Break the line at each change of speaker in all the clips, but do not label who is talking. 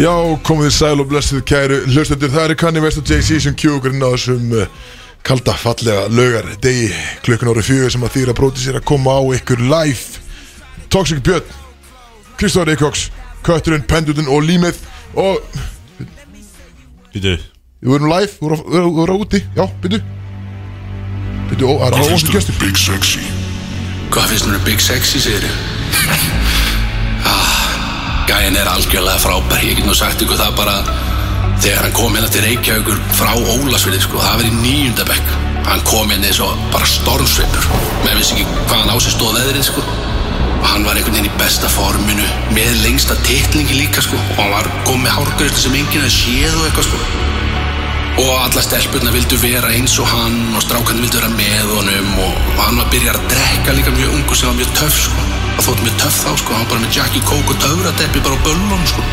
Já, komið þið sæl og blessið kæru hlustendur, það eru kanni vest og JC sem kjókurinn á þessum eh, kalda fallega laugar degi klukkan árið fjögur sem að þýra bróti sér að koma á ykkur live Toxic Björn, Kristóður Eikóks, Kötturinn, Pendurinn og Límið og
Býtu,
við erum live, við erum- við erum við erum úti, já, byrju Byrju, ó, það er ósum gestur
Big Sexy
Hvað finnst mér um Big Sexy, segir ég? Ah, gæin er algjörlega frábær, ég get nú sagt ykkur það bara þegar hann kom hérna til Reykjavíkur frá Ólasvili, sko, það var í nýjunda bekk. Hann kom hérna eins og bara stormsveipur, menn vissi ekki hvað hann á sig stóð veðrið, sko. Og Hann var einhvern veginn í besta forminu, með lengsta titlingi líka, sko, og hann var komið með hárgreiðslu sem enginn hefði séð og eitthvað, sko. Og alla stelpurna vildu vera eins og hann og strákan vildu vera með honum og og hann var að byrja að drekka líka mjög ungu sem var mjög töff sko. Það þótt mjög töff þá sko, hann var bara með Jackie Coke og töfradeppi bara á böllum sko.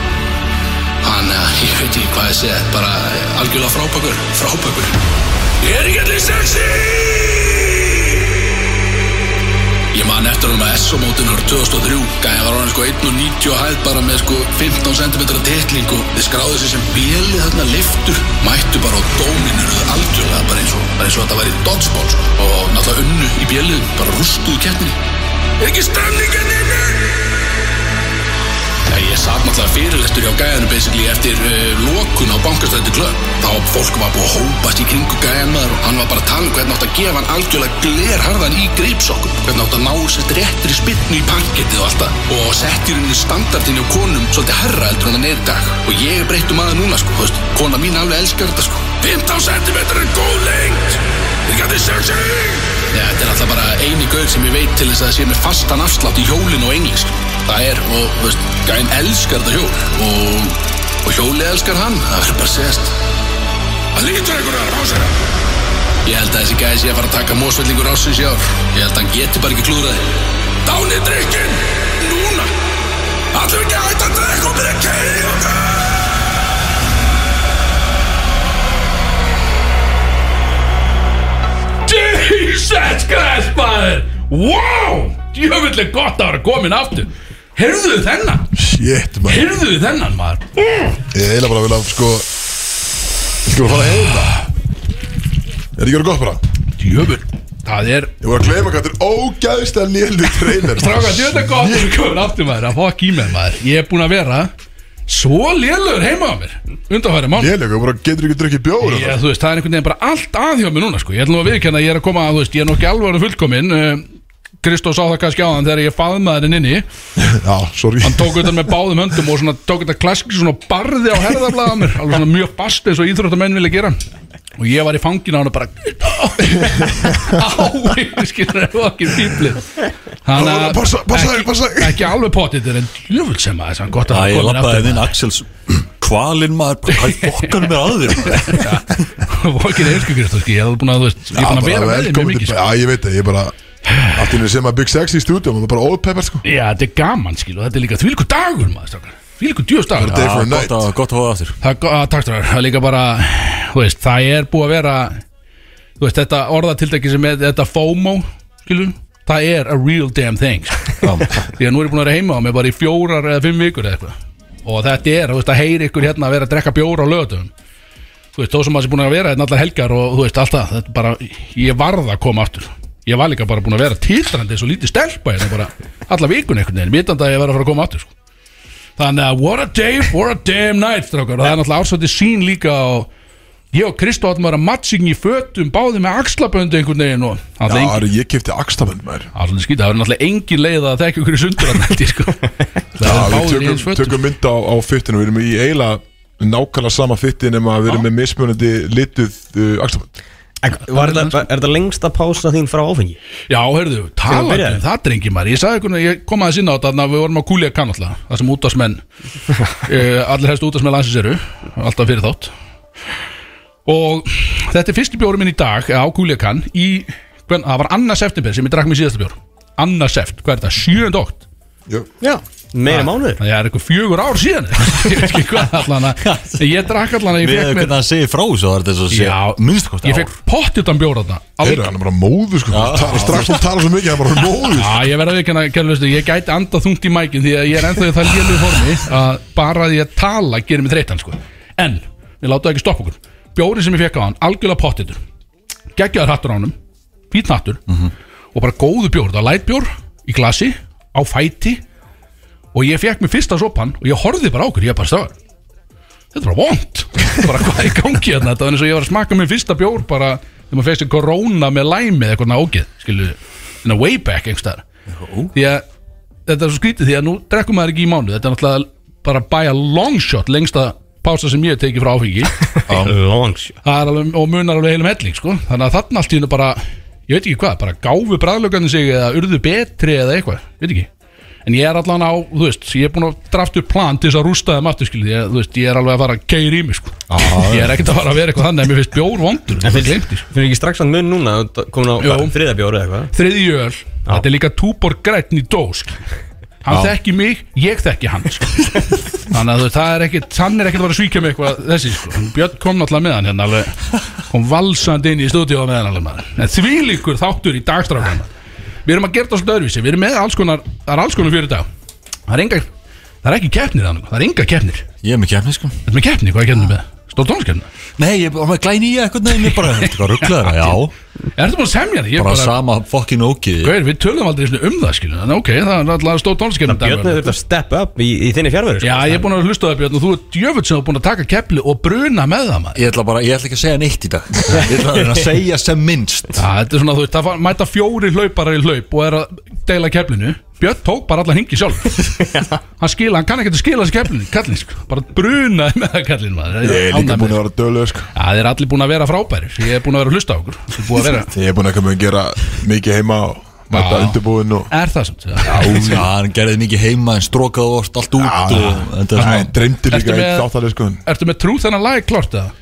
Þannig að ég veit ekki hvað ég segi, bara algjörlega frábækur, frábækur. Ég er ekki allir sexy! Ég man eftir honum að SO-mótinu ára 2003 Gæði var honum sko 1.90 og hæð bara með sko 15 cm titling og þið skráðu sig sem bjeli þarna liftur mættu bara og dóminur þau algjörlega bara eins og, bara eins og þetta væri dodgeball sko. og náttúrulega unnu í bjelið bara rústuðu keppninni Ekki stemningan inni Já, ég satt náttúrulega fyrirlestur hjá gæðinu basically eftir uh, lokun á bankastrætti klöpp. Þá fólk var búið að hópast í kringu gæðan maður og hann var bara að tala um hvernig átt að gefa hann algjörlega glerharðan í greipsokkum. Hvernig átt að ná sér réttri spinnu í panketið og allt það. Og sett í rauninni standardinu á konum svolítið herra heldur en hann er í dag. Og ég er breytt um aða núna sko, þú veist, kona mín alveg elskar þetta sko. 15 cm er góð lengt. Ég gæti sérsegning. Já, þetta er alltaf bara eini gaur sem ég veit til þess að það sé með fastan afslátt í hjólinu og englisk. Það er, og, þú veist, gæn elskar þetta hjól og, og hjóli elskar hann, það verður bara að segjast. Það lítur einhverjar rásera. Ég held að þessi gæði sé að fara að taka mósvellingur ásins í ár. Ég held að hann geti bara ekki klúðrað þig. Dánið drikkin! Núna! Allir ekki að hætta að drekka og byrja að keiri okkar!
Jesus Christ, maður Wow, djöfulleg gott að vera komin aftur Heyrðu þennan
Shit, maður,
Heyrðu þennan, maður
ég er eiginlega bara að vilja, sko Skal við fara heim það? Er ekki verið gott bara?
Djöfull, það er
Ég voru að gleyma hvað þetta er ógæðist að lélu treyner
Stráka, djöfull er gott að vera komin aftur, maður Að fokk í mig, maður Ég er búin að vera svo lélur heima á mér Undanfæri mán
Lélega, þú bara getur ekki að drukja bjóður
Já, þú veist, það er einhvern veginn bara allt að hjá mér núna sko. Ég ætlum að viðkenna að ég er að koma að, þú veist, ég er nú ekki alveg að fullkomin Kristó sá það kannski á hann þegar ég faðmaði henni inni
Já, sorry
Hann tók utan með báðum höndum og svona tók þetta klassisk svona barði á herðablaða mér alveg svona mjög fast eins og íþróttamenn vilja gera og ég var í fangin á hann og bara ái skilur það var ekki fýblið þannig
Ó, passa- passa þig, passa
eh, ekki,
þig.
ekki alveg potið en djöfull sem að þess að gott
Æ,
að
ég
komin aftur.
lappaði inn Axels Kvalinn maður, bara, hvað er fokkanum er að þér?
var ekki reynskjökriðst ég er alveg búin að, þú veist, ég er búin að vera með þig mjög mikið sko.
Já, ég veit það, ég bara Allt í henni sem að Big Sex í stúdíum Það er bara ópeppar, sko
já, þetta er gaman skil og þetta er líka þvílíkur dagur maður strákar. þvílíkur djöfst dagur
Day
Já,
for a
gott
night
að- Gott að hóða að þér
Það er go- að takk stráðar, það er líka bara þú veist, það er búið að vera þú veist, þetta orðatildæki sem er þetta FOMO, skilur það er a real damn thing sko. því að nú er ég búin að vera heima á mig bara í fjórar eða fimm vikur eða eitthvað og þetta er, þú veist, að heyri ykkur hérna að vera að drekka bjóra á lögatum þú veist, þó sem að sé búin að vera hérna allar helgar og þú veist, allt það, þetta er bara ég varð að koma aftur ég var líka bara búin að vera titrandi eins og lítið stelpa hérna bara alla vikun einhvern veginn, vitandi að ég var að fara að koma aftur sko. Þannig að what a day for a damn night strákar og það er náttúrulega ársvætti sín líka og ég og Kristó áttum að vera matching í fötum báði með axlaböndu einhvern veginn og það
Já,
er engin
Ari, ég kefti Axtamenn, maður
Það er svolítið skýta, það er náttúrulega engin leið að þekka ykkur í sundur að nælti sko
Já,
Það er
við
báðir sko. í eins
tökum,
fötum
tökum mynd á, á fittinu Við erum í eila nákvæmlega sama fitti Nefn að við erum með mismunandi lituð uh, Axtamenn
En var þetta, er þetta lengsta pása þín frá áfengi?
Já, heyrðu,
Þegar
talandi
byrjaði?
um það drengi maður Ég sagði ykkur, ég kom aðeins inn á þetta að við vorum að kúlja kann alltaf Það sem útvarsmenn, uh, allir helstu útvarsmenn landsins eru Alltaf fyrir þátt Og þetta er fyrsti bjóri minn í dag eh, á kúlja kann í, hvern, það var annars eftirbyr sem ég drakk mér síðasta bjór Annars eft, hvað er þetta, 7. ótt
Jú.
Já
Ah.
meira mánuður
Það er eitthvað fjögur ár síðan Ég veit ekki hvað allan að Ég drakk allan að ég
Við
fekk
hefum
mér
hvernig hann segir frá þessu Það er þess að segja
Já,
minnst hvort
Ég fekk pottjutan bjóra
Heyrðu,
þarna
hann er bara móður sko Tala- Strax hún talar svo mikið, hann er bara móður sko.
Já, ég verði ekki að gera lustu Ég gæti andað þungt í mækin Því að ég er ennþá í það lélu formi Að bara því að tala gerir mig þreytan sko. En, ég láta það ekki stoppa okkur Bjóri sem ég fekk á hann, algjörlega pottjutur Geggjaður hattur á honum Fýtn hattur Og bara góðu bjór, það var lætbjór Í glasi, á fæti Og ég fekk mér fyrsta sopan Og ég horfði bara á okkur, ég bara stafar Þetta er bara vond Bara hvað er í gangi hérna Þetta var eins og ég var að smaka mér fyrsta bjór bara Þegar maður fegst í korona með læmi eða eitthvað nágið Skilu, þannig að way back einhverstaðar Því að þetta er svo skrítið Því að nú drekkum maður ekki í mánu Þetta er náttúrulega bara by a long shot Lengsta pása sem ég hef tekið frá áfengi
Longs
Það er alveg, og munar alveg heilum helling sko. þannig að þarna allt í hennu bara ég veit ekki hvað, bara gáfu bræðlöganu sig eða urðu betri eða eitthvað, veit ekki en ég er allan á, þú veist, ég er búin að drafta upp plan til þess að rústa þeim aftur skilji ég, þú veist, ég er alveg að fara að keira í mig sko. ég er ekkert að fara að vera eitthvað þannig að mér finnst bjór vondur
En
það
finnst
gleymdi, sko.
finnst ekki strax hann mun núna þú ert komin á
Jú.
þriðabjóri eða eitthvað
þriðji öl, þetta er líka túbor grætn í dós skilju. hann þekki mig, ég þekki hann sko. þannig að þú veist, það er ekkit hann er ekkit að fara að svíkja mig eitthvað þessi sko. En Björn kom náttúrulega með hann hérna alveg, kom valsandi inn í stúdíu með hann alveg maður. en því líkur þáttur í dagstrafan við erum að gera það svolítið öðruvísi við erum með alls konar, það er alls konar fyrir dag það er enga, það er ekki keppnir þannig, það er enga keppnir,
Ég er með kefni sko
þetta er með keppni, hvað er keppnir með stór tónskeppna,
Nei, ég var með glæni í eitthvað Nei, mér bara, þetta var rugglaður Já,
er þetta búin að semja því Ég er
bara
bara,
sama fokkin ógið
Gaur, við tölum aldrei einu sinni um það skilur, en ok, það er alltaf stór tónskeppna
Björn þurft að step up í, í þinni sko. fjárveru
Já, ég er búin að hlusta á það Björn og þú ert djöfull sem er búin að taka kepli og bruna með það maður
Ég ætla bara, ég ætla ekki að segja neitt í dag Ég ætla að reyna að segja sem minnst
Já, þetta er svona, þú veist, það fa- mæta fjóri hlauparar í hlaup og er að deila keplinu Björn tók bara allan hingi sjálf Hann skila, hann kann ekki að skila þessi keplinu, kallin sko Bara brunaði með það kallin maður
Ég er líka búin
Ánægður með-
að vera döluð sko
Já, þeir eru allir búin að vera frábæri Ég er búin að vera að hlusta á okkur Þú er búin að vera
Ég er búin að koma að gera mikið heima og mæta
Já.
undirbúin og
Er það samt? Já,
Já, hann gerði mikið heima en strókaði vort allt út
Já,
og, þetta er
Æ,
svona,
dreymdi
Ertu
líka
með-
eitt þáttalið sko
Ertu með trú þennan lag klart eða?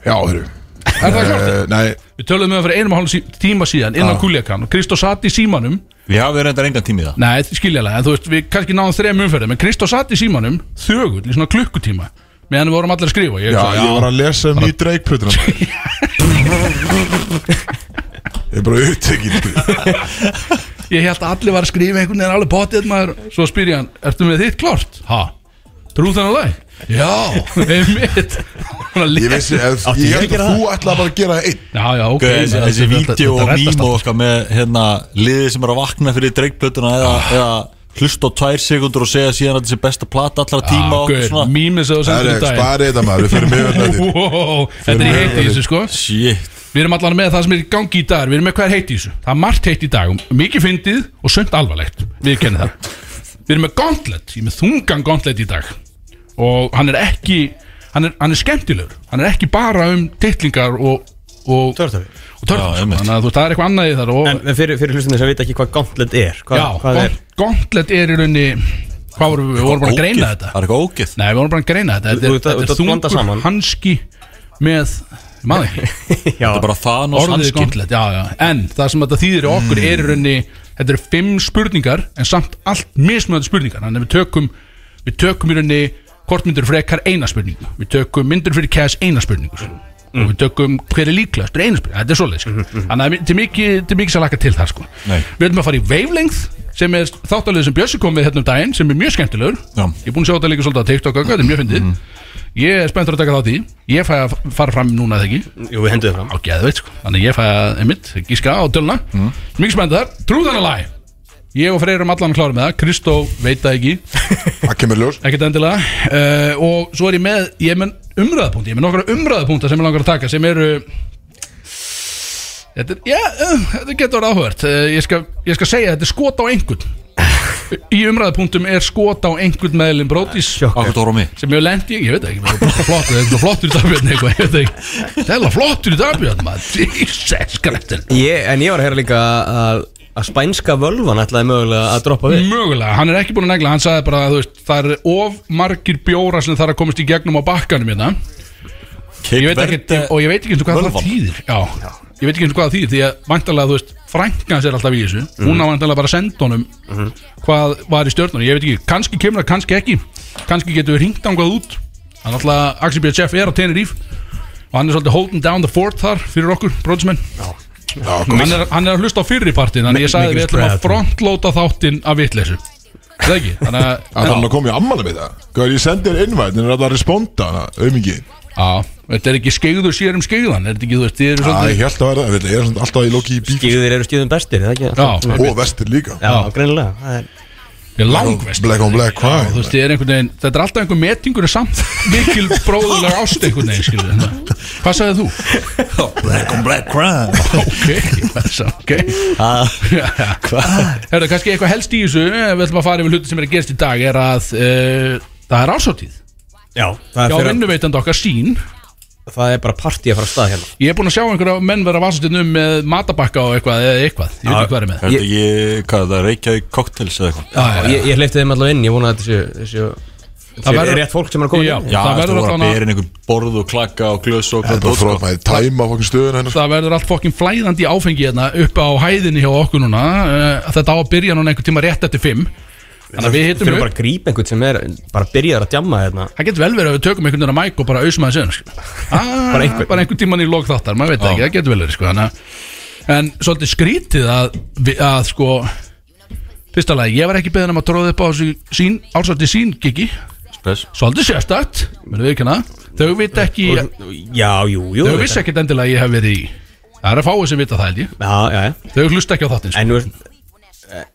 Já, hörru
Er það klart?
Eh, Nei,
Við tölum um það fyrir einum og hálfum sí- tíma síðan inn á Kuljakan og Kristó satt í símanum
við hafum verið engan tími í það
Nei, skiljaðlega, en þú veist, við kannski náðum þrejum umferðum En Kristó satt í símanum, þögull, í svona klukkutíma Meðan við vorum allir að skrifa Ég
já,
hugsaði,
ég var að lesa um í dreikplötuna Ég er bara upptekinn sko.
Ég held að allir var að skrifa einhvern veginn alveg potið maður Svo spyr ég hann, ertu með þitt klart? Ha? Trú þennan lag? Já, einmitt Svona
Ég
lét-
vissi, ef- ég held að þú ætlaði bara að gera það einn
Já, já, ok
Þessi, þessi
Þetta-
vídeo
þetta
og
reddast
mím
allt.
og okkar með hérna, liðið sem er að vakna fyrir dreikplötuna eða,
Ah.
eða hlusta á tvær sekundur og segja síðan að þetta sé besta plata allra
Já,
tíma og
gaur,
okkur svona
Mímið sem þú
Það
sendur í
er
dag
sparið þetta maður, við fyrir mig öll þetta
um Þetta er í
Fyrir
heiti í þessu sko
Shit,
Við erum allan með það sem er í gangi í dag Við erum með hvað er heiti í þessu Það er margt heiti í dag og Mikið fyndið og sönd alvarlegt Við kennum það Við erum með gauntlet Ég er með þungan gauntlet í dag Og hann er ekki Hann er, hann er skemmtilegur Hann er ekki bara um titlingar og Og, og
Törtöfi
törnum
Já, einmitt.
Þannig að þú veist, það er eitthvað annað í þar og,
En en fyrir, fyrir hlustinni sem veit ekki hvað gauntlet er Hvað,
Já,
hvað er?
gaunt- gauntlet er í raunni Hvað vorum við, við vorum bara að greina
ógeð.
þetta
Það er eitthvað ógeð
Nei, við vorum bara að greina þetta Þetta
Þú-
er,
þú- þú-
þetta
þú- blanda
er
saman.
þungur hanski Með, maður ekki
Já,
Þetta er bara þann og
orðið
sanski
gauntlet, já, já. en það sem þetta þýðir í okkur er í rauninni, þetta eru fimm spurningar en samt allt mismunandi spurningar þannig að við tökum, við tökum í rauninni hvort myndir frekar eina spurningu við tökum myndir fyrir kæs eina spurningu mm. og við tökum hver er líklegast fyrir eina spurningu, þetta er svoleiðis mm. þannig að þetta er mikið, þetta er mikið sem laka til það sko.
Nei.
við erum að fara í wavelength sem er þáttalegu sem Bjössi kom við hérna um daginn sem er mjög skemmtilegur
Já. Mhm.
ég er búin að sjá þetta líka svolítið á TikTok og eitthvað, þetta er mjög fyndið ég er spenntur að taka þátt í ég fæ að fara fram núna eða ekki
Jú, við hendum það fram
á geðveit sko. þannig ég fæ að einmitt gíska á tölna mm. mikið spennið þar, trúðan að læg ég og Freyr erum allan að klára með það Kristó veit það ekki,
Það kemur ljós
ekkert endilega uh, og svo er ég með, ég er með umræðapunkt ég er með nokkra umræðapunta sem ég langar að taka sem eru þetta, er, já, uh, þetta getur orðið áhugavert uh, ég, skal, ég skal segja að þetta er skot á einhvern í umræðapunktum er skot á einhvern meðlum brótis
Akkur tóra mig
sem ég lendi, ég veit það ekki bara bara flottur, það er svo flottur í dagbjörn eitthvað, ég veit það ekki það er flottur í dagbjörn, maður Jesus skrættin,
ég, En ég var að heyra líka að, að spænska völvan ætlaði mögulega að droppa við
mögulega, hann er ekki búin að negla hann sagði bara, þú veist, það er of margir bjóra sem þarf að komast
eh,
í gegnum á bakkanum hérna, ég veit ekki, og ég veit ekki eins og hvað það
Völvan.
týðir já, ég veit ekki eins og hvað það þýðir því að vantarlega, þú veist, frænka hans er alltaf í þessu hún á vantarlega bara að senda honum hvað var í stjörnunum, ég veit ekki kannski kemur það, kannski ekki kannski getur við ringt angað út hann alltaf, Axel B. Jeff er á Tenerife og hann er svolítið holding down the fort þar fyrir okkur, bróðismenn
Já, kom
hann, er- hann er að hlusta á fyrri partin þannig ég sagði
Mikil
við ætlum að
spread.
frontlóta þáttinn af vitleysu það ekki, þannig að
Það er hann að koma í ammala með það Hvað er ég sendið þér innvæð En er alltaf að responda Aumingi
Já, þetta er ekki skeigður sér um skeigðan Er þetta ekki, þú veist, þið eru
Já, ég
svolítið
held að vera það veit, Ég er svona alltaf í loki í bíl
Skýður eru skýðum bestir, er það ekki?
Já,
Og vestir líka
Já, greinilega það er-
ég er langvest
Black on black, hvað?
Þú veist, þið er einhvern veginn, þetta er alltaf einhver metingur en samt mikil bróðulegar ást einhvern veginn, skilur þetta Hvað sagðið þú?
Black on black crime
Ok, þessa, ok
Hvað?
Hörðu, kannski eitthvað helst í þessu ef Við ætlum að fara yfir hluti sem er að gerast í dag er að uh, það er ásóttíð
Já, það
Já,
er, fyrir,
vinnuveitandi okkar sín
það er bara partí að fara af stað hérna
Ég er búinn að sjá einhverja menn vera vasastinn um með matabakka og eitthvað eða eitthvað, ég veit ekki hvað er með
Er þetta ekki, hvað er það, Reykjavík cocktails eða eitthvað?
Já, já,
Ég, ég hleypti þeim allavega inn, ég vona að þessu, þessu Það
verður-
verður rétt fólk sem er að koma
Já.
inn
Já,
Það
það
verður
verður að
allan að-
bera inn einhver borð og klakka og glös og
Það er
hvað
bara
dót,
að
sko.
fróða maður Tæma hérna. fokkin stöðun hennar
það verður allt fokkin flæðandi í áfengi hérna upp á hæðinni hjá okkur núna uh, þetta á að byrja núna einhver tíma rétt eftir 5 þannig að við hittum
Fyrir
upp
bara að grípa einhvern sem er bara byrjar að djamma hérna
það getur vel verið að við tökum einhvern veginn að mæk og bara ausum aðeins inn bara
Bara einhvern.
bara einhvern tíman í lók þáttar, maður veit það ekki, það getur vel verið sko, þannig að- en svolítið skrítið að, vi- að sko fyrsta lagi, ég var ekki beðin um að tróða upp á þessu sín, ársvartir sín gigi
Spes.
svolítið sérstakt, verðum við ekki hana þau veit ekki,
Já, jú, jú
þau vissi ekkert endilega að ég hef verið í það er að fáið sem vita það held ég
Já, já, já
þau hlusta ekki á þáttinn sko.
En þú veist eh,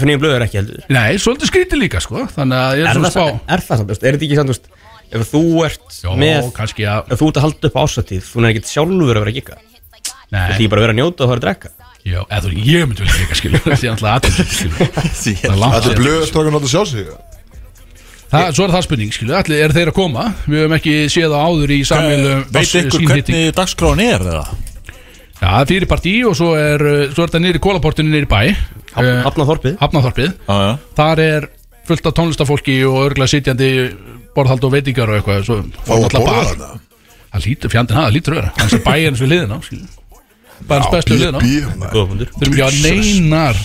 FNI blöð er ekki heldur
Nei, svolítið skrítið líka sko Þannig að ég er,
Er
svona
það
spá
samt- er það samt, þú veist, er þetta ekki samt, þú veist Ef þú ert
Jó,
með
kannski að
Ef þú ert að halda upp ásatíð, þú er ekkert sjálfur að vera að gikka Þú
Nei,
ætti bara að vera að njóta og fara að drekka
já, eða þú, ég myndi vel líka skilur Það er alltaf aðeins skilur Það er langt
Þetta er
sér
blöðstrakkan átt að sjá sig
Það- Svo er það spurning skilur, allir er þeir að koma Við höfum ekki séð á áður í
Eh,
samveilu
Veit ykkur hvernig dagskráin er eða?
Já, það er fyrir partí og svo er uh, Svo er það niður í kólaportinu niður í bæ
Hafna-
Eh,
Hafna þorpið
Hafnarþorpið
Já, já
Þar er fullt af tónlistafólki og örgla sitjandi borðhald og veitingar og eitthvað svo,
Fá
og
að borða
náttúrulega bar.
þetta
Það lítur, fjandinn hafa, það lítur að vera Þannig að bæjarins við liðin á Bæjarins bestu við liðin á
Bí- bí- maður.
Góða punktur
þurfum ekki að
Jesus.
neinar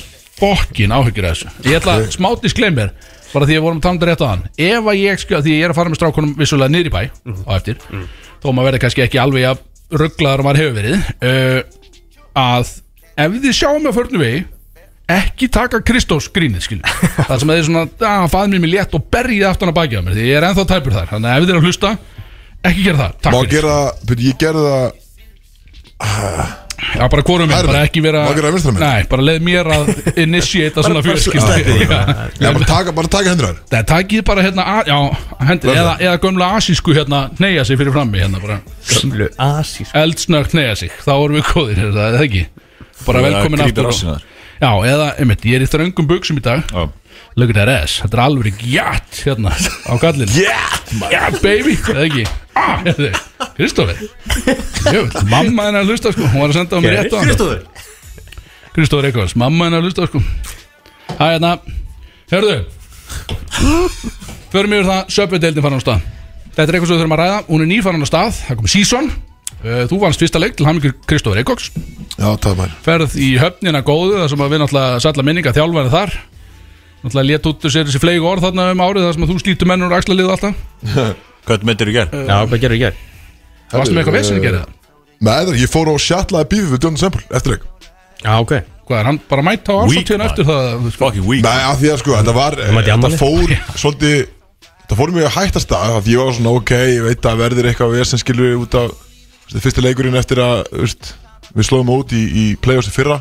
fokkin áhyggjur af þessu ég ætla að smá disclaimer bara því að við vorum að tala um þetta rétt á hann ef að ég skjóða því að ég er að fara með strákunum vissulega niður í bæ
Mhm.
á eftir þó maður verði kannski ekki alveg að rugglaður og maður hefur verið uh, að ef þið sjáum að förnum vegi ekki taka Kristós grínið skil það sem að þið er svona að faðið mér mér létt og berjið aftan að bakið á mér því ég er ennþá tæpur þar þannig að ef þið er að hlusta ekki gera það
Má
takk fyrir
gera það byrju, Ég gerði það
Já, bara hvorum minn,
Hægri
bara
megin.
ekki vera
Má ekki vera vinstri megin?
Nei, bara leið mér að initiata svona fjölskyldi
Já, bara taka- bara taka hendur þar
Það takið bara hérna, a- já, hendi,
Verður.
eða, eða gömla asísku hérna, neyja sig fyrir frammi hérna bara
Gömlu asís
Eldsnögt neyja sig, þá erum við góðir, er það eða ekki Bara
Eða
velkomin
grípir
aftur og-
rassinn á þér.
Já, eða, einmitt, ég er í þröngum buksum í dag
Já.
Look at that ass, þetta er alveg jætt hérna á gallinu Jætt, yeah, baby, eða ekki Ah, heyrðu, Kristófer Jöfull, Mamma hennar hlusta sko, hún var að senda á mér rétt á hann Kristóður Eikváls, mamma hennar hlusta sko Hæ, hérna, hörðu Förum yfir það, söpvedeildin farin á stað Þetta er eitthvað sem við þurfum að ræða, hún er nýfarin á stað Það komið síson, uh, þú vannst fyrsta leik til hamingur Kristóður Eikváls
Já, það var
Ferð í höfnina góðu, það sem að við náttúrulega salla minninga þjálfæri þar Náttúrulega létt út úr sér þessi fleig orð þarna um árið Það sem að þú slítur mennur og axla liðu alltaf
Hvernig myndir þú gerð?
Já, hvað gerðu ég gerð?
Varstu með eitthvað vesen að gera það?
Með það, ég fór og sjatlaði bífið við John Semple eftir ekki
Já, ok
Hvað er hann bara að mæta á
Weak,
ásatíðan
man.
eftir það? sko?
Fucking weak
Nei, af því að sko, þetta var
mætti
Þetta
afmæli.
fór svolítið Þetta fór mjög að hættast það Því ég var svona, ok, ég veit að verður eitthvað Við sem skilur út af þú veist, Fyrsti leikurinn eftir að þú veist, Við slóðum út í, í playoffsi fyrra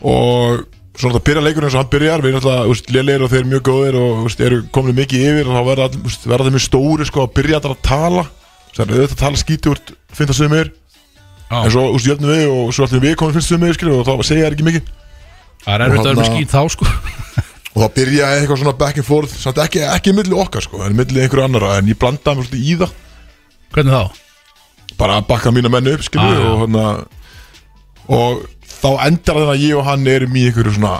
Og svona það byrja leikurinn eins og hann byrjar Við erum alltaf lélegir og þeir eru mjög góðir Og þú veist, eru komin mikið yfir Og þá verða, all- þú veist, verða þeir mjög stóri sko Að byrja allar að tala Það er auðvitað að tala skíti úr Fynda sem er
Já.
En svo, þú veist, jöfnum við og svo allir við komum fyrst sem við skilur og þá segja þær ekki mikið
Það er erfitt að vera með skýt þá sko
og það byrjaði eitthvað svona back and forth samt ekki, ekki milli okkar sko en milli einhverju annara en ég blandaði mér svolítið í það
Hvernig þá?
bara að bakka mína menn upp skilur ah,
Ah, já.
og, hana, og þá endar þannig að ég og hann erum í einhverju svona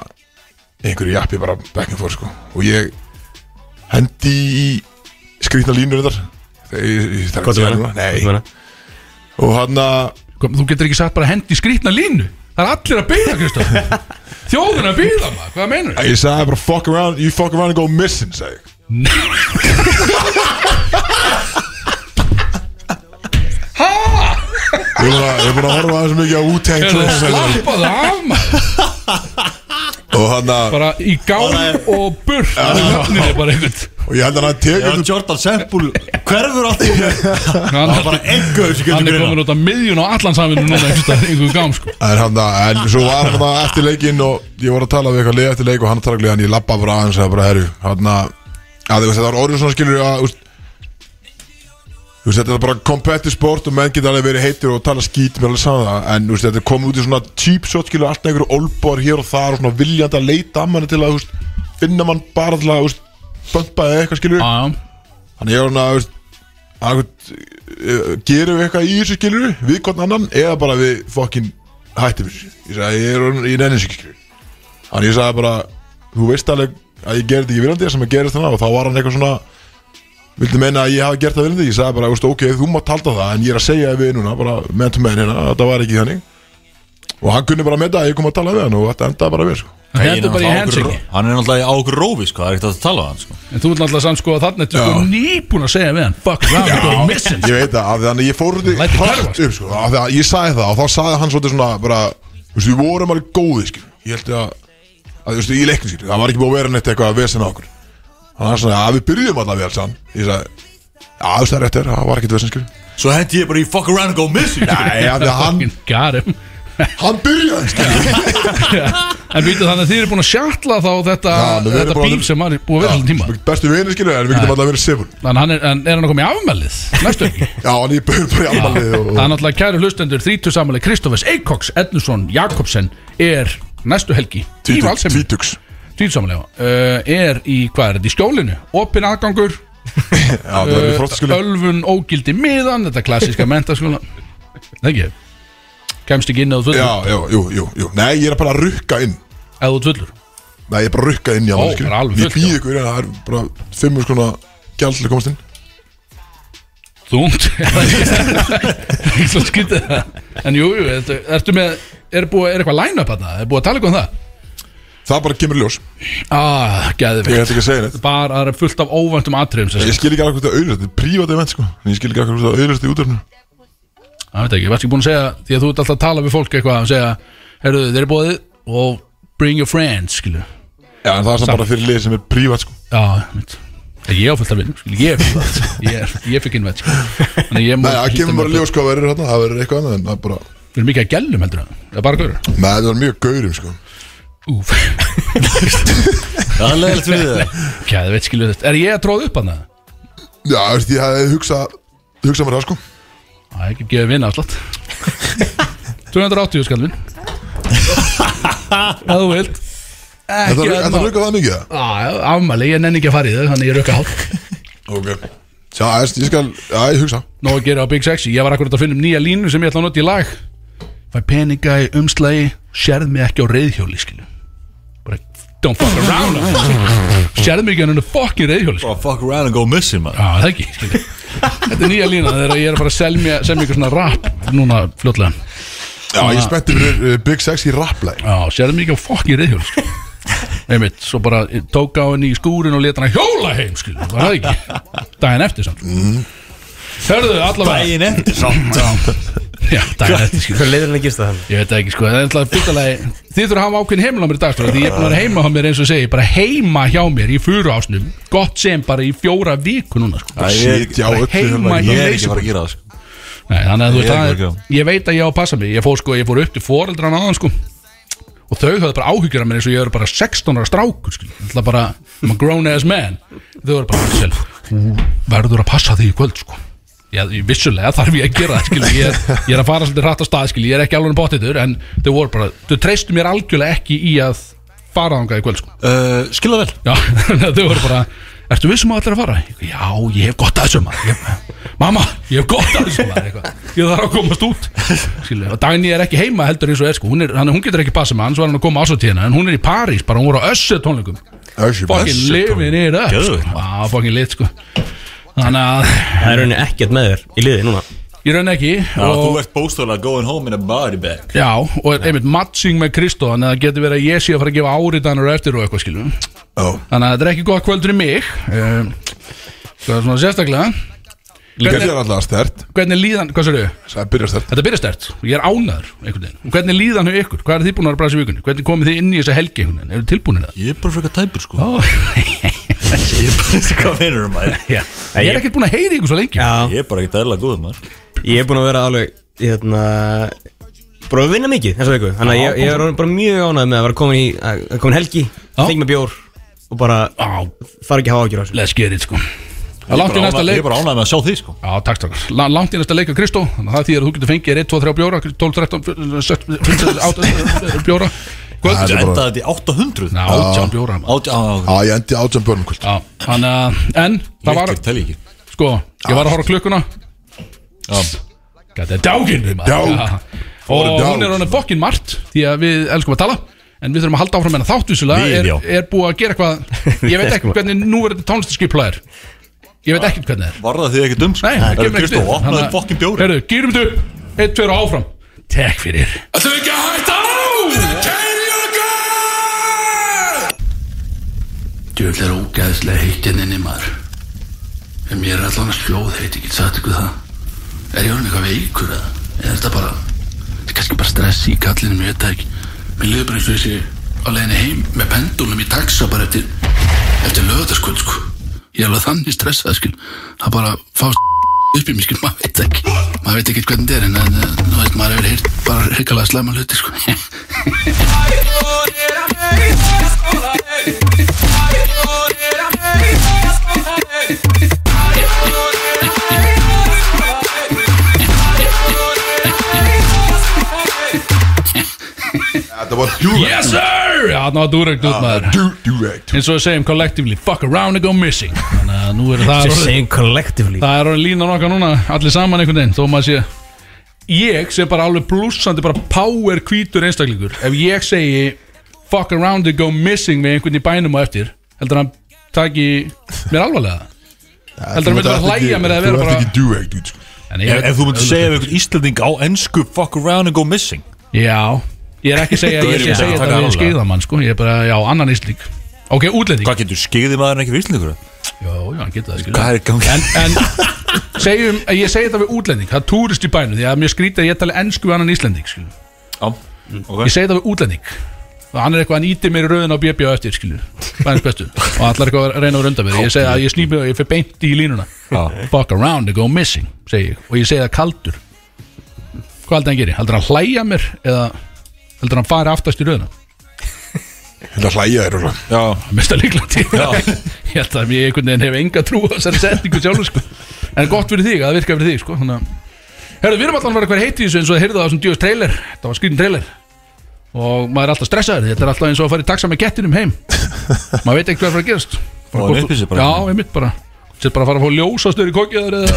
einhverju jappi bara back and forth sko og ég hendi í skrýtna línur þar þegar ég, ég, ég,
Hvað þú meina?
ég, ég, ég, ég, og hérna, hann að
Kom, Þú getur ekki sagt bara hendi skrýtna línu Það er allir að býða, Kristof Þjóðin að býða, maður, hvað meinur
Ég sagði bara fuck around, you fuck around and go missing sagði ég Ég er búin að- ég er búin að horfa aðeins mikið á Wu-Tang Clan sagði ég.
Slappa það af, maður
Og hann að
Bara í gám og burt Nýrið er bara einhvern
Og ég held að hann
Já,
tekur
Jordan Sempul hverfur allt í
Hann-
Það var bara einhver sem getur
Hann er
greina
komin út af miðjun og allan saminu núna einhverjum gám, sko
En, hann, að- en svo var hann það eftir leikinn og ég var að tala við eitthvað leið eftir leik og hann að tala við hann, ég labba bara aðeins að bara herru, hann að, að þú veist, þetta var orðið svona skilur að, þú veist, þú veist, þetta er bara competitive sport og menn geta alveg verið heitir og tala skít með alveg saman það, en þú veist, þetta er komið út í svona cheap shot skilur, alltaf einhverju olbor hér og þar og svona viljandi að leita að manni til að, þú veist, finna mann bara til að, þú veist, bömpa eða eitthvað skilur,
Já,
Þannig ég var svona, þú veist Akkur, gerum við eitthvað í þessu skilur við hvort annan eða bara við fokkin hættum þessu ég sagði ég er orðinn- ég nenni þessu ekki skilur þannig ég sagði bara þú veist alveg að ég gerði þetta ekki viljandi sem að gerist þannig og þá var hann eitthvað svona vildi meina að ég hafi gert það viljandi ég sagði bara þú veist, ok þú mátt halda það en ég er að segja við núna bara menn to menn hérna að þetta var ekki þannig og hann kunni bara með það að ég kom að tala við hann og þetta endaði bara við sko.
hann hendur bara í handsing
Hann er náttúrulega á okkur rófi sko, það er ekkert að tala á hann sko.
En þú ert náttúrulega samt sko að þarna Þetta sko nýbúin að segja við hann Fuck round, go missing
Ég veit það, af því þannig ég fór út í
Lætur
hratt
hverfa, sko.
upp sko, af því að ég sagði það og þá sagði hann svolítið svona bara, þú veist, við vorum alveg góði skil, ég held að, að þú veist, í leiknum skil, það var ekki búið að vera neitt eitthvað að vesen á okkur Þannig að hann sagði að við byrjum allavega vel sann, ég sagði, já þú veist það er rétt er, það var ekkert vesen skil
Svo hendi ég bara í fuck around and go missing sko.
Nei, af því að hann,
Fucking got him
hann byrjaði skil
En býtu þannig að þið eru búin að sjatla þá þetta,
Já, við erum
þetta
búin að-
bíl sem hann er búið að vera allan tíma
Bestu vinir skil, en við getum allavega verið sefur
En, hann er, en er hann að koma í afmælið? Næstu ekki
Já, en ég byrjum bara í afmælið og,
Það er náttúrulega kæru hlustendur 30 samanlega Kristofers Eikoks Ednusson Jakobsen er næstu helgi Í
og
valsemi
tvítugs
30 samanlega uh, Er í, hvað er þetta, í skjólinu Opin aðgangur
Já, það verður
uh,
frótt skil
Ölfun ógildi miðan Þetta klassíska mentaskóla Það ekki Kemst ekki inn eða þú
Já,
fullur
já, jú, jú, jú, nei, ég er bara að rukka inn
Eða þú fullur
Nei, ég er bara rukkað inn í
Ó, bara alveg
Ég
fullt,
býð
já.
ykkur en það er bara 5 skona gjald til að komast inn
Þungt Svo skytið það En jú, jú, ertu, ertu með Er, búið, er eitthvað line-up að það? Er búið að tala eitthvað um það?
Það bara kemur í ljós
Ah,
Ég
gæðið
ætla ekki að segja neitt
Bara það er fullt af óvæntum atriðum sem
Ég skil ekki alveg hvort það auðvitað Þetta er prívat event sko En Ég skil ekki alveg hvort það auðvitað í útörnu
Það veit ekki, varstu ekki búin að segja Því að þú ert alltaf að tala við fólk eitthvað og segja Herru, þeir eru bóðið og bring your friends, skilu
Já, en það er samt bara fyrir lið sem er prívat sko
Já, mitt Ég áfælt að vinna, skilu, ég er fyrir það Ég, er- ég fikk inn veit, skilu Þannig að ég
Nei,
múið
það kemur bara í ljós hvað verður hérna Það verður eitthvað annað en það er bara
Við erum mikið að gælum heldur það Það er bara gaur
Nei, þetta var mjög gaurum sko
Úf,
Það er leiðilegt fyrir það
kæði veit, skilu Er ég að tróða upp hann það?
Já, þú veist, ég hefði hugsað Hugsað mér það sko
Það er ekki að gefa vinna alltaf 280 skall vinn Ef þú vilt
Þetta
Ekki að
þetta
ná
rukkað það mikið það
Á, Afmæli, ég nenni ekki að fara í þau Þannig ég rökka hálf
Ok Já, ég veist, ég skal Já, ég hugsa
Nó að gera á Big Sexy Ég var akkurat að finna um nýja línu sem ég ætla að nota í lag Fæ peninga í umslagi Sérð mig ekki á reyðhjóli skilu Bara don't fuck around Sérð mig ekki á hennu fucking reyðhjóli skilu.
Bara fuck around and go missing man.
Já, það ekki skilu Þetta er nýja lína þegar ég er að fara að selja Selja ykkur svona rap núna fljótlega
Já, ég spennti fyrir uh, Big Sexy rapplæg
Já, sérðu mikið á fokkin reyðhjól sko. Einmitt, svo bara tók á henni í skúrin og leta hann hjóla heim skil, var það ekki, daginn eftir samt Hörðu, allavega
Mm. Daginn eftir samt
Já, daginn eftir skil,
Hvernig leiður hann að gista það?
ég veit það ekki sko Það er alltaf byggalagi, þið þurfa að hafa ákveðin heimil á mér í dag strákar, Því ég er búin að vera heima á mér eins og ég segi Bara heima hjá mér í fjóru ásnum Gott sem bara í fjóra viku núna sko.
Æ, ég-
Sitja á
bara
öllu hérna.
heima í-
Ég er ekki að fara að gera það sko.
Nei, þannig að þú veist það er-
Ég er ekki að
Ég veit að ég á að passa mig Ég fór, sko, ég fór upp til foreldran aðan sko Og þau höfðu bara áhyggjur af mér eins og ég er bara 16 ára strákur skil Það er bara, I'm a grown ass man Þau eru bara, Axel, þú verður að passa þig í kvöld sko Já, ég- vissulega þarf ég að gera það skil Ég, er- ég er að fara svolítið hratt á stað skil Ég er ekki alveg bóttitur En þau voru bara, þau treystu mér algjörlega ekki í að fara þangað í kvöld sko
uh, Skilða vel
Já, þannig að þau voru bara Ertu vissum að allir að fara? Já, ég hef gott að þessu maður ég, Mamma, ég hef gott að þessu maður eitthvað. Ég þarf að komast út Skilu, Og Dagný er ekki heima heldur eins og er sko Hún, er, hann, hún getur ekki passa með hann, svo er hann að koma ásatíðina En hún er í París, bara hún voru á össu tónleikum
Össi,
Fokkin
bless.
lifin er öll Ah,
Geðveikt,
sko. Á, fokkin lit sko Þannig að
Það er rauninni ekkert með þér í liði núna
Ég raun ekki
Já,
og,
þú ert bóstöðulega going home in a body bag
Já, og er einmitt matching með Kristó Þannig að það getur verið að ég sé að fara að gefa áritanur eftir og eitthvað skilum
Já.
Þannig að þetta er ekki gott kvöld fyrir mig um, Það er svona sérstaklega
Gerði
Hvernig,
hann alltaf stert
hvernig líðan, hvað sér þau?
Það byrjar stert
Þetta byrja stert, ég er ánaður einhvern veginn Og Hvernig líðan hefur ykkur? Hvað er þið búin að vera að bræða sér vikunni? Hvernig komið þið inn í þessa helgi einhvern veginn? Eru tilbúinir það?
Ég er bara frekar tæpur sko
Ó,
Ég er bara þessi hvað finnur um maður
já. Ég er ekkert búin að heyra ykkur svo lengi
Já,
Ég er bara ekki dæla góð maður
ég er búin að vera alveg hérna, bara að vinna mikið þessa viku þannig að ég, ég er orðinn bara mjög ánægð með að vera komin í að að komin helgi,
Já.
fengi með bjór og bara
Á,
þarf ekki að hafa ágjur á þessu
let's get it sko Það er
Ég er
langt í
bara
næsta
ánægð- ég
leik
er bara ánægð með að sjá því sko
Já, takk takk La- Langt í næsta leik að Kristó Þannig að það þýðir að þú getur fengið 1, 2, 3 bjóra 12, 13, 17, 15, 18 bjóra Kvöld
Það
Þetta
er bara-
endaði þetta í 800
Ná, 18 bjóra maður.
Átjá, á,
Já, ég endi átján börnum kvöld
Já, hann að En, það var
leikir tel ég ekki
Sko, ég var að horfa á klukkuna
Já,
Gæti að dáginn við maður
Dák.
Já. Og
Fóru dák.
hún er hann bókin margt Því að við elskum að tala En við þurfum að halda áfram en að þátt vissulega
Við,
er,
já.
er búið að gera eitthvað Ég veit ekki hvernig nú er þetta tónlistaskipla er Ég veit ekki hvernig það er
var það því ekki dum sko
Nei, það
Herru,
kemur ekki
Kristó,
við.
opnaði
Þannig að-
fokkin bjóri
Herru, gýrum þú Eitt, tveir og áfram Takk fyrir
Ætlum við ekki að hætta á Kæri okkar Djöld er ógæðslega heitin inn í maður En mér er allan að sljóð heit Ég get sagt ykkur það Er ég orðin eitthvað veikur eða Eða er þetta bara Þetta er kannski bara stress í kallinu Mér veit það ekki Mér liður bara eins og þessi Á leiðinni heim Með pendulum í taxa bara eftir Eftir lögðarskvöld sko Ég er alveg þannig stressað skil Það bara fást upp í mig skil, maður veit ekki maður veit ekki hvernig þetta er en en, þú veist, maður hefur heyrt bara hrikalega slæma hluti sko.
Þetta var Durek
Yes sir Já, þannig að Durek
Ah.
út maður
Du- Durek
Eins og við segjum collectively Fuck around and go missing Þannig að nú er það
Just
orðið-
saying collectively
Það er orðin línan okkar núna Allir saman einhvern veginn Þó maður sé Ég sé bara alveg blúsandi Bara power hvítur einstaklingur Ef ég segi Fuck around and go missing Við einhvern í bænum og eftir Heldur hann taki Mér alvarlega Heldur hann myndi bara hlæja mér að vera
Þú
bara
ert ekki Durek, dude sko.
En ég
Ef
veit-
ef þú myndir segja ef einhvern Íslanding á ennsku fuck around and go missing
Já, ég er ekki að segja
Þú
Ég er ekki að segja
erum bara að
þetta við
taka alvarlega.
skeiðamann sko Ég er bara, já, annan íslík Ok, útlending
Hvað getur skeiði maður en ekki fyrir Íslandingur?
Já, já, hann getur það skilur
Hvað er gangið?
En, en segjum, ég segi þetta við útlending Það er túrist í bænum Því að mér skrítið að ég tali ennsku við annan íslending skilur.
Já, ok
Ég segi þetta við útlending Og hann er eitthvað, hann ítir mér í röðin á BB á eftir skilur. Bænins bestu um. Og hann ætlar eitthvað að reyna að runda mér Ég segi að ég snýp mig og ég fer beint í línuna
Já.
Fuck around and go missing segi ég. Og ég segi það kaldur Hvað heldur hann gerir? Heldur hann hlæja mér Eða heldur hann fara aftast í röðina?
Þetta hlæja er og
Já,
mesta líkla til
Já.
ég held að ég einhvern veginn hef enga trú á þessari setningu sjálfur sko. en gott fyrir þig, að það virka fyrir þig sko. Þannig að- Herðu, við erum allan að vera hver heiti í þessu eins og þið heyrðu það á þessum djöðs trailer þetta var skrítin trailer og maður er alltaf stressaður, þetta er alltaf eins og að fara í taxa með kettinum heim maður veit ekki hvað er að fara að gerast
Og hann upplýsir bara.
Já, einmitt bara Sett bara að fara að fá ljósastur í kokkiðar eða,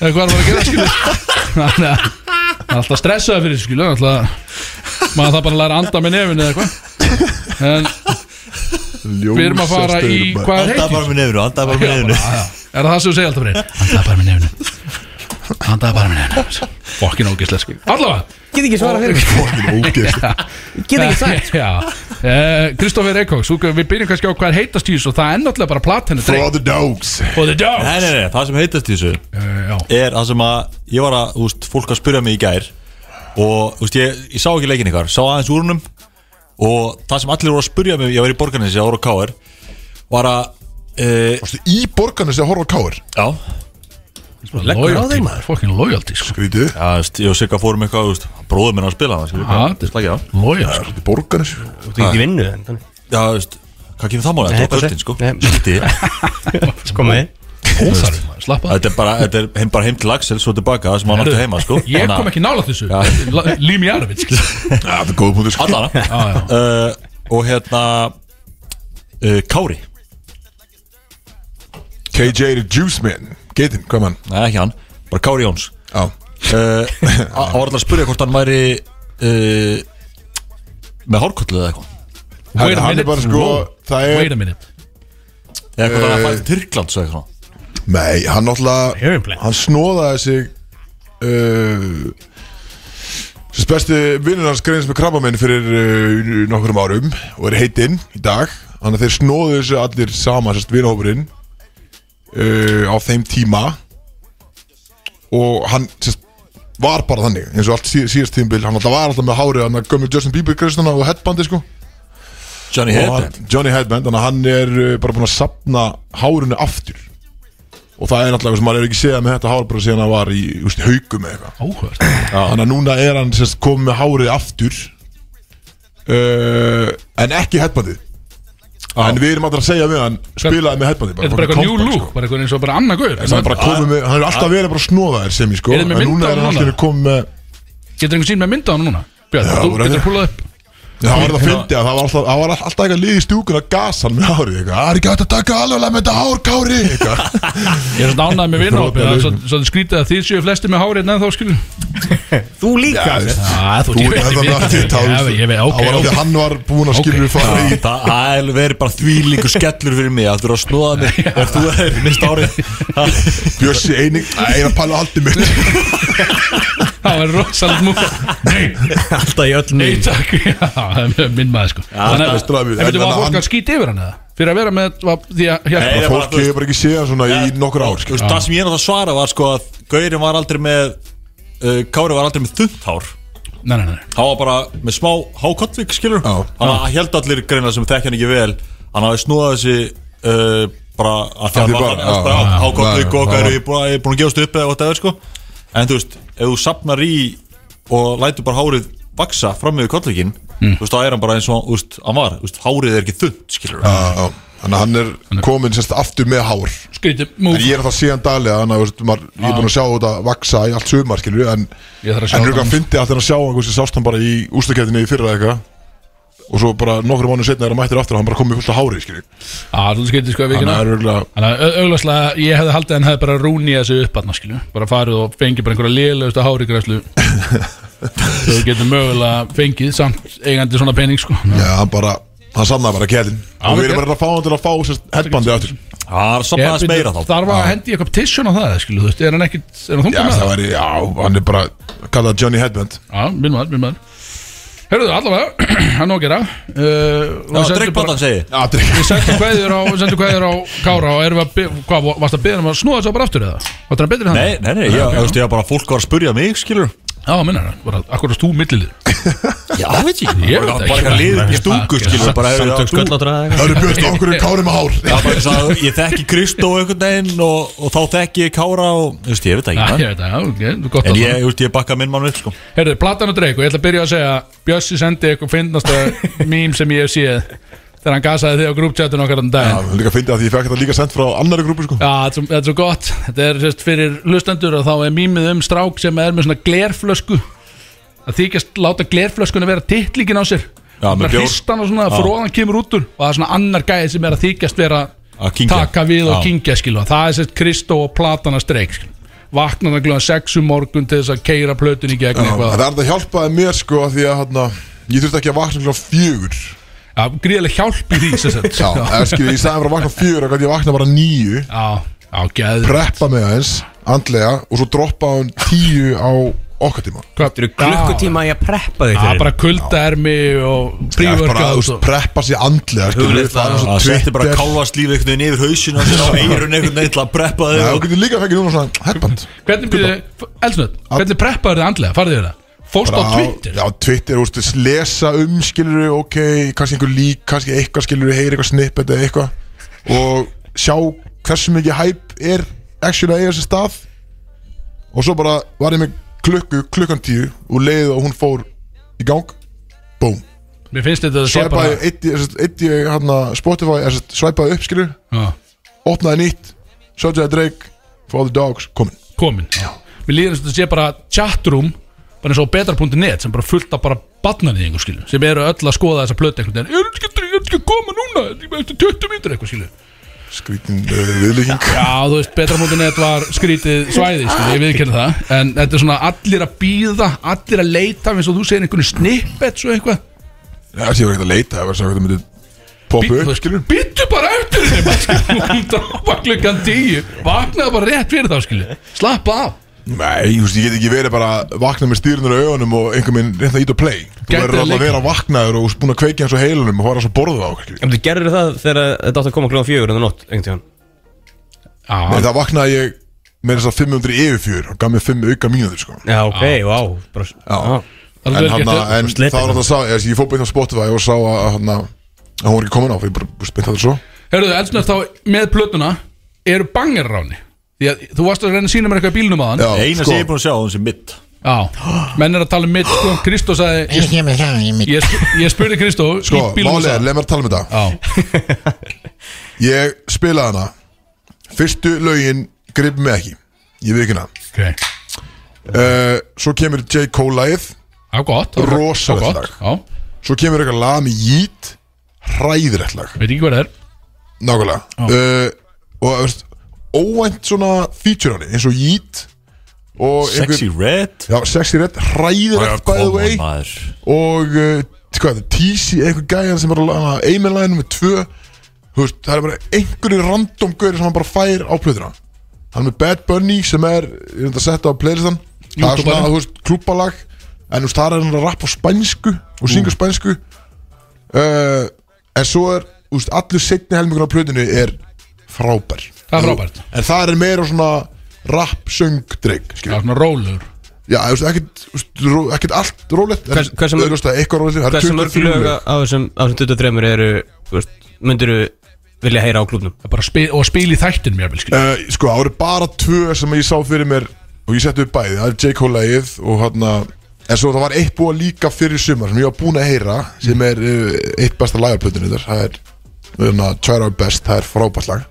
eða hvað er að fara að gera skilu Þannig að það er alltaf stressaður fyrir þessu, skilu alltaf, maður það bara að læra að anda með nefinu eða eitthvað en við erum að fara í hvað er
andaði
heiti
bara með nefnu,
Já,
andaði bara með nefnu
bara, já. er það það sem þú segir alltaf fyrir andaði bara með nefinu andaði bara með nefinu fokkin ógislega skil allavega
Get ekki svara fyrir mig
Ógeðslega
Get ekki sagt
sagt Kristoffer Eikóks við byrjum kannski á hvað er heitast í þessu og það er náttúrulega bara platinu
For the dogs
for the dog
Nei, nei, nei, það sem heitast í þessu
Eh, já
er það sem að ég var að, þú veist, fólk að spyrja mig í gær og, þú veist, ég, ég sá ekki leikin ykkar, sá aðeins úr húnum og það sem allir voru að spyrja mig, ég var í borgarnins, ég voru á K.R. var að, e,
Varstu Í borgarna sem horfa á káir
já,
Leggur á þeim, maður.
fokkin loyalty sko
Grítið
já, þú veist, ég og Sigga fórum eitthvað, þú veist, bróðum minn að spila það, skilur,
Ha,
hvað,
þetta er-
slagið á.
loyal
Í borgarna sem
Þú ert ekki í vinnu en þannig.
Já, þú veist, hvað kemur það mála,
Nei,
þetta var
þetta-
kvöldin, sko,
nei.
skiltið,
Sko með
óþarf maður slappa af.
þetta er bara, þetta er heim, bara heim til Axel, svo tilbaka, það sem hann átti heima, sko,
ég kom
Þannig að-
ekki nála þessu La- Lími Jarvits
Já, það er góð punktur sko.
Allana uh, Og hérna uh, Kári
KJ er Juice Man Geitin, hvað mann
Nei ekki hann Bara Kári Jóns
Já
uh, Hann var alltaf að spyrja hvort hann væri uh, Með hárkollu eða eitthvað
Wait
Hann
a
hann er
minute.
bara sko
Wow.
Það
wait
er
a minute
Eða hvort hann
Eh.
er fælt Tyrkland svo eitthvað
Nei, hann náttúrulega
Hearing plan.
Hann snóðaði sig uh, sem besti vinnur hans greins með krabbamenn fyrir uh, nokkrum árum og er heitinn í dag þannig að þeir snóðu þessu allir saman sérst vinnhópurinn uh, á þeim tíma og hann sérst var bara þannig eins og allt sí, síðast tímbil hann alltaf var alltaf með hárið hann að gömur Justin Bieber greiðstuna og headbandi sko
Johnny
Og
Hedden
hann- Johnny Headband þannig að hann er uh, bara búin að sapna hárinu aftur og það er náttúrulega sem maður er ekki séð með þetta hár bara síðan hann var í úst, haugum eða eitthvað
Óhört
þannig að núna er hann sérst komið með hárið aftur uh, en ekki headbandið en við erum alltaf að segja við hann spilaði með headbandið
Þetta er bara
fucking
eitthvað new
compact,
look,
sko.
bara eitthvað eins og bara annað guður
En það er bara komið með, hann er alltaf verið bara snóðaðir sem ég sko,
Eruð þið
en
með mynd
núna er
af
hann
honum
alltaf
núna?
verið komið með
Getur einhver sín með mynda á hann núna? Björn,
Já,
þú
bara-
getur púlað upp
Það var það að fyndi að það var alltaf, það var alltaf eitthvað lið í stúkun að gasa hann með hárið eitthvað. Það er ekki hægt að taka alveg með þetta hár, Kári eitthvað.
Ég er svona ánægð með vinnhópi
Brotalöfum.
Svo svo þið skrítið að þið séu flesti með hárið en þá skilur
Þú líka
Já, veist,
þú
Þú er það með þitt hár.
Já, ég veit, ok,
Það var
ok
alltaf hann var búinn að skilja við
Já,
farið í.
Það það er verið bara þvílíkur skellur fyrir mig að þú eru að snúða mig ef þú er minnst árið Það-
Bjössi eining, eina pæla haldið mitt.
Það var rosalegt múk Nei,
Alltaf í öll
nei
nýtt
takk Já, það er minn maður sko Þannig
veist það
að
við-
En veitum,
en
var
hann-
fólk að skýta yfir hann eða? Fyrir að vera með var- Því að
Nei,
hérna
það er bara,
Fólk
þú veist-
hefur bara ekki séð hann svona í nokkur ár. sko.
Þú veist, sko. Það sem ég náttúrulega svara var sko að Gaurin var aldrei með uh, Kári var aldrei með þunnt hár
Nei, nei, nei
Hann var bara með smá hákollvík skilur
Já.
Hann var- held allir greina sem þekkja hann ekki vel Hann hafi snúðað þessi uh, bara að
Af
því hann
því bara,
var
já, já, já,
hákollvík
já,
og
já.
Gauri er búin að- er búin að gefast upp eða whatever sko En þú veist, ef þú sapnar í og lætur bara hárið vaksa fram með kollvíkin
Mm.
Þú veist, þá er hann bara eins og þú veist, hann var Þú veist, hárið er ekki þunnt skilur
Já, já. Þannig að hann er kominn sérst aftur með hár.
Skrítið
En
múk
ég er það síðan daglega, þannig að veist, maður- ég er búinn að sjá þetta vaksa í allt sumar, skilur en
Ég þarf að sjá
En
þetta
Rúka
aðeins.
fyndi alltaf að sjá hann hversu sást hann bara í ústakeftinni í fyrra eða eitthvað og svo bara nokkru mánu setna er hann mættir aftur og hann bara komið fullt af hári skilju
Já, þú skrítið sko að
þannig
vikina
að örgulega
Þannig að auðvarslega ég hefði haldið að hann hefði bara rúnið þessu upp aðna skilju bara farið og fengið bara einhverja liðlegustu hárigræslu þau getur mögulega fengið samt eigandi svona pening sko
já, hann bara hann samnaði bara kælin og við erum
ok.
bara að fá hann til að fá sérst headbandi aftur já,
Það er
Ég
sapnaðis meira þá
þarf að hendi eitthvað petition á það skilju þú veist, er hann ekkit, er hann þunga með
það
það?
væri, já, hann er bara kallað Johnny Headband
Já, minn maður, minn maður Hörruðu, allavega, hann á að gera uh,
Já, drekkbóttan segi
já, drikk
Sendu kveðjur á, sendu kveðjur á Kára og erum við að, bi- hvað, varst að beða um að snúa þessu bara aftur eða? Varst um það betri
Nei,
þannig?
nei, nei, ég, okay, veist, ég var bara fólk var að spurja mig, skilur
Já, minna hann, bara, akkur þú millilið
Já, það veit ég
Ég
Ég
veit
veit
það
Bara
ekki.
eitthvað liður í
Ég-
stungu,
ég-
skilur Bara hefur
Samtök
það
skölláttur eða eitthvað
það eru björst okkur er kári með hár
Já, bara sagði, ég þekki Kristó einhvern veginn og, og þá þekki ég Kára og, þú veist, ég veit það
Já,
ekki
ég
ja,
veit það, já, ok, þú gott
En
að
ég, þú veist, ég bakka minn mann upp, sko
Herðu, platan og dreik og ég ætla að byrja að segja Bjössi sendi eitthvað fyndnasta mím sem ég hef séð þegar hann gasaði þig á grúpchatun okkar um
já,
daginn
líka fyndi að því ég fekk þetta líka sendt frá annari grúpu sko
Já, þetta er svo- þetta er svo gott Þetta er sérst fyrir lustendur og þá er mímið um strák sem er með svona glerflösku að þykjast láta glerflöskuna vera tittlíkin á sér
Já, með
Bara
bjór.
hristan og svona
Já.
fróðan kemur út úr og það er svona annar gæði sem er að þykjast vera
Að kyngja.
taka við og
Já.
kingja skilu og það er sérst Kristó og platana streik skilu. vaknar hann glöðan sexu um morgun til þess að keira plötun í gegn
það
eitthvað
er þetta hjálpaði mér sko af því að hann ég þurfti ekki að vakna klokkan fjögur
Já, gríðileg hjálp í því sem sagt
já, eða skilju, ég sagði bara að vakna fjögur og ég vakna bara nýju
Já, já, gæður
preppa mig aðeins andlega og svo droppa hann tíu á okkar tíma
Hvað eru
Klukkutíma ég að preppa þig
Já,
fyrir
bara kuldaermi og
Já, bara
prívorka
þú veist, preppa sér andlega skilur við fara á svo
Það setti bara
Twitter.
kálvast líf einhvern veginn yfir hausinu og sér á eirun einhvern veginn til að preppa
Já,
þig
þú
og-
getur líka fengið núna svona headband
Hvernig byrði, elsnöð, hvernig preppaður þið andlega, farið þið það? Fórst á
Bara
Twitter?
Já, Twitter, þú veist, lesa um skilur við, ok, kannski einhver lík kannski eitthvað skilur við, heyri eitthvað snippet eða eitthvað og sjá hversu mikið hype er actually að eiga sér stað og svo bara var ég með klukku klukkan tíu og leiði og hún fór í gang búm,
Mér finnst þetta að sé bara
svæpaði eitt í- sem sagt, eitt í hann Spotify, sem sagt, svæpaði upp skilur
Já,
opnaði nýtt Soja Drake For all the dogs komin
komin Mér líður eins og þetta sé bara chatroom bara eins og betra.net sem bara fullt af bara batnarnið einhver skilu sem eru öll að skoða þessa plötu einhvern veginn Ég er ekki- ég er ekki að koma núna, ég er eftir 20 mínútur eitthvað skilu
Skrítin uh, viðlíking
Já, þú veist, betra.net var skrítið svæði, sko, ég viðkynna það En þetta er svona allir að býða, allir að leita eins og þú segir einhvern snippet svo eitthvað
Það sé ég var ekkert að leita Það var að segja hvað það myndi Poppu upp skilur
Býttu bara eftir þeim, skilur Hún droppa klukkan tíu, vaknaði bara rétt fyrir þá, skilur Slappa af
Nei, ég, veist, ég get ekki verið bara að vakna með stýrnur á augunum og einhvern veginn reynda að ít og play Þú
Gæti
verður alltaf
að
að
leika.
vera vaknaður og búin að kveikja hans á heilunum og fara svo borðu á okkur skilur.
En þú gerður það þegar þetta átt að koma kljóðan fjögur en það nótt, einhvern tíðan
Nei,
Já,
það vaknaði ég með þess að 500 yfir fjör og gaf mér 5 auka mínútur sko.
Já, ok, vá bara- Já.
það
En,
er vel
hana,
gert
en
sleppir
það var alltaf að sá, ég, ég fór beint á Spotify og sá að hana, að hún var ekki komin á, fyrir bara beint að það svo
Herruðu, elsnöð þá með plötuna eru banger ráni Því að þú varst að reyna að sína mér eitthvað í bílnum aðan
Já, sko,
Eina sem ég er búin að sjá á þessi mitt
Já, menn er að tala um mitt sko, Kristó sagði Ég, ég, sp- ég spurði Kristó
Sko,
í bílnum
málið er,
sagði-
leið mér að tala um þetta
Já,
Ég spilaði hana Fyrstu lögin grip mig ekki Ég veit ekki hana
ok
uh, Svo kemur J. Cole lagið
Já, gott
Rosalegt
Já,
lag.
gott. Já,
Svo kemur eitthvað lag með jít Hræðilegt lag
veit ekki hvað það er
Nákvæmlega uh, Og veist, óvænt svona feature hann Eins og jít og
Sexy Red
já, Sexy Red, hræðilegt by the way
maður
Og uh, hvað, TC, einhver gæjan sem er að laga Eimelæðinu með tvö Þú veist, Það er bara einhverju random gauri sem hann bara fær á plöðuna Hann er með Bad Bunny sem er, ég er þetta að setja á playlistan Það er svona,
Youtubeari.
þú veist, klúbalag En þú veist, það er hann að rappa á spænsku Og synga spænsku uh, En svo er, þú veist, allur setni helmingur á plöðinu er frábær
Það er frábært.
En það er meira svona rap, söng, dreik
Já, svona rólur
Já, þú veist, ekkert, þú veist, ró- ekkert allt rólegt en
Hvers- hversu mörg-
auðvitað eitthvað rólegt það er
Hversu mörg
23
lög
lög.
á þessum á þessum 23 eru þú veist, myndirðu vilja heyra á klubnum?
Það er bara að spil, og að spila í þættinum ég vil skilja
Uh, sko, það voru bara tvö sem ég sá fyrir mér og ég setti upp bæði, það er J. Cole lagið og hann en svo það var eitt búa líka fyrir sumar sem ég var búin að heyra sem er uh, eitt besta lagarplötunni þar það er hérna, Try Our Best, það er frábært lag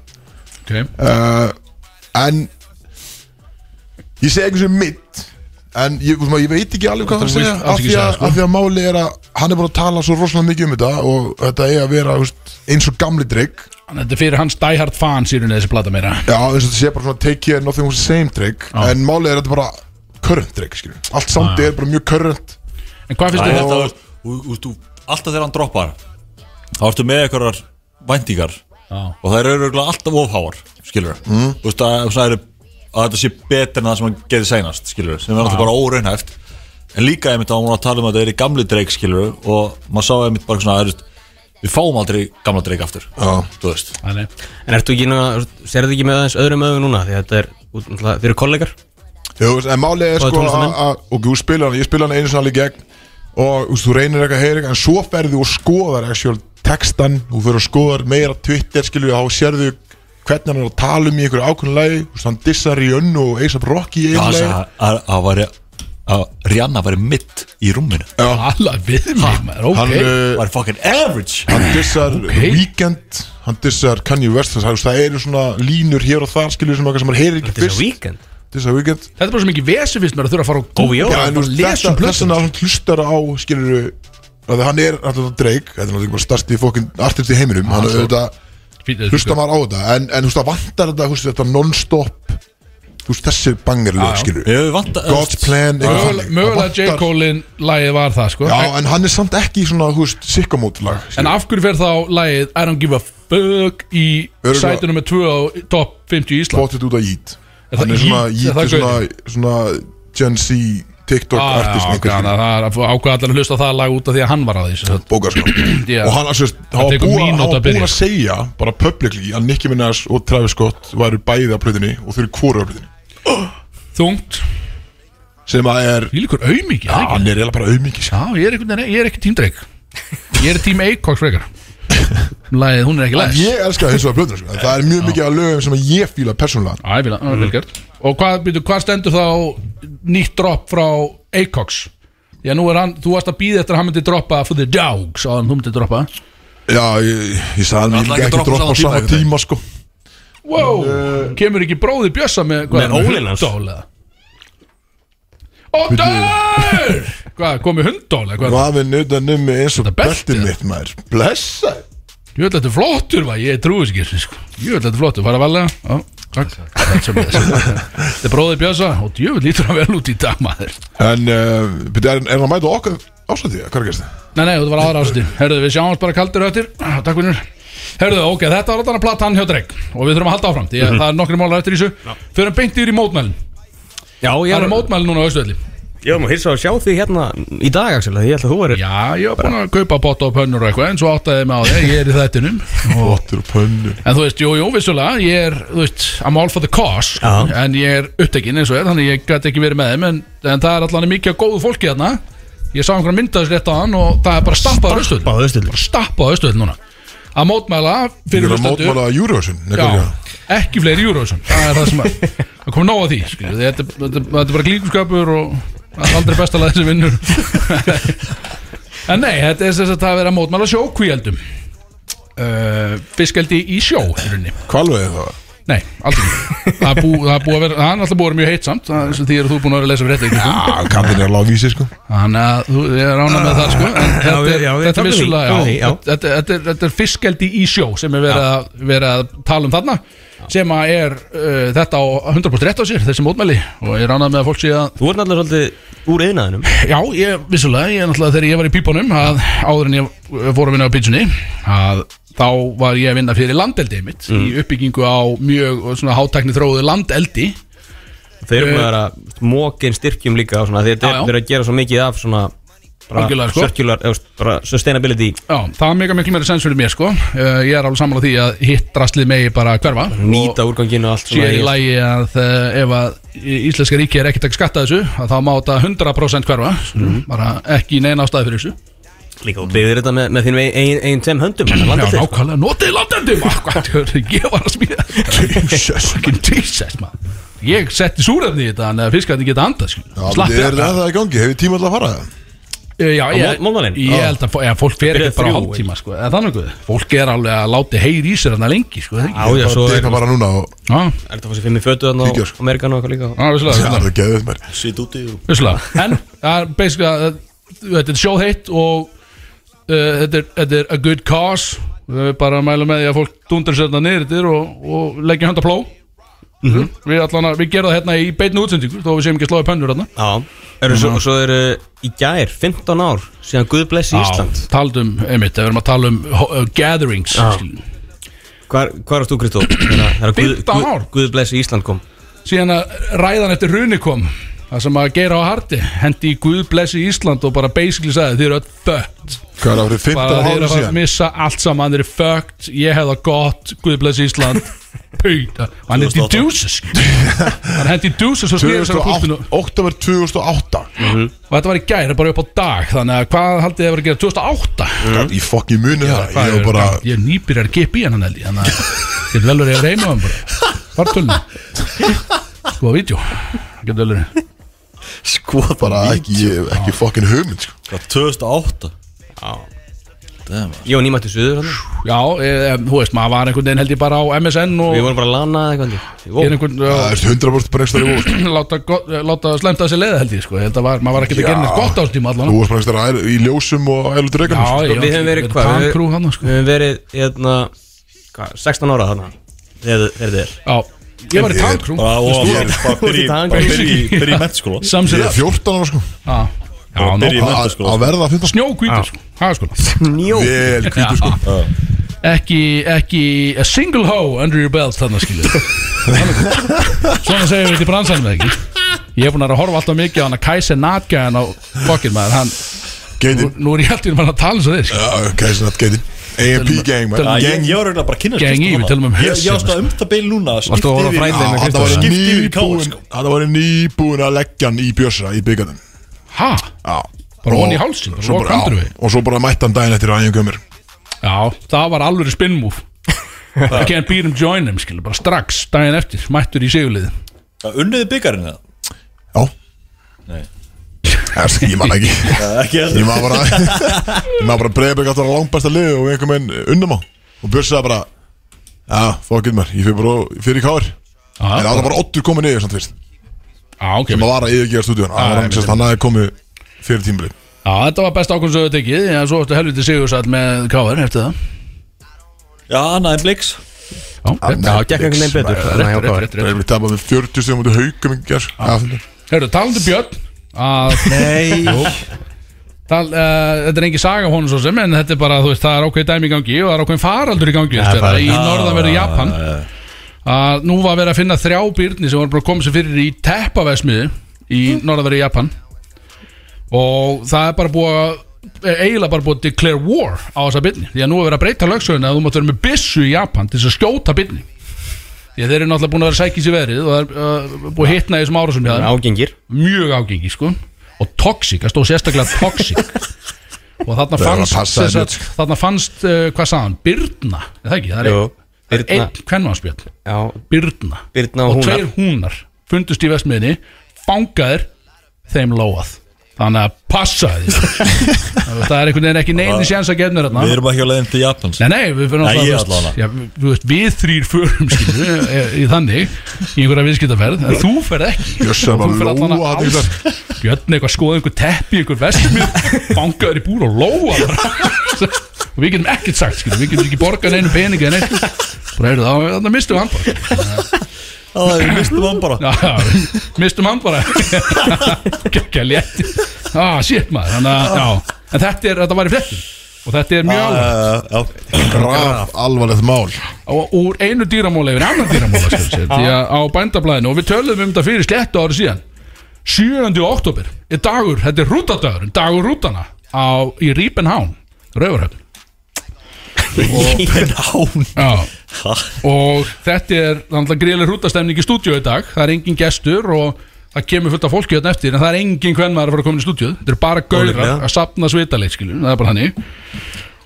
Ok,
uh, en ég segi eitthvað sem mitt en ég, þú veist maður, ég veit ekki alveg hvað
Þú
það segja
veist
af
alls ekki
því, að,
segja, sko.
af því að máli er að hann er búin að tala svo rosalega mikið um þetta og þetta er að vera þú veist, eins og gamli drikk
þetta er fyrir hans diehard fans í rauninni þessi plata meira
já, eins og þetta sé bara svona take care nothing was the same drikk en máli er að þetta bara current drikk skilur. allt samt er bara mjög current
En hvað
Það er
finnst
alltaf, þú veist, þú- alltaf þegar hann droppar þá ertu með einhverjar væntingar
Já.
og það eru örugglega alltaf ofháar skilur mm. veist, að, að, að þetta sé betur en það sem hann getur seinast skilur sem er alltaf bara óreinhæft en líka einmitt að hún var að tala um að þetta er í gamli dreik skilur og maður sá einmitt bara svona að, við fáum aldrei gamla dreik aftur
Já.
þú veist
þér?
En ertu ekki, núna- serðu ekki með aðeins öðrum öðum núna? Því að þetta er, út- náttúrulega- þeir eru kollegar
Jú, veist, en málið er
Og
sko að,
tónlistarmenn.
að, og þú spilar hann, ég spila hann einu sinni alveg gegn og þú, veist, þú reynir eitthvað að heyra eitthvað en svo ferðu og skoðar actual textan þú fyrir og skoðar meira Twitter skilju þá sérðu hvernig hann er að tala um í einhverju ákveðinu lagi, þú veist, hann dissar í önnu og eisar rock í einu
það
lagi
að, að, að, væri, að Rihanna væri mitt í rúminu
Alla við mig maður,
hann,
ok
uh,
væri fucking average
hann dissar Weekend hann dissar Kanye West það, þú veist, það eru svona línur hér og þar skilju sem, eitthvað sem maður heyrir ekki
Þetta er
fyrst
weekend
dissar Weekend
Þetta er bara svo mikið vesi finnst mér að þurfa að fara og
Ó, já,
og
Já, en þú
bara
veist,
lesa
þetta-
um
þess
plötun
vegna hann hlustar á skilur að hann er alltaf dreik, þetta er náttúrulega bara starsti fokkin artist í heiminum, hann auðvitað hlustar maður á þetta, en, en þú veist það vantar þetta, þú veist þetta non-stop þú veist þessi bangerlög skilur
Ég vant að
God's Plan, eitthvað þannig.
Mögulega
Það
J.
vantar-
Cole-in lagið var það sko
Já, en hann er samt ekki í svona, þú veist, sikkamótlag
En af hverju fer þá lagið I don't give a fuck í
Örugglega.
sætinu með 2 á top 50 í Ísland
Bóttið út á Yeet
Er
Hann
það
er svona,
Yeet? Er
Yeet
það
er svona, svona Gen Z, TikTok
Ah,
artist
já, ok,
einhver
þannig að Það er ákvað allar að hlusta á það lag út af því að hann var að því sem sagt.
bókar sko
Já.
og hann að sérst, hann var
tekur
búið
mínútu
hann var búið
að byrja.
að segja bara publicly að Nicki Minaj og Travis Scott væru bæði á plöðinni og þau eru hvoru á plöðinni
Þungt,
sem að er,
því líkur auðmikið
ja, hann er eiginlega bara auðmikið sko.
Já, ég er, einhvern veginn- ég er ekki tímdreik Ég er tím Eikoks frekar Lagið, hún er ekki læs
ég elska þessu á plöðinni sko. en það er mjög mikið af lögum sem að ég fíla persónulega
Æ, fíla, það er vel gert Mm. Og hvað, byrju, hvað stendur þá nýtt drop frá Eikoks? Já, nú er hann, þú varst að býða eftir að hann myndi droppa For the dogs, á hann þú myndi droppa
já, ég, ég sagði hann, ég
Ætlaði
vil
ekki
ekki
að droppa
droppa á
sama
sama
tíma,
tíma sko.
Wow, kemur ekki bróði Bjössa með hvað
uh, Með
er hann,
ólinn hans.
hunddól eða? Ódör! Hvað, komið hundól eða hvað? er það?
hvað við nutan um mig eins og
Þetta beltið.
beltið mitt maður blessa
Ég vil þetta er flottur, va? ég trúi þess ekki sko. Ég vil þetta er flottur, fara valega Já, takk Þetta er bróði Bjössa og djöfull lítur hann vel út í dag maður
en uh, byrja, er, er hann að mæta okkar ásætti, hvað gerst þið?
Nei, nei, þetta var aðra ásætti Herðu, við sjáum oss bara kaldir öttir Takk vinnur Herðu, ok, þetta var
Mhm.
alltaf platan hjá Dreg Og við þurfum að halda áfram Því að það er nokkri málar eftir í þessu Förum beint yfir í mótmælin
Já, ég
Það er
var
mótmæli núna á Östuvelli
Ég var maður hilsa að sjá því hérna í dag, Axel að Ég held að þú verið
Já, ég var búin að kaupa bóta og pönnur og eitthvað En svo áttaði ég mig á því, ég er í þættinum og,
Bottur og pönnu
En þú veist, jú, jú, vissulega Ég er, þú veist, I'm all for the cause
Já.
En ég er upptekinn eins og er Þannig ég gæti ekki verið með þeim En, en það er allan mikið af góðu fólki þarna Ég sá einhverja myndaðis rétt á hann Og það er bara stappað á Östuvelli
Bara austurl
Bara stappað á Östuvelli núna Að mótmæla
Ég
fyrir
er að
hlustendur.
mótmála Eurovision nei, hvað er
Já,
það?
ekki fleiri Eurovision Það er það sem að Það komið nóg að því skilju. þetta, þetta, þetta, er bara glíkurskapur og það er aldrei best að laða þessi vinnur En nei, þetta er þess að það er verið að mótmæla sjókvíaldum uh, Fiskeldi í sjó í rauninni.
Hvalveiði það?
Nei, aldrei Það er bú, það er búið að vera, það er alltaf búið að vera mjög heitt samt það er eins og því er þú búin að vera að lesa um fyrir þetta
Já, kallin er að Ah, lág vísi sko
Þannig að þú er rána með það sko En þetta er-
já, við
þetta er
komum því,
vissulega
komum því,
já,
já.
þetta- Þetta er- þetta er fiskeldi í sjó sem er verið að, verið að tala um þarna sem að er uh, þetta á 100% rétt á sér, þessi mótmæli og ég ránað með að fólk sé að
Þú ert náttúrulega svolítið úr yðnaðinum
já, ég, vissulega, ég náttúrulega þegar ég var í pípunum að áður en ég fór að vinna á pítsunni að þá var ég að vinna fyrir landeldi mitt í
Mm.
uppbyggingu á mjög svona hátækni þróðu landeldi
Þeir eru búin að vera mókin styrkjum líka og svona,
Eh.
þeir,
Já, já.
þeir eru að gera svo mikið af svona
Algjörlega, sko.
circular, eða, bara sustainability
Já, það er mega miklu meira sens fyrir mér sko uh, Ég er alveg sammála því að hitt drastlið megi bara hverfa og-
nýta úrgangin og allt
sér í
í-
lagi að eh, ef að í- íslenska ríki er ekkert að skatta þessu að þá má þetta 100% hverfa bara ekki í neina ástæði fyrir þessu
líka og byggðir þetta með, með þín ein, ein, ein tveim höndum hann
Já,
landið þig
nákvæmlega, notið landendum Ah, hvað, ég var að smíða Jesus, fucking Jesus maður Ég setti súrefni í þetta en fiskarnir geta andað skilur.
Já,
Slapp
Er
ég-
það það í gangi? Hefur tíma alltaf að fara það?
Eh, Já, ég,
Á mó- mótmælin?
ég held að fó- eða, fólk fer
Byrjaði
ekki bara á
þrjú,
hálftíma sko. eða þannig guð. Fólk er alveg að láti heyri í sér þarna lengi sko, það er ekki?
já,
Það
svo
er
er
það bara núna og
Já,
er þetta að fá sér fimm í fötu þarna
Vídeó,
og
sko.
Amerikan og eitthvað líka og-
já,
Já,
vissulega, vissulega.
það hérna er geðið mér
Sitt úti og
Vissulega, en það er basically að þetta er sjóðheitt og uh, þetta, er, þetta er a good cause við erum bara að mæla með því að fólk dundur sérna niður yfir og, og leggja hönda pló
Mhm.
við, allan, að- við gerum það hérna í beitni útsendingu þó við séum ekki að slóða í pönnur hérna
já, Hm. eru svo, svo eru í gær 15 ár síðan Guð blessi Ísland
Taldum, einmitt, við erum að tala um ho- uh, gatherings
Já.
skilur.
hvar, hvar varst þú Kristó? þegar þegar Guð,
15
Guð,
ár?
Guð blessi Ísland kom
síðan að ræðan eftir runi kom það sem að gera á harti hendi í Guð blessi Ísland og bara basically sagði þið eru öll fött
Hvað er það fyrir
bara
15
þeir eru
ára
að fara að
síðan?
missa allt saman þeir eru fucked, ég hef það gott Guð bless Ísland Pýta, og hann hendi
2008.
dúsas hann hendi dúsas og snýður sér
2008
á púltinu og
Oktober 2008
þetta var í gæri bara upp á dag þannig að hvað haldið þið að vera að gera 2008
Gat Í fokk í muni það
Hvað
Ég
er-
var bara
ég er nýbyrjar að gepa í hann held ég þannig að ég get velur ég að reyma hann bara fartölna sko að vídeo get velur ég
Skoð bara ekki ég- Ekki fokkin hugmynd sko.
Hvað, 2008? Damn,
ég var nýmætti suður hann
já, eh, em, þú veist maður var einhvern veginn held ég bara á MSN og
við
ég
vorum bara að lana eða eitthvað held ég. Vó.
er einhvern já,
Það er 100% bara einhverstað í sko. vóð
láta, gott- eh, láta slemta þessi leið held ég sko, ég held að var, maður var ekki að gera neitt gott á þessum tíma allan
Þú varst bara einhverstað í ljósum og ælu sko. dregan
já,
sko, við höfum verið hvað við-
pankrú hann
við
sko.
höfum verið hérna hvað, 16 ára þarna þegar þegar þið er
já, ég var í tankrú
Bara og
Þú veist,
bara byrja í- bara byrja í- byrja í mennskóla
Ég
samsýra
er 14 ára sko
já, já,
Bara byrja
nóg
í
Að-
mennskóla
Að verða 15
snjókvítur sko, það sko
njó
Vel hvítu sko
ekki, ekki a single hoe under your belt þannig skilur svona segjum við til bransanum eða ekki ég er búin að vera að horfa alltaf mikið á hann að kæsa natgæðan á fokkin maður hann, nú,
Geitin
nú er ég alltaf bara að tala eins og þeir sko.
Kæsinat geitin A&P gang man
tölum-
Já,
Gang
ég, ég var auðvitað bara að kynna
Gang í, við tölum um
Ég
Hess
ég
hérna,
ást að umta beil núna
Varstu að horfa á Friday
Já, Þetta
með Kristofur?
var
Skipti yfir í KR,
nýbúin
sko.
Þetta var nýbúin að leggja hann í bjössra í byggarnum
ha,
Já
Bara
Og-
von í hálsinn, bara
svo
loka
já,
andrumi.
Og svo bara mætti hann daginn eftir að æfingu mér
já, það var alveg spin move I can't beat him, um join him skilur, bara strax, daginn eftir, mættur í sigurliði
Unniði byggarinn það?
Já Erst, Ég man ekki
Ekki
Ég
heldur
maður bara Ég maður bara breyðið byggt alltaf langbæsta lið og einhver menn unnum á Og bjössaði bara Já, fokkið mér, ég fyrir bara á- fyrir í káir En það var bara ottur komið niður samt fyrst
Já, ok,
Sem að vara að yfirgefa stúdíun Það var hann, sérst, hann hafði komið fyrir tímabili
Já, þetta var best ákvörðum sem við tekið En svo ertu helviti sigursall með káður eftir það
Já, annaðin Blix
Já, rétt,
það gekk einhvern veginn betur
rétt, rétt, rétt,
Það
rétt.
er mér tapað með 40 stegum út í haukum í gær. Já, fyrir.
Hörru, talandi um Björn að,
Nei
tal, uh, Þetta er engin saga af honum svo sem En þetta er bara, þú veist, það er ákveðið dæmi í gangi Og það er ákveðin faraldur í gangi ja, bara, Í norðanverðu Japan að nú var verið að finna þrjá byrni sem voru bara komið sér fyrir í teppavesmiði í norðaveri Japan og það er bara búið að er eiginlega bara búið að declare war á þessa byrni því að nú er verið að breyta lögsöguna að þú mátt vera með byssu í Japan til þess að skjóta byrni því að þeir eru náttúrulega búin að vera sækis í veðrið og það er uh, búið að hitna í þessum árásum hjá þeim
ágengir
mjög ágengi sko og toxic, það stóð sérstaklega toxic og þarna
var að
fannst
passa
sem sagt,
þér
þarna fannst, uh, hvað sagðan, Byrna er það ekki, það er
Jú,
ein- það er
Birna.
einn kvennvansbjörn,
Já,
Byrna
Birna og Húnar.
tveir húnar, fundust í vestmiðinni fangaðir, þeim lóað þannig að passa því það er einhvern veginn ekki neini séns að gefnir þarna
Við erum ekki á leiðin til Japans
Nei, nei, við fyrir
Nei, ég
náttúrulega,
allavega.
já, við- þú veist, við þrýr förum skilu, í þannig, í einhverja viðskiptaferð en þú ferð ekki
Bjössa
Og
var
þú ferð allan
lóa þarna
að
í
ás- Björn eitthvað skoða einhver teppi, einhver vestumir bankaður í búr og lóa bara. og við getum ekkert sagt skilu, við getum ekki borgað neinum peningi en eitt bara heyrðu þá, þannig mistum við hann bara
Það er mistum Ah, hann bara
Já, já, mistum hann bara Gekka létt Ah, shit maður, þannig að já. En þetta, er, þetta var í fréttum og þetta er mjög alveg
Ah,
Graf alvarlegt mál
og úr einu dýramóla yfir í annan dýramóla skal við segja, því að á bændablaðinu og við töluðum um þetta fyrir sléttu ári síðan 7. oktober er dagur, þetta er rútadagur dagur rútana á, í Rípenhán Rauvarhöfn
Lífin hán
Já,
Ha?
og þetta er náttúrulega gríðlega rútastemning í stúdíu í dag það er engin gestur og það kemur fullt af fólki hérna eftir en það er engin hvern maður að fara að koma inn í stúdíu þetta er bara gaurar
Ólíklega.
að sapna svitaleik skilur, það er bara hannig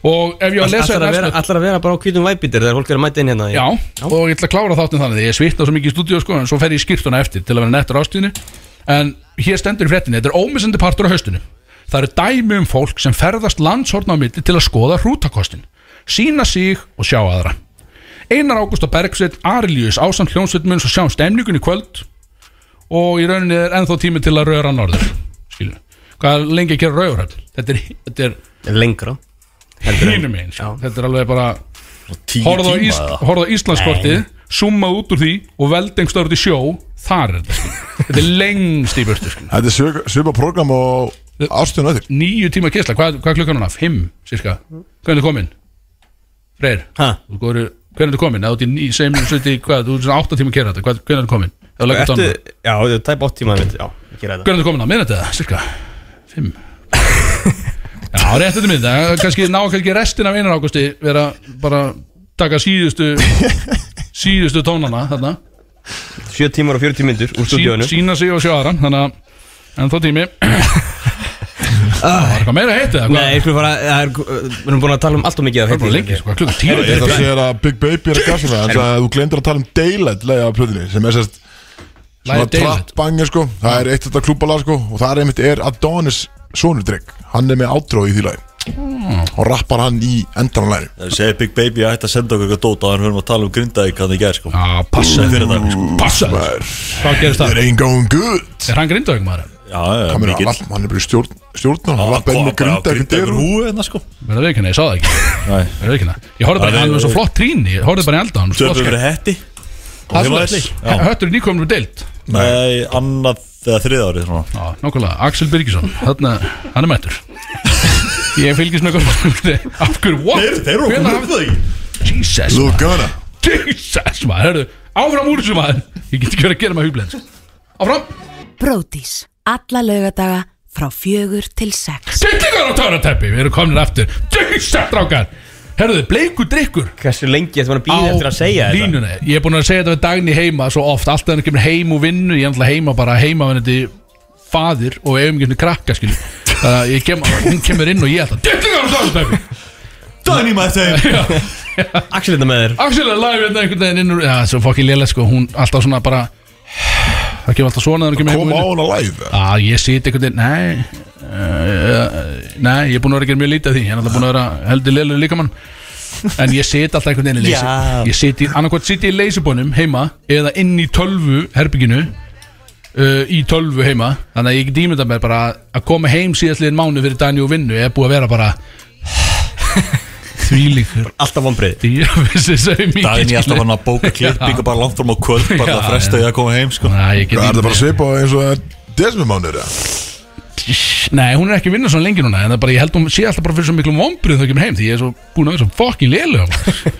og ef ég á að lesa
Ætlar að
hérna
vera-
eftir-
ætlar að vera bara á kvítum væpitir þegar fólk er að mæta inn hérna í-
Já, og ég ætla að klára þáttin þannig því ég svitna svo mikið í stúdíu sko en svo fer ég í skýrtuna eftir til að vera nettur ástíðinni en hér stendur í fréttinni, þetta er ómissandi partur á haustunum það eru dæmi um fólk sem ferðast landshorn á milli til að skoða hrútakostin sína sig og sjá aðra Einar Ágústa Bergsveit Arilíus ásamt hljónsveit mun svo sjá um stemningun í kvöld og í rauninni er ennþá tími til að röra norður skilur, hvað er lengi að gera rauðurhöfn þetta er, þetta er
Lengra
hínum einn þetta er alveg bara
Tíu
horfðu á,
tíma
Ís
eða?
horfðu á Íslandskortið summað út úr því og veldengstur út í sjó þar er þetta skilur. þetta er lengst í burtu sko. skilur.
Þetta er svipa program og ástöðun öður
níu tíma kessla, hvað, hvað er klukkan núna? fimm, sirka, hvernig er þetta komin? Freyr,
Ha?
þú góður hvernig er þetta komin? eða út í ní, sem, sviti, hvað, þú er svona átta tíma að gera þetta hvað- hvernig er þetta komin? Eða leggur þetta á
Ertu,
hana?
já, það er tæp 8 tíma mitt Já, ekki ræða
hvernig er þetta komin á minnætti eða, sirka, fimm já, rétt þetta minnætti kannski ná kannski restin af einar águsti vera bara taka síðustu síðustu tónana þarna
7 tímar og 40 myndur úr
sí,
stúdíónu
sína sig og sjá aðran þannig að en þó tími Það var eitthvað meira heitið eða hvað?
Nei, ég skulle fara það er- Við erum búin að tala um allt og mikið af
Það er bara
heitum.
lengi, sko, hvað klukkan tíu
Ég ætla að segja þér að Big Baby er að gasa með En það þú glemdur að tala um Daylight Lægja af plöðinni Sem er sérst Svona
Lagið Daylight.
trappbangir sko Það er eitt þetta klúbalag sko Og það er einmitt er Adonis Sónur Drake Hann er með átrá í því lagi Og rappar hann í endanlæri
Það segir Big Baby að hætta að senda okkur eitthvað dót Þannig höfum að tala um Grindavík hann í gær sko
Já, passa
Fyrir það sko
þér, Passa þér Hvað gerist
It
það?
ain't going good
Er hann grindaug maður?
Já, já,
Hann er
mikill
að lappa- hann er bara í stjórn Stjórnar Hann
Hann
lappar inn
kom
og
bara á
grinda ekkert
Grindavíkur
eru
húið hérna sko
Verða veikina, ég sá það ekki
Nei
Verða veikina Ég horfði
Já,
bara, hann
nei,
var svo
nei.
flott tríni Ég horfði bara í aldan
Töfum við hetti
Það er
Heima velli.
svona Höttur er nýkomur deilt
Nei, annað eða þrið árið svona
Já, nokkulega Axel Birgisson Þarna, hann er mættur Ég fylgist með hvað Af hverju, what? Hvenær hafið-
það í
Jesus
Lil Gunna
Jesus maður, herðu, áfram úr þessu maður Ég get ekki verið að gera maður hugblend Áfram,
Bródís. Alla laugadaga frá fjögur til sex.
stillingar á törnateppi Við erum komin aftur, Jesus drákar Herðu, bleikur drikkur
Hversu lengi ertu búin að býða eftir að segja þetta?
línuna Ég er búin að segja þetta við dagni heima svo oft Alltaf hann kemur heim og vinnu Ég er alltaf heima bara heima venni fadir og eigum ekki krakka skilju Þannig að ég kem, hún kemur inn og ég alltaf Stillingar á törnateppi
Dæni maður þeim
Axel þetta með þér
Axel er live hérna einhvern veginn inn úr Já, svo fokkin lélega sko, hún alltaf svona bara Það kemur alltaf svona þegar hún Ah, kemur
Kom
heim úr
á
vinnu.
hann að læða
að ég siti einhvern veginn nei, uh, nei, ég er búin að vera að gera mjög lítið af því ég er alltaf búin að vera heldur leilu líkamann en ég siti alltaf einhvern veginn í leysi
Já.
ég siti, annarkvæmt siti í leysibónum heima eða inn í tölvu herbygginu uh, í tölvu heima þannig að ég get ímynda mér bara að koma heim síðastliðin mánu fyrir Dani og vinnu ég er búið að vera bara þvílíkur
Alltaf vonbreið
dýravissi sem mikið
Dæni alltaf
skilur.
hann að bóka klippingu bara langt fram á kvöld Bara
Já,
að fresta
já.
ég að koma heim sko
Nei, ég get
Það er
ímyndað
það bara
mér.
að svipa eins og það er Desmimánur
Nei, hún er ekki að vinna svona lengi núna En það er bara, ég held hún sé alltaf bara fyrir svo miklum vombrið Þau kemur heim, því ég er svo búin að vera svo fucking lélu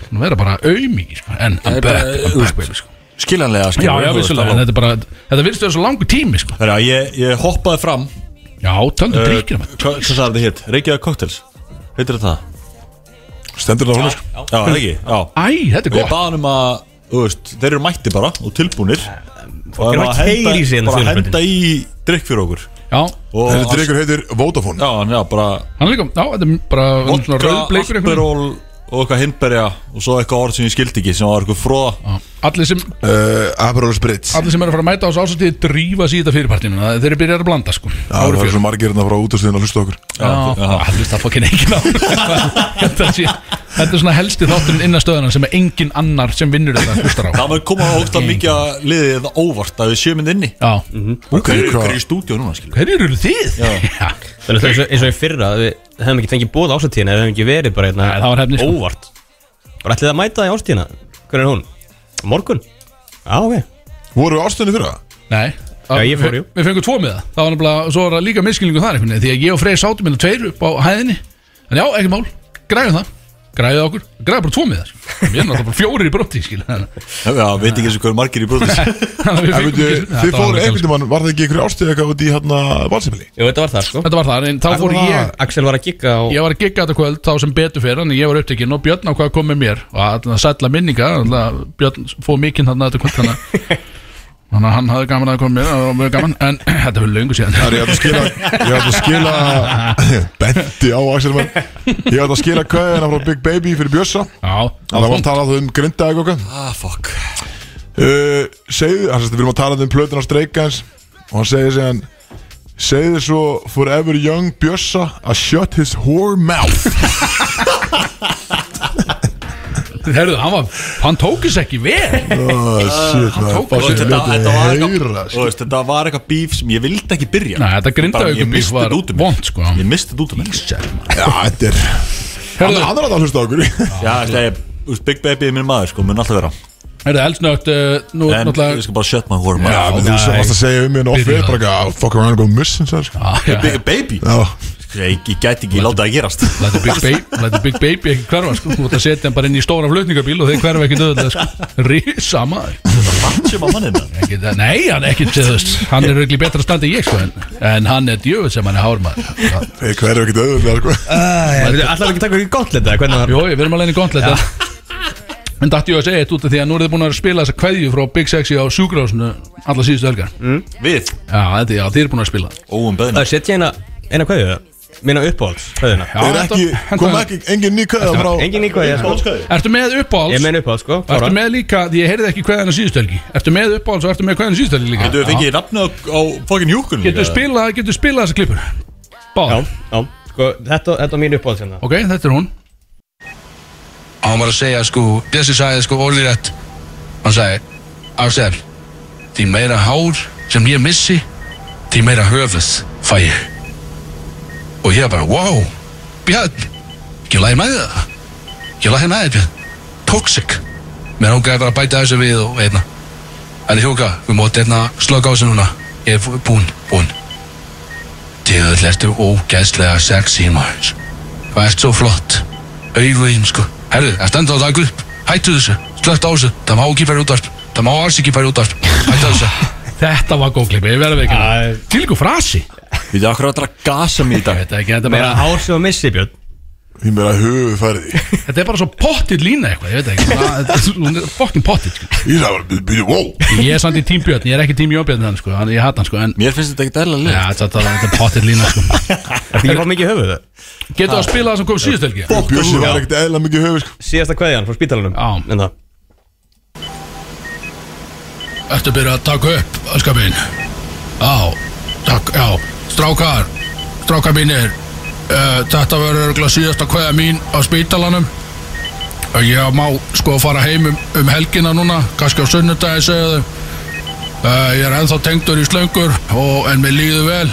Hún verður bara aumingi sko. En I'm back, I'm back baby, sko.
skiljanlega
Já,
skiljanlega,
já,
þú veist,
vissulega, en
alveg.
þetta er bara Þetta virðist vera svo langur tími, sko
Þannig að ég, ég hoppaði fram
Já, töndu uh, drikkina maður.
Hvað hvað sagði þetta hétt? Reykjavík Cocktails Heitir þetta það?
Stendur það á hún
Já, það er ekki Já
Æ, þetta er
Og ég
gott
baði hann um að Þú veist, þeir eru mætti bara og tilbúnir Og
eru
um
að keyra í sig hérna
bara
fyrir
henda í drikk fyrir okkur
Já,
Og
Þessi drikkur heitir Vodafone
Já, hann er bara
hann er líka, já, þetta er bara um, svona rauðbleikur einhvern veginn.
Alperol og eitthvað hinnberja Og svo eitthvað orð sem ég skildi ekki Sem var eitthvað fróða
Já, Allir sem,
uh, Aperol Spritz
allir sem er að fara að mæta á þessu ásættið drífa sig í þetta fyrirpartinu það- þeir eru byrjar að blanda, sko
Já, það eru svo margir hérna frá útastöðin að hlusta á okkur
Já, það hlusta fokkin engin á Þetta sé- þetta er svona helsti þátturinn innan stöðuna sem er engin annar sem vinnur þetta hlustar á
Það var koma á ógsta mikið að liðið það óvart að við séum inn inni
Já,
Ok,
Hver
hvað-
er í stúdíu núna, skilur
hverju eru þið? Já,
Þannig að það er eins og- eins og í fyrra að Við hefum ekki fengið bóð ástíðina Við hefum ekki verið bara hérna
Nei, það var hefni, sko.
Óvart Var ætlið að mæta í ástíðina? Hvernig er hún? Á Morgun? Já, ok
Voru við ástöðinni fyrir það?
Nei
Já, ég fór, jú.
Við- Við fengum tvo með það Það var nefnilega, svo var það líka miskilningu þar einhvern veginn Því að ég og Freyr sátum hérna tveir upp á hæðinni En já, ekki mál, græðum það Græðið okkur, græðið bara tvo með það sko. Ég er náttúrulega bara fjórir í brotti, skil Þannig
Já, veit ekki eins og hver margir í brotis
að við
En
fengum
veitu,
ekki-
Þið
Þetta var
fóru
alveg
einhvern tímann, var það ekki einhverju ástöð eitthvað út í hérna valsimili?
Jú, þetta var það sko
galið. Þetta var það, en þá fór ég
Axel var að gigga og
Ég var að gigga þetta kvöld þá sem betur fyrir en ég var upptekinn og Björn ákvað að koma með mér og alltaf sætla minninga alltaf Björn fóð mikinn þarna þetta kvöld þannig að- þannig að hann hafði gaman að koma með og mjög gaman en þetta fyrir löngu síðan
Það er ég ætla að skila, ég ætla að skila Bendi á Axel mann Ég ætla að skila kvæðina frá Big Baby fyrir Bjössa
Já,
Það var að tala um grindaðið okkur
Ah, fuck
uh, segðu, hann sérst, við erum að tala um plötun á streikans og hann segir síðan segðu svo forever young Bjössa að shut his whore mouth
Herðu, hann var, hann tókis ekki vel
oh shit, maður
tók þessu.
fucking
Ah, Þetta, þetta, var
lítið
eitthvað,
heyra
þú veist, þetta var eitthvað bíf sem ég vildi ekki byrja
Nei, þetta
Bara, ég
grindaugubíf
misti
var
þetta út um mig.
vond sko
Ég misti þetta út um mig
já, þetta er hann
Herðu,
hann er alltaf að hlusta á okkur
Ah.
Já, þetta er, þú veist, Big Baby er minn maður, sko, mun alltaf vera
herðu, elsnögt uh, Nú,
En
náttúrulega
sko-
ég skal bara shut my whore
já,
mouth
þú sem varst að segja um hérna off
Byrjum
air bara eitthvað, "Ah, fuck around and go missing sagði, sko.
Ah, já,
Big Baby?
já,
Ég, ég gæti ekki láta það gerast
Lætu Big Baby, lætu Big Baby ekki hverfa sko Þú ert að setja hann bara inn í stóra flutningabíl og þeir hverfa ekki döðlega sko Rísa maður
Mann sem að mannina
Ekki það- Nei, hann er ekki til þess Hann er auðvitað betra standi en ég sko En, en hann er djöfull sem hann er hármaður Já.
hey, hver er ekkert auðvitað sko.
Alltaf ekki takk ekki gott leta Hvernig var
Jó, ég verðum alveg í gondleita En dætti ég að segja eitt út af því að nú eru þið búin að spila þessa kveðju frá Big Sexy á sjúkrásinu alla síðustu helgar
Mm.
Við,
Já, þetta, já, þið eru búin að spila
óum beðinu
Það setja eina Eina kveðju það Minna uppáhalds kveðjuna
Já,
Er
þetta-
ekki,
þetta-
kom ekki, engin ný kvæða frá
Engin í kveðja sko
Ertu með uppáhalds?
Ég meina uppáhalds sko
Ertu
klára.
með líka, því ég heyrði ekki kveðan á síðustu helgi Ertu með uppáhalds og ertu með kveðan á síðustu helgi líka
Þú fengið nafni á, á fokkin hjúkun
Getur spilað, getur spilað þessa klippur
Já,
Báð,
já Sko, þetta, þetta var mín uppáhalds hérna
ok, þetta er hún
hann var að segja sko, Bjössi sagði sko ólírætt hann sagði, Axel því meira hár sem ég missi því meira höfuð fæ ég og ég bara, wow Björn, ég lagi með það ég lagi með það, Björn toxic, mér hókaði bara að bæta þessu við og einna en ég hóka, við móti einna slögg á þessu núna ég er búinn, búinn djöðl, ertu ógæðslega sexy maður Hvað ert svo flott? Auðveginn sko Herðu, það stendur á dag upp Hættu þessu, slögt á þessu Það má ekki færi útvarp Það má alls ekki færi útvarp Hættu þessu
Þetta var góð klippi, ég verði ekki
Æ.
Tilgu frasi
Við þið okkur að dra gasa mér í dag
Þetta er, ekki, þetta, er
Meira
bara,
hár sem að missi Björn
Ég meira höfu færið í
þetta er bara svo pottit lína eitthvað Ég veit ekki, svona- þetta er svo- hún er fokkin pottit sko.
Ég sagði bara, byrju, wow
Ég er samt í tímbjörn, ég er ekki tímbjörn hann, sko, hann, Ég hatt hann sko, en
Mér finnst þetta ekkert eðla
ja,
lið
þetta, þetta er pottit lína sko.
Þetta ekki fá mikið höfuð það
Getur það að spila það sem kom síðust helgi?
Og Bjössi var ekkert eðla mikið höfu sko.
Síðasta kveðjan frá spítalanum Hérna.
Já.
En það
Ertu að byrja að taka upp, öllskapin Já, takk, já Strákar, strákar mínir uh, Þetta verður örgulega síðasta kveða mín á spítalanum Uh, Ég má sko fara heim um, um helgina núna kannski á sunnudagi segja þau uh, Ég er ennþá tengdur í slöngur og, En mér líður vel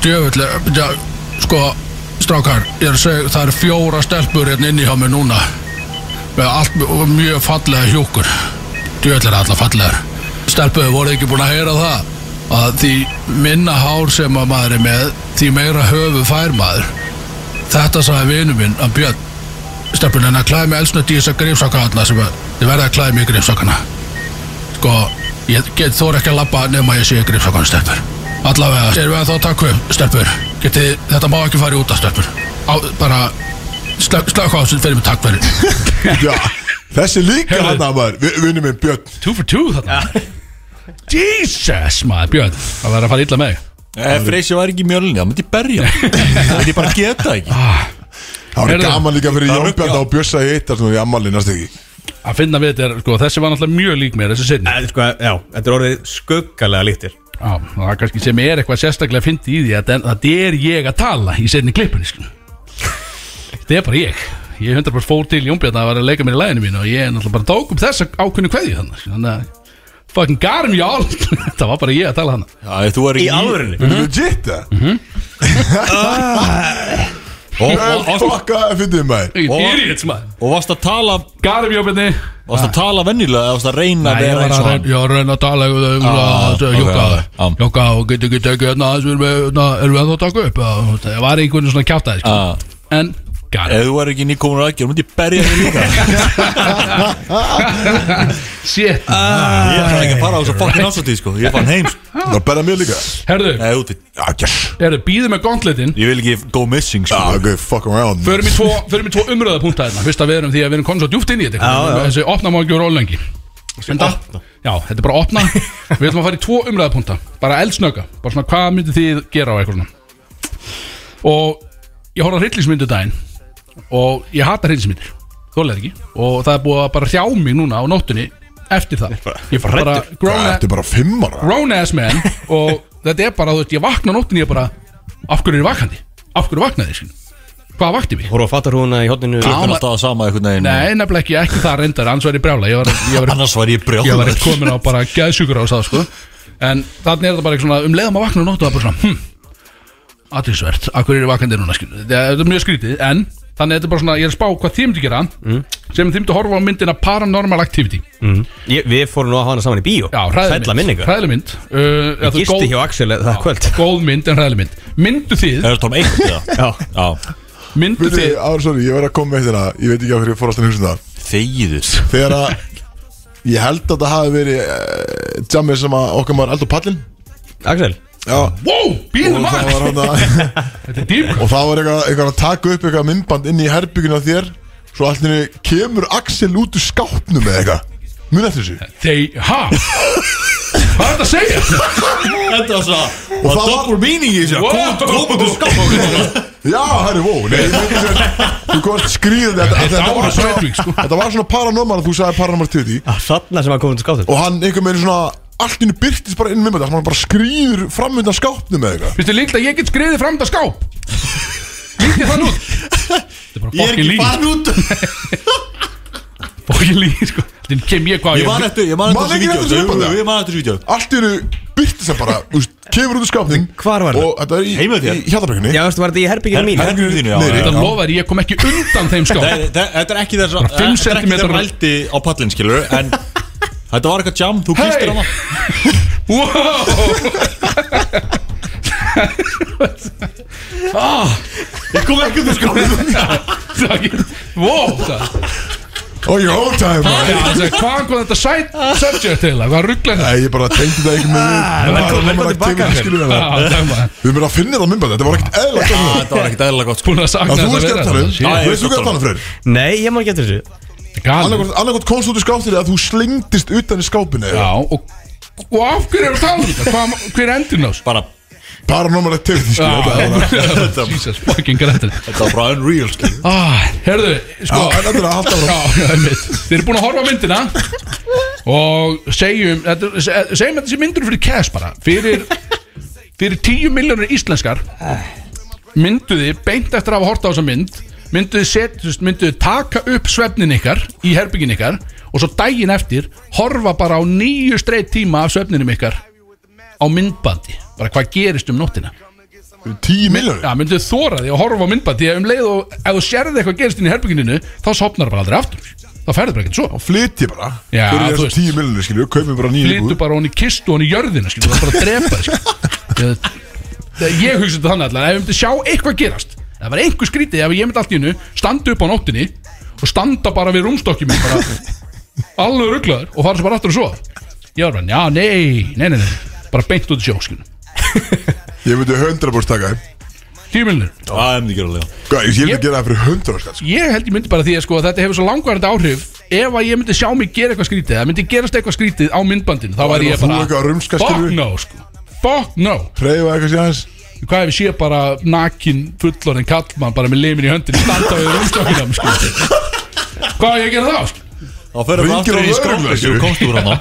Djöfull er- ja, Sko, strákar Ég er að segja, það eru fjóra stelpur hérna inni hjá mér núna með allt og mjög fallega hjúkur djöðlar allar fallegar stelpuðu voru ekki búin að heyra það að því minna hár sem að maður er með því meira höfu fær maður þetta sagði vinu minn að Björn stelpun en að klæði mig elsnöti í þessa grifsaka sem að þið verða að klæði mig í grifsakana sko Ég get þóra ekki að labba nema ég sé í gripsakon, stelpur Allavega, erum við að þá takk við, stelpur Getið, þetta má ekki fara í út af, stelpur Á, bara Slökk á þessu fyrir mig takk fyrir
Já, þessi líka
Heyrðu.
hann að maður Vi- Vinur minn Björn
Two for two þarna Jesus maður Björn Það var að fara illa með þig.
Ef Eh, Freysi var ekki í mjölni, þá myndi ég berja hann. Það myndi ég bara geta ekki
Það var
Heyrðu.
gaman líka fyrir
Það var-
Jónbjörn á Björsa í eittar Svona í ammali næst ekki
Að finna við þetta er sko Þessi var náttúrulega mjög lík mér Þessi sinni
Eh, sko, Já, þetta er orðið skuggalega lítir
Já, það er kannski sem er eitthvað sérstaklega fyndi í því að den- Þetta er ég að tala í sinni klippun Þetta er bara ég Ég hundar bara fór til Jónbjörn að vera að leika mér í læginu mínu Og ég náttúrulega bara tók upp þessa ákunni kveðju þannig Þannig að Fucking garm y'all Það var bara ég að tala hana
Já, ef Þú er
Í
ekki
alvörunni
Vinur minn Jitt það
Og- og- og-
Fokka, fyndið maður
Idiots maður
Og varst að tala
Garm Jónbjörni
Varst að tala venjulega eða varst að reyna að
Nei, ég
vera
var að
eins og hann
reyna, ég var að reyna að tala um það,
Ah,
um það,
ok,
Jóka,
já.
Jóka, og getur ekki tekið hérna aðeins, erum við, hérna, erum við ennþá að taka upp, eða, þú veist, það var einhvern veginn svona kjátaði, sko.
Ah,
En, gæri,
Ef þú er ekki nýkomin aðgjör, myndi ég berja þig líka Eh.
shit,
Ég ætla ekki að fara á þessu fokkin ásóttíð sko Ég fann heim sko.
Það berða mér líka
herðu,
Nei, úti
Já, yes
herðu, býðu með gauntletin,
Ah, Ég vil ekki go missing sko
Já, ok, fuck around
förum í tvo, förum í tvo umröðapunta hérna, fyrst að við erum því að við erum komin svo djúft inn í þetta,
Já, já.
þessi opna má ekki vera ólengi. Enda, já, þetta er bara opna, við ætlum að fara í tvo umræðapunta, bara eldsnöka, bara svona hvað myndið þið gera á eitthvað svona. Og ég horfði að hryllingsmyndu daginn, og ég hata hreinsimittir þólega ekki og það er búið að bara hrjá mig núna á nóttunni eftir það ég er bara grown,
Þetta er bara fimm ára
grown ass man og þetta er bara, þú veist, ég vakna á nóttunni ég bara, af hverju er ég vakandi af hverju vaknaði ég, skil hvað vakti mig?
Hóru að fatta húna í hotninu
Það er alltaf að sama einhvern veginn
Nei, nefnilega ekki, ekki það reyndar, annars var ég brjála ég var, ég var,
Annars var ég brjóð
ég var komin á bara geðsjúkur á það, sko en þannig er þetta bara eitthvað svona, um leiðum að vakna á nóttu það er bara svona, hm aðeinsvert, af hverju er ég vakandi núna, skil þetta er mjög skrítið, en þannig er þetta bara svona, ég er að spá hvað þið myndi gera sem þið myndi horfa á myndina Paranormal Activity
Ég- Við fórum nú að hafa hana saman í bíó
Já, hræðileg
Sælla
mynd
minningu
Hræðileg mynd uh, eða
Ég
þú veist,
gisti
góð-
hjá Axel það kvöld
Góð mynd en hræðileg mynd Myndu þið,
Er það um eitt eða?
Já
Já
myndu
Byrði,
þið
ára, sorry, ég verð að koma með þetta Ég veit ekki af hverju ég fór alltaf að hugsa um það
Þegiðu
Þegar að Ég held að það hafi verið uh, Jammið sem að okkar maður eldur pallin
Axel
Já Og
Wow, býðum
það
að
var hann að
Þetta er dýrkvæm
Og það var eitthvað, eitthvað að taka upp eitthvað myndband inn í herbygginu á þér Svo allir kemur Axel út úr skápnum eða eitthvað Mun eftir þessu
Þeir, ha? Hvað er þetta að segja?
Þetta var svo
Og það
double meaning í þessu
Wow.
Komum þú skapum
Já, herri, vó Nei, ég veit ekki sem Þú komst skrýðandi Þetta,
Þetta
þetta,
var
var
Svætvík, sko.
svona- þetta var svona paranormal Þú sagði paranormal tviti
Þarna sem að koma til skáttur
Og hann einhvern veginn svona Allt innu byrtist bara inn með þetta Hann bara skrýður fram undan skápnum eða eitthvað
Fyrstu líkt að ég get skriðið fram þetta skáp Líkt ég þann út Þetta er bara
Ég er
fokkin
ekki
líf
farin út
Fokkin líf, sko Þannig kem ég hvað
Ég man eftir Ég man
Man
eftir
ekki eftir þessu
þessu
uppbandi?
vídeo Ég man eftir þessu vídeo
Allt innu byrtist það bara úst, Kemur út úr skápnum
Hvar var það?
Og þetta er í,
Heima
í
hjá þér?
hjartabrekkunni
Já, veistu, var þetta í herbygginu mín?
herbygginu-
Herberginu þínu, já,
Niðri.
já, já.
Þetta lofaður, ég kom ekki undan þeim skáp
Nei, þe- Þetta er ekki þess að
Bara fimm
Þetta er ekki
sentimetrar-
þeirra rældi á pallin skilur En Þetta var eitthvað jam Þú
Hey.
kýstir hana
Wow
Ah, Ég kom ekki út úr skapum
Það er ekki- Wow það-
Og ég hóta það
Já, þessi, Hvaðan kom þetta sæt subject til það? Hvað rugglar það?
Nei, ég bara tengdi það einhvern veginn Paranormal activity, skilur við það.
Búin
Við erum að finna það myndbæð Þetta var ekkert eðlagt að
Ah, Þetta var ekkert eðlilega gott sko.
að sakna
Þú veist
þess
hvað
vera
það er
þarna.
Já, ég
Veist þú
veit
hvað
það.
það er fyrir?
Nei, ég má ekki eftir þessu
Shit, galið.
Annarkot komst þú út úr skápnum eða þú slengdist utan í skápinu
Já, og, og af hverju erum við að tala um þetta? Hvað, hver endur nás?
Bara
Paranormal activity, skilur við það.
Ah, Jesus fucking Gretel
Þetta var bara unreal skilur
ah, Herðu, sko
Já, en þetta er að halda áfram.
Já, já, einmitt. Þeir eru búin að horfa á myndina Og segjum þetta- se- Segjum þetta sem myndur fyrir cash bara Fyrir, fyrir 10 miljónur íslenskar Myndu þið beint eftir að hafa horta á þessa mynd Myndu þið setjast, myndu þið taka upp svefnin ykkar Í herbyggin ykkar Og svo daginn eftir Horfa bara á nýju streitt tíma af svefninum ykkar Á myndbandi Bara hvað gerist um nóttina
Tíu miljónir
Já, myndu þóra því að horfa á myndbandi Því að um leið og ef þú sérði eitthvað gerist inn í herbygginu Þá sopnar bara aldrei aftur Þá færðu bara ekkert svo
Flyt ég bara
Já,
Fyrir
þú
þessu
veist.
tíu miljónir, skilur við Kaupið bara nýju
Flytu bara honi kistu honi í jörðina skilur, Það er bara að drepa þig skilur. Ég- Ég hugsa þetta þannig allan Ef ég myndi sjá eitthvað gerast ef Það var einhver skrítið Ef ég myndi allt í hennu Standa upp á nóttinni Og standa bara við rúmstokkjum Alveg rugglaður Og fara svo bara aftur að sofa Ég var bara, já, nei, nei, nei, nei Bara beint út í sjó, skilur
Ég myndi 100% taka þeim.
Tíu miljonir
Það er mjög gerðulega
Hvað, Ég myndi
Ég-
gera það fyrir 100 skatt sko.
Ég held ég myndi bara því að sko, þetta hefur svo langvarandi áhrif Ef að ég myndi sjá mig gera eitthvað skrítið Eða myndi gerast eitthvað skrítið á myndbandinu Þá væri
væri
ég
þú
bara,
eitthvað að rumska,
fuck
skilur.
no, sko Fuck no
Hreyfa eitthvað sér aðeins
Hvað ef ég sé bara nakin fullorinn kallmann Bara með limin í höndin Standa við rúmstokkinam, sko Hvað á ég að gera þá, sko
Þá fyrir við
Ringir
aftur
á
í
lögregluna,
skópið Þú
skilur.
komst úr hana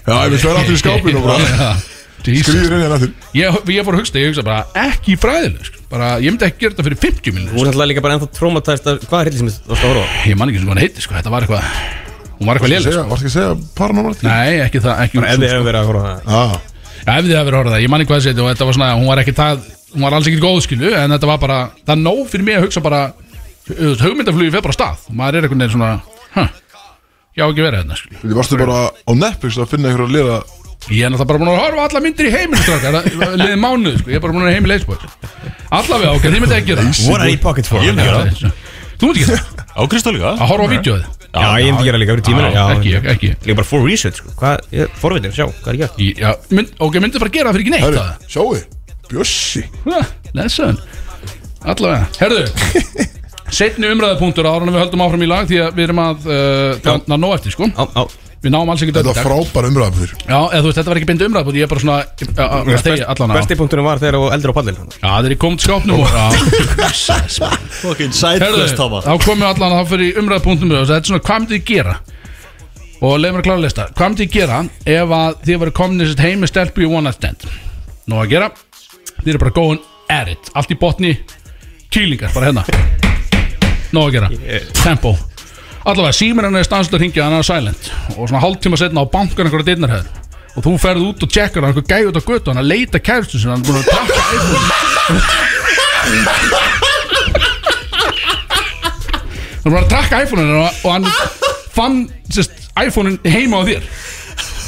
Já, ég myndi sverja aftur í skápinu og bara
Já, Jesus.
Skrýður inn hérna aftur
ég, ég fór að hugsa, ég hugsa bara ekki fræðileg sko. bara, ég myndi ekki gera þetta fyrir 50
Hún
minnir
er alltaf líka bara ennþá traumatæst af hvað er hildi sem þú varst að horfa á?
ég man ekki sem hann heiti, sko. þetta var eitthvað hún var
Varstu
eitthvað léleg
ekki
sko.
að segja paranormalt?
nei, ekki það ekki um
Ef
úr-
þið hefur verið að horfa á það
Ah,
Já, ef þið hafa verið að horfa á það, ég man ekki hvað þessi og þetta var svona, hún var ekki það, hún var alls ekki góð skilu, en þetta var bara, það er nóg fyrir mig að hugsa bara, hugmyndaflugi fer bara af stað, og maður er einhvern veginn svona huh, já ekki hérna, verið þetta skilu,
Þú varstu bara á Netflix að finna einhverja að lera
ég er náttúrulega bara búin að horfa á alla myndir í heimilistrákar, liðið mánuð sko, ég er bara búin að heimil leysbóð, allavega ok, þið myndi ekki gera það,
What are you pocket for?
Ég myndi gera það
þú myndi ekki það,
Á Kristó líka
að horfa á vídeoið
Já, ég myndi gera líka fyrir tíminu
Já, ekki, ekki, ekki.
Líka bara for research, sko Hvað, ég, forvitin, sjá, hvað er ég að gera?
Í- Já, mynd, ok, myndi bara gera það fyrir ekki neitt
Herri,
það
sjáu, Bjössi
Ha, Lesson Allavega, herðu Setni umræðapunktur ára en við höldum áfram í lag Því að við erum að uh, þarna nóg eftir sko
Á, á
Við náum alls ekki
Þetta er
dag
frábær umræðum fyrir
Já, eða þú veist, þetta var ekki beint umræðapunkt Ég er bara svona uh, uh, að þegja allan á Já,
Besti punkturinn var þegar þú eldur á pallin
þeir eru komið til skápnum og Já,
Fucking sidequest
herðu,
Thomas
þá komum við allan að fyrir umræðapunktum og Þetta er svona, hvað myndið þið gera? Og leiðum við að klára að lista Hvað myndið þið gera ef að þið varu komin heim með stelpu í one night stand? Nó að gera Þið eru bara going at it Allt í botni Kýlingar bara hérna Nó að gera Tempo Allavega símir hann er stanslut að ringja hann er á silent Og svona hálftíma setna á bankan einhverja dyrnarhæður Og þú ferð út og tjekkar hann einhver gæði út á götu Hann að leita kæristu sinna Hann er búin að taka iPhone Hann er búin að taka iPhone-in og, og hann fann sérst, iPhone-in heima á þér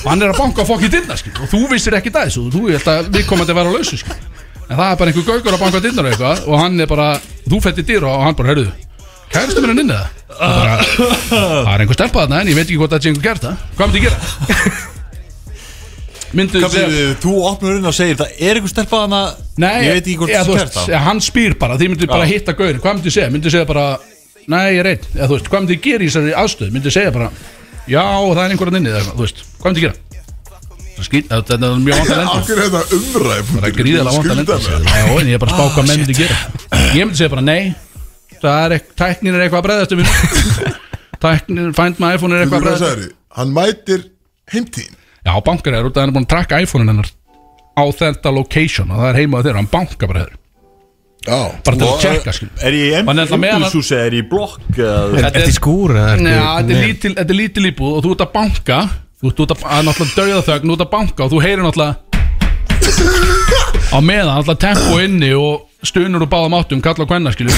og hann er að banka fokk í dyrnar skil, og þú vissir ekki það þessu og þú held að við komandi að vera á lausu skil. en það er bara einhver gaugur að banka á dyrnar og eitthvað og hann er bara, þú fætti dyr og hann bara, heyrðu, kæristu mér hann inni það Og bara, það er einhver stelpa þarna en ég veit ekki hvort það sé einhver gert það hvað myndi ég gera? myndu
Hvað fyrir þið, þú opnar inn og segir Það er einhver stelpa hana
Nei,
Ég veit ekki hvort
eða,
þú
þú
kert
veist,
það
eða, Hann spýr bara, þið myndir bara hitta gaurin Hvað myndir segja? Myndir segja bara Nei, ég er einn, eða þú veist, hvað myndir gera í þessari aðstöð Myndir segja bara, já, það er einhverjan inni eða, eitthvað, Þú veist, hvað myndir gera? Það skýr, eða, þetta er mjög vant að lenda
Akkur er þetta umræðum
Það er gríðilega vant að lenda þessu. Já, en ég er bara að spá hvað menn myndi gera Ég myndi segja bara, nei Það er, ekk- tæknin er eitthvað að breyðast um minn Tæknin, find my iPhone er eitthvað að breyðast
Hann mætir heimtíðin
Já, bankar er út að hann er búin að trakka iPhone-in hennar á þetta location og það er heima á þér, hann bankar bara þér
Já,
bara til að
Og, uh,
tjekka, skil
Er ég
Hann er alltaf með hana-
embúsús eða er ég í blokk eða-
Þetta
Ertu
er-
í skúr? eða ertu-
Nei, þetta er lítil- þetta er lítil íbúð og þú ert að banka Þú ert út að, að náttúrulega dögða þögn, þú ert að banka og þú heyrir náttúrulega Á meðan, náttúrulega tempo inni og stunur og báðum áttum, kalla og kvenna, skilju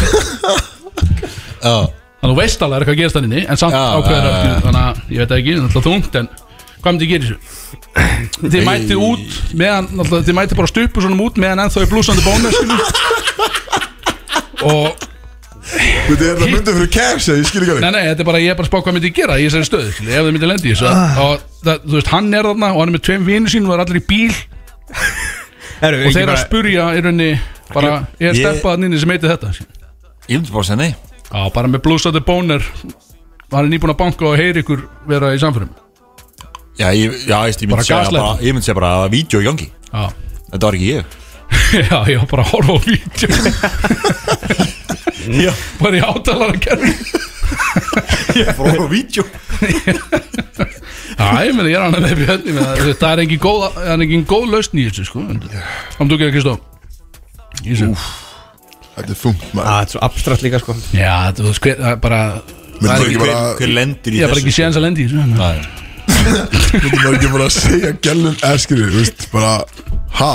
Þannig að þú veist alveg er eitthvað að gerast hann inni En samt
Já,
ákveður
já,
að, skilju, þannig að ég veit það ekki, náttúrulega þungt En hvað myndi ég gera í þessu? Þið mætið út meðan, náttúrulega þið mætið bara stupu svona út meðan ennþá er blúsandi bónus, skilju Og
Þetta er það myndið fyrir kærs Ég skil ekki að
Nei, nei, þetta er bara, ég er bara að spá hvað myndi ég gera í þessari stöðu, skilur, ef það myndi lendi í þessu
Ah.
og það, þú veist, hann er þarna og hann er með tveim vinnu sínum og er allir í bíl
Herru,
og
ekki
þeir að
bara-
spurja í rauninni bara, er
Ég-
steppaðan inni sem heiti þetta skilur.
Ég myndi bara að segja nei
Já, bara með blúsandi bónir hann er nýbúin að banka og heyri ykkur vera í samförum
Já, ég, já, ég, ég
Bara
myndi segja
gaslight.
bara, ég myndi segja bara að það var vídeo í gangi
Já,
Þetta var ekki ég
já, ég var bara að horfa á vídeo
Já,
bara í átalara kerfi
ég fór á vídeo
Já, ég meina, ég er annað með björni með það það er engin góð, það er engin góð lausn í þessu, sko Kom þú gerir Kristó Í þessu
Þetta er þungt
Á,
Ah,
maður
Ah, Þetta er svo abstrakt líka, sko
Já, þú veist, hver, það er bara
Myndi maður ekki
hver,
bara
hver lendir í
Ég er bara
þessu
ekki séðans að lendi í þessu
Nei.
Myndi maður ekki bara að segja gælun Eskri, þú veist, bara Ha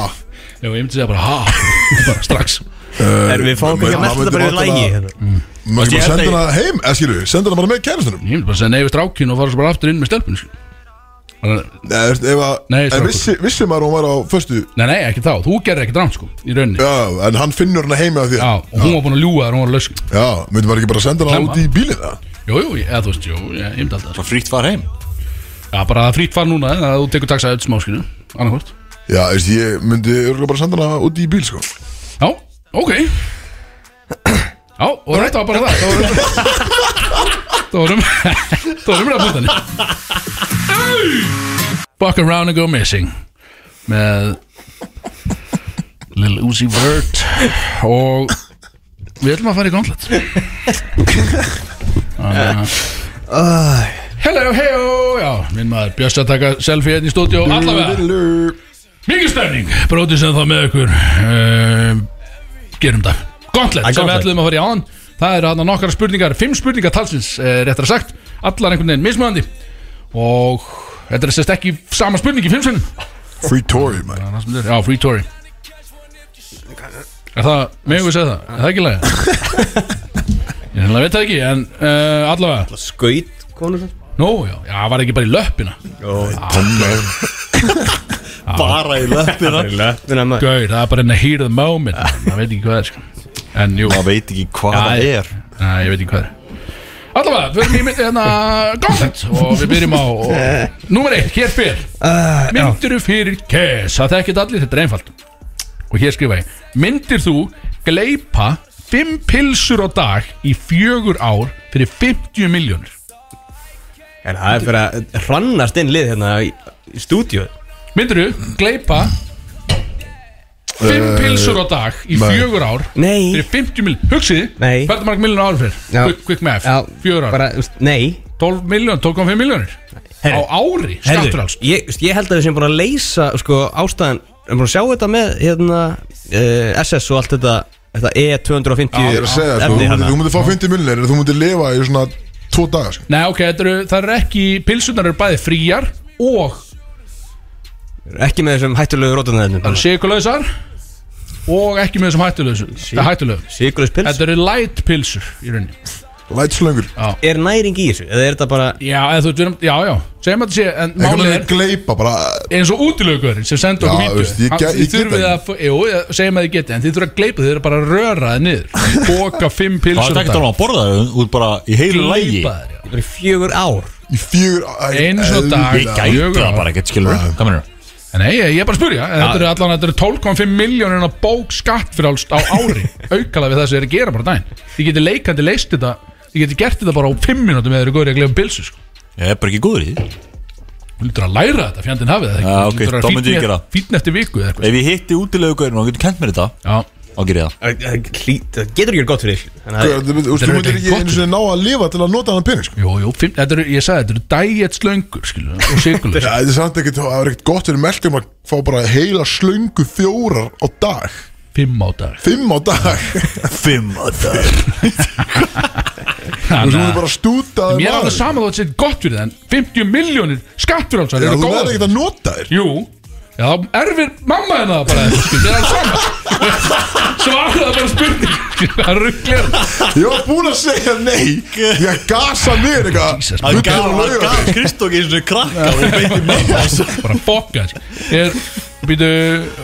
Jú, ég myndi segja bara ha bara strax
Herru, við fáum
maður-
ekki að melda
maður
þetta bara í
myndi
lægi
væntanlega-
hérna.
Maður
Ég
ekki bara
held að
senda
ég-
hana heim Eskri, senda hana bara með kærastunum
Ég myndi bara segja nei við strákinu og fara svo bara aftur inn með sko. stelpun Nei,
Nei, þú veist, ef að
Nei,
En
strákur.
vissi, vissi maður að hún var á föstu
nei, ekki þá, þú gerir ekki drámt sko Í rauninni
Já, en hann finnur hana heima af því
Já, og hún var búin að ljúga þar, hún var að lausk
Já, myndi maður ekki bara senda hana
Klemma.
út í bílina
Jú, jú, ég, eða þú veist, jú, ég, ég myndi alltaf sko.
Svo fríkt fara heim
Já, bara það frýtt var núna Það þú tekur taxa öll smáskinu Annarkvort
Já, þú veist, ég myndi örgulega bara senda hana út í bíl, sko
Já, ok Já, og þetta var bara það Það vorum Það vorum Það vorum að búta henni Buck around and go missing Með Lil Uzi Vert Og Við ætlum að fara í gauntlet Þannig að- Hello, heyo Já, minn maður Björst að taka selfie hérna í stúdíu Allavega Mikið stemning, brótið sem það með ykkur uh, Gerum það Gauntlet, sem við
gauntlet.
ætlum að fara í áðan Það eru hann nokkara spurningar, fimm spurningar talsins uh, Réttar að sagt, allar einhvern veginn mismunandi Og þetta er sérst ekki sama spurningi fimm sinnum
Free Tory, man
Það er það sem þetta er, Já, free Tory Er það, megum við segja það? Er það ekki lægja? Ég hefði að veit það ekki, en uh, allavega
Skaut konur
Nú, já, já, var ekki bara í löppina
Bara í löppina
Þannig að maður
Gauð, það er bara enn að hear the moment Það veit ekki hvað það er, sko En jú,
Það veit ekki hvað
Já,
það
ég-
er
Nei, ég veit ekki hvað er Allavega, við erum í mynd- hérna Gauntlet og við byrjum á og, Númer eitt, hér fyrr Myndir þú fyrir kes, það þekkið allir, þetta er einfalt Og hér skrifa ég Myndir þú gleipa Fimm pilsur á dag í fjögur ár Fyrir 50 miljónir
En það er fyrir að hrannast inn lið hérna í, í stúdíu
Myndir þú gleipa Fimm
Eh,
pilsur á dag í
nei.
fjögur ár
Nei
Fyrir 50 miljónir, hugsið
Nei.
Hvernig marg miljónir ári fyrir,
Já.
quick, quick math Fjögur ár,
Bara, þú veist, nei
12 miljón, 12,5 miljónir Á
Herri.
ári,
Herðu,
skattur alls
ég, þú veist, ég held að við sem búin að leysa sko, ástæðan, við erum búin að sjá þetta með hérna, uh, SS og allt þetta þetta E
Ég er
E250
að segja, sko, þú
efni
myndi,
hérna.
þú myndi fá 50 millir Þú myndi lifa í svona tvo daga, sko
Nei, ok, þetta eru, það eru ekki Pilsunar eru bæði fríjar og
ekki með þessum hættulegu
Það
rótunæðinu
eru sigurlausar Og ekki með þessum hættulausu Það er hættulegu
Sigurlaus pils
Þetta eru light pilsur í rauninni
Lætslöngur
er næring í þessu eða er þetta bara
Já, eða þú veist, já, já Segjum að þetta sé, en
Einhvern
málið
veginn
er
gleipa bara
eins og útilökuðurinn sem senda
Já,
okkur vídeo
veist, ég
Hann-
ge- ég
Þið
get
þurfið
það
að, f- jú, ég- segjum að þið getið En þið þurfið að gleypa, þið eru bara að röra þið niður Boka fimm
Það
pilsur á
er ekkert
dag.
alveg að borða það Þú er bara í heilu lægi
Gleypa þær, já.
bara í fjögur ár
í fjögur
Einu sinni á dag.
Ég gæti
Fjögur
það
ár.
bara ekkert skilur Hvað mennur það?
Nei, ég ég er bara að spyrja En Þetta eru allan, þetta eru 12,5 miljónir á bók skatt fyrir alls á ári Aukala við það sem þeir eru að gera bara á daginn Þið getur leikandi leist þetta Þið getur gert þetta bara á 5 minútum eða þeir eru góður í að glefa bilsu sko.
Ég er bara ekki góður í því
Þú lítur að læra þetta, fjandinn hafið það
Já, ok, þá myndi ég gera það.
Fítn eftir viku eða eitthvað sko.
Ef ég hitti útilegu gaurin og hann getur kent mér þetta
Já,
Þá ger ég það
það hlýt- það getur ekki verið gott fyrir þig. þannig að
Þú veist, þú
Þetta er
myndir ekki
gott.
einu sinni ná að lifa til að nota hann pening, sko
jú, jú, fimm, þetta eru, ég sagði, þetta eru dæjett slöngur skilu, og sigurlaus
Já, þetta er samt ekkert, það er ekkert gott fyrir melkum að fá bara heila slöngu fjórar á dag
Fimm á dag
Fimm á dag
Fimm að það
Þú
Þannig
myndir
að-
bara stúta
Mér er alveg saman þótt sér gott fyrir það en 50 miljónir skatt fyrir alls
Já,
eru
þú
góðar
verður ekkert að nota þér
Jú Já, þá erfir mamma henni það bara þetta, sko, Það er alveg saman Svaraði það bara spurning Hvað rugglir
Ég var búin að segja nei Ég gasa mér eitthvað
Jesus,
Fullur á laugardag.
Kristók eins og krakka og beinti með
Bara fokka sko. Er, býtu,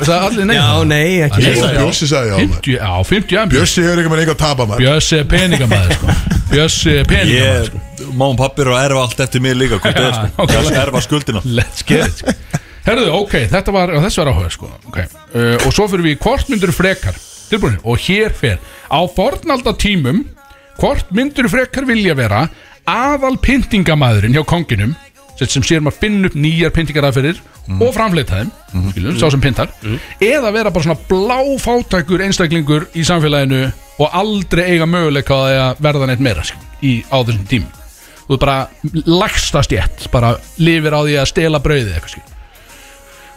það er allir nei
já nei ekki
Nei.
Og Bjössi sagði já maður.
50, já, 50 en Bjössi
Bjössi hefur eitthvað með eitthvað að tapa maður
Bjössi er peningamæður sko. Bjössi er peningamæður
Ég, má og pappi eru að erfa allt eftir mig líka Hvort það er sko
Já,
Það
ok.
er að erfa skuldina
Let's get it sko. Herðu, ok, þetta var, og þessi var áhuga sko. okay. uh, Og svo fyrir við í hvort myndur frekar Tilbúinir, og hér fer Á fornaldatímum Hvort myndur frekar vilja vera Aðal pyntingamæðurinn hjá konginum sem- sem séum að finna upp nýjar pyntingaraðferðir og framfleyta þeim skiljum, sá sem pyntar eða vera bara svona bláfátækur einstaklingur í samfélaginu og aldrei eiga möguleika á því að verða neitt meira skiljum, í, á þessum tímum þú er bara lagstast jætt bara lifir á því að stela brauði eitthvað skil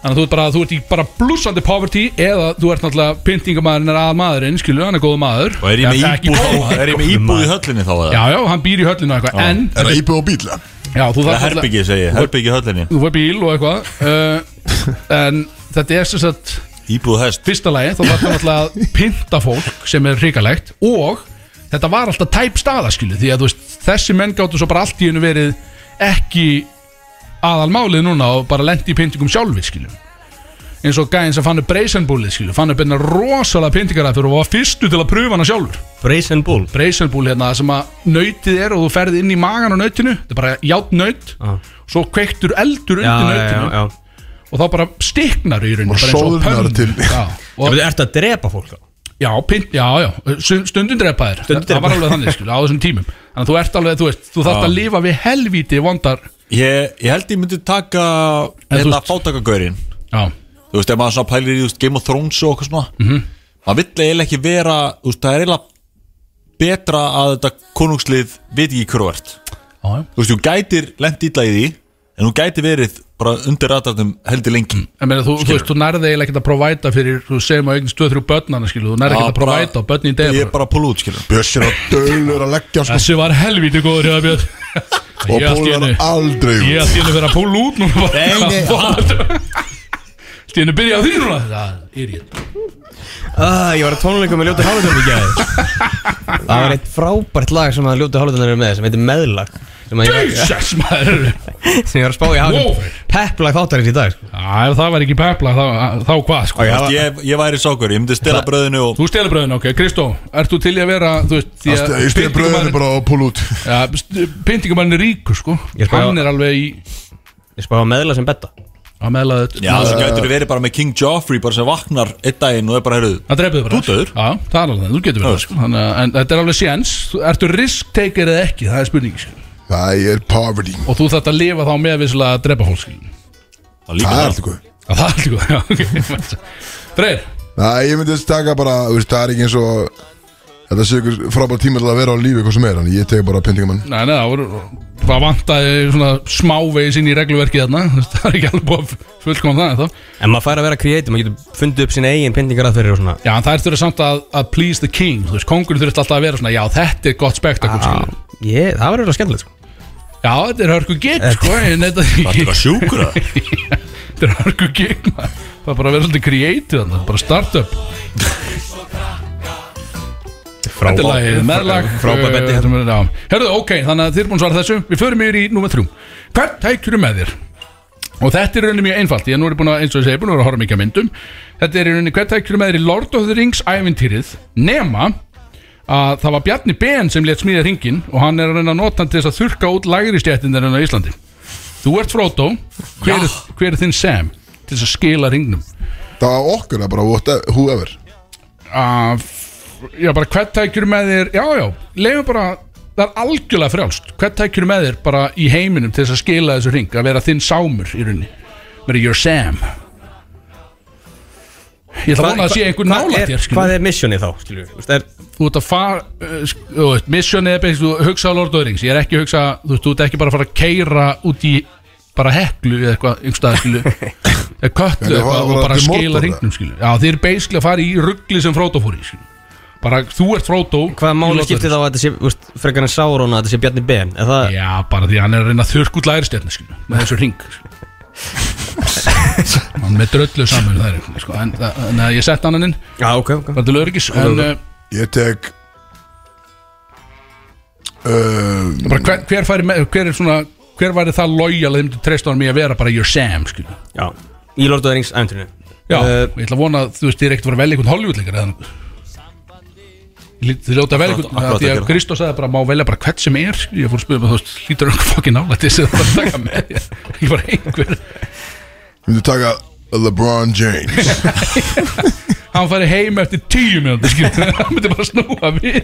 þannig að þú ert bara þú ert í bara blúsandi poverty eða þú ert náttúrulega pyntingamæðurinn er að maðurinn skilu, hann er góð maður
Og er ég með
Já, ekki
íbúð
góður maður.
Er ég með íbúð í höllinni þá eða?
já, já, hann býr í höllinu og eitthvað en,
Er það íbúð og bíla?
já, þú
Það er
þarf
herbyggi segi ég, Herbyggi í höllinni
þú fær bíl og eitthvað uh, en þetta er sem sagt
Íbúð hest
fyrsta lagi þá var það náttúrulega að pynta fólk sem er hrikalegt og þetta var alltaf tæp staða skilu því að þú veist, þessi menn gáttu svo bara allt í hennu verið ekki aðalmálið núna og bara lendi í pyntingum sjálfi skilu hérna eins og gæðin sem fann upp breysenbúlið skilu fann upp einna rosalega pyntingarað fyrir og var fyrstu til að pröfa hana sjálfur
Brazen Bull
breysunbúl hérna sem að nautið er og þú ferð inn í magan á nautinu þetta er bara játnaut
Já.
svo kveiktur eldur
Ah. Já,
undir
já, já,
nautinu
já
og þá bara stiknar í rauninu
Og sólnar til.
já,
Það
og,
ertu að drepa fólk þá
já, pint, já, já Stund- stundum drepa þér
Stundum
það
drepa.
var alveg þannig skil, á þessum tímum þannig að þú ert alveg, þú veist, þú þarft að lifa við helvíti vondar
Ég, ég held ég myndi taka
En þú
Þetta
veist-
fátakagaurinn
já,
Þú veist, ef maður svona pælir í þú veist, Game of Thrones og okkur svona
Mhm.
Maður vill eiginlega ekki vera Þú veist, það er eiginlega betra að þetta konungslið viti ekki hverju vart
já, já.
Þú veist, þú gætir lent illa í því En þú gæti verið bara undir ratarnum heldur lengi
En meina, þú, þú veist, þú nærði eiginlega ekkert að provæta fyrir, þú segir maður eignast 2-3 börnana, skilu, þú nærði
Já,
ekkert að
bara-
provæta og börnin í
Ég
degi
er bara að púla út, skilur
Bjössin á dölur að leggja sko,
Þessi var helvíti góður, hefða Björn
og
Ég allt í
púlar
einu-
aldrei
Ég ætti henni að vera að púla út núna bara
Nei, ah, nei,
Ætti henni að byrja á því núna Það er ég
ah, Ég var að tónleika með Ljóti Hálfdöndar í gæði Það var eitt frábært lag sem að Ljóti Hálfdöndar er með sem heitir Meðlag sem að ég,
Jesus maður
sem ég var að spá í að
Wow.
hafa pepplag þáttarins í dag sko.
Já, ef það væri ekki pepla þá, þá hvað sko
Já,
Þú veist, ég, ég væri sákur, ég myndi stela bröðinu og
Þú stelur bröðin, ok, Kristó, ert þú til í að vera Þú veist, því að
Ég stið bröðinu bara og púla út
ja, Pyntingumann er ríkur sko
Ég skal-
Hann er alveg í
Ég spá að meðlag sem betta
að meðla þetta
Já, þessu gætur verið bara með King Joffrey bara sem vaknar einn daginn og er bara, heyrðu
Það dreipið bara
Þú dauður.
Já, það er alveg það, þú getur verið
Já,
það, sko. Þannig að- En þetta er alveg séns, Þú- ertu risk taker eða ekki, það er spurning sko.
Það er poverty
Og þú þarft að lifa þá með vissulega að drepa fólk skil.
Það líka
Það er
það
alltaf góð
Já, það er allt í góð, já, ok Freyr,
Nei, ég myndi taka bara, þú veist, það er ekki eins og Þetta sé ykkur frábært tíma til að vera á lífi hvað sem er, þannig ég tek bara pyntingamann
Nei, nei, það voru Það vantaði svona smávegis inn í regluverkið þarna Það er ekki alveg búið að fullkoma það þá.
En maður fær að vera kreatív, maður getur fundið upp sína eigin pyntingar að fyrir og svona
Já, en það er þurfið samt að, að please the king Þú veist, kongurinn þurfti alltaf að vera svona Já, þetta er gott spektakum
Já,
ah.
ég, það var verið skemmtilegt sko.
Já, þetta er hörku gig, sko En þetta
Það er bara sjúkur að
þetta er hörku gig maður. Það er bara að vera svolítið creative þarna Bara startup Þetta er lagið meðlag
Frábær betti hérna
hérna Herðu, ok, þannig að þið er búin að svara þessu Við förum yfir í númer þrjú Hvern tækjur með þér? Og þetta er í rauninni mjög einfalt Ég er nú er búin að, eins og ég segi, búin að vera að horfa mikið að myndum Þetta er í rauninni hvern tækjur með þér í Lord of the Rings ævintýrið Nema að það var Bjarni Ben sem let smíða ringin Og hann er að reyna að nota hann til þess að þurka út lægri stjættin þeirra á Íslandi Þú ert Frodo, hver, er, hver er þinn Sam til þess að skila ringnum?
Það var okkur að bara, what- whoever
að já, bara hvert tækjur með þér já, já, leiðum bara það er algjörlega frjálst, hvert tækjur með þér bara í heiminum til þess að skila þessu ring að vera þinn sámur í rauninni vera your Sam ég ætla að vona að sé einhver nála
er,
þér skilur.
Hvað er missionið þá, skilju? Þú er,
þú ert að fara uh, sk- þú veist, mission eða beins, þú hugsa á Lord of the Rings ég er ekki að hugsa, þú veist, þú ert ekki bara að fara að keira út í bara heklu eða eitthvað, einhverstað, skilu eða
Nei,
kötlu
það var
eitthvað og
bara
bara
til
skila
Mordor,
ringnum, skilu já, þið er basically að fara í ruggli sem Frodo fór í, skilu bara, þú ert Frodo í
hvað
Lord
máli
of the
skiptir þá að þetta sé, úst, frekar en Sauron að þetta sé Bjarni Ben? Er það,
Rings. já, bara því að hann er að reyna að þurrk út læristjarni, skilu með þessu ring, skilu hann með dröllu saman það er, sko, en, en, en ég sett hann inn
Já, ok, ok
bara til öryggis, en uh,
Ég tek um,
bara hver, hver færi með, hver er svona hver væri það lojal að þið myndu treysta honum í að vera bara your Sam, skilju
Já, í Lord of the Rings æmtrinu
Já,
Eh,
ég ætla að vona að þú veist, þið er ekkert að vera vel einhvern Hollywood leikar eða nokkuð. Lít- Þið ljóta vel einhvern,
Akkurat- akkurat
af því
að
að
gera það.
Kristó sagði bara, má velja bara hvert sem er skilju. ég fór að spyrja mig, þú veist, hlýtur einhver fokkin nála til þess að það taka með þér. ekki bara einhver,
Myndi taka LeBron James
hann færi heim eftir tíu mjöndu, skilju, hann myndi bara snúa við,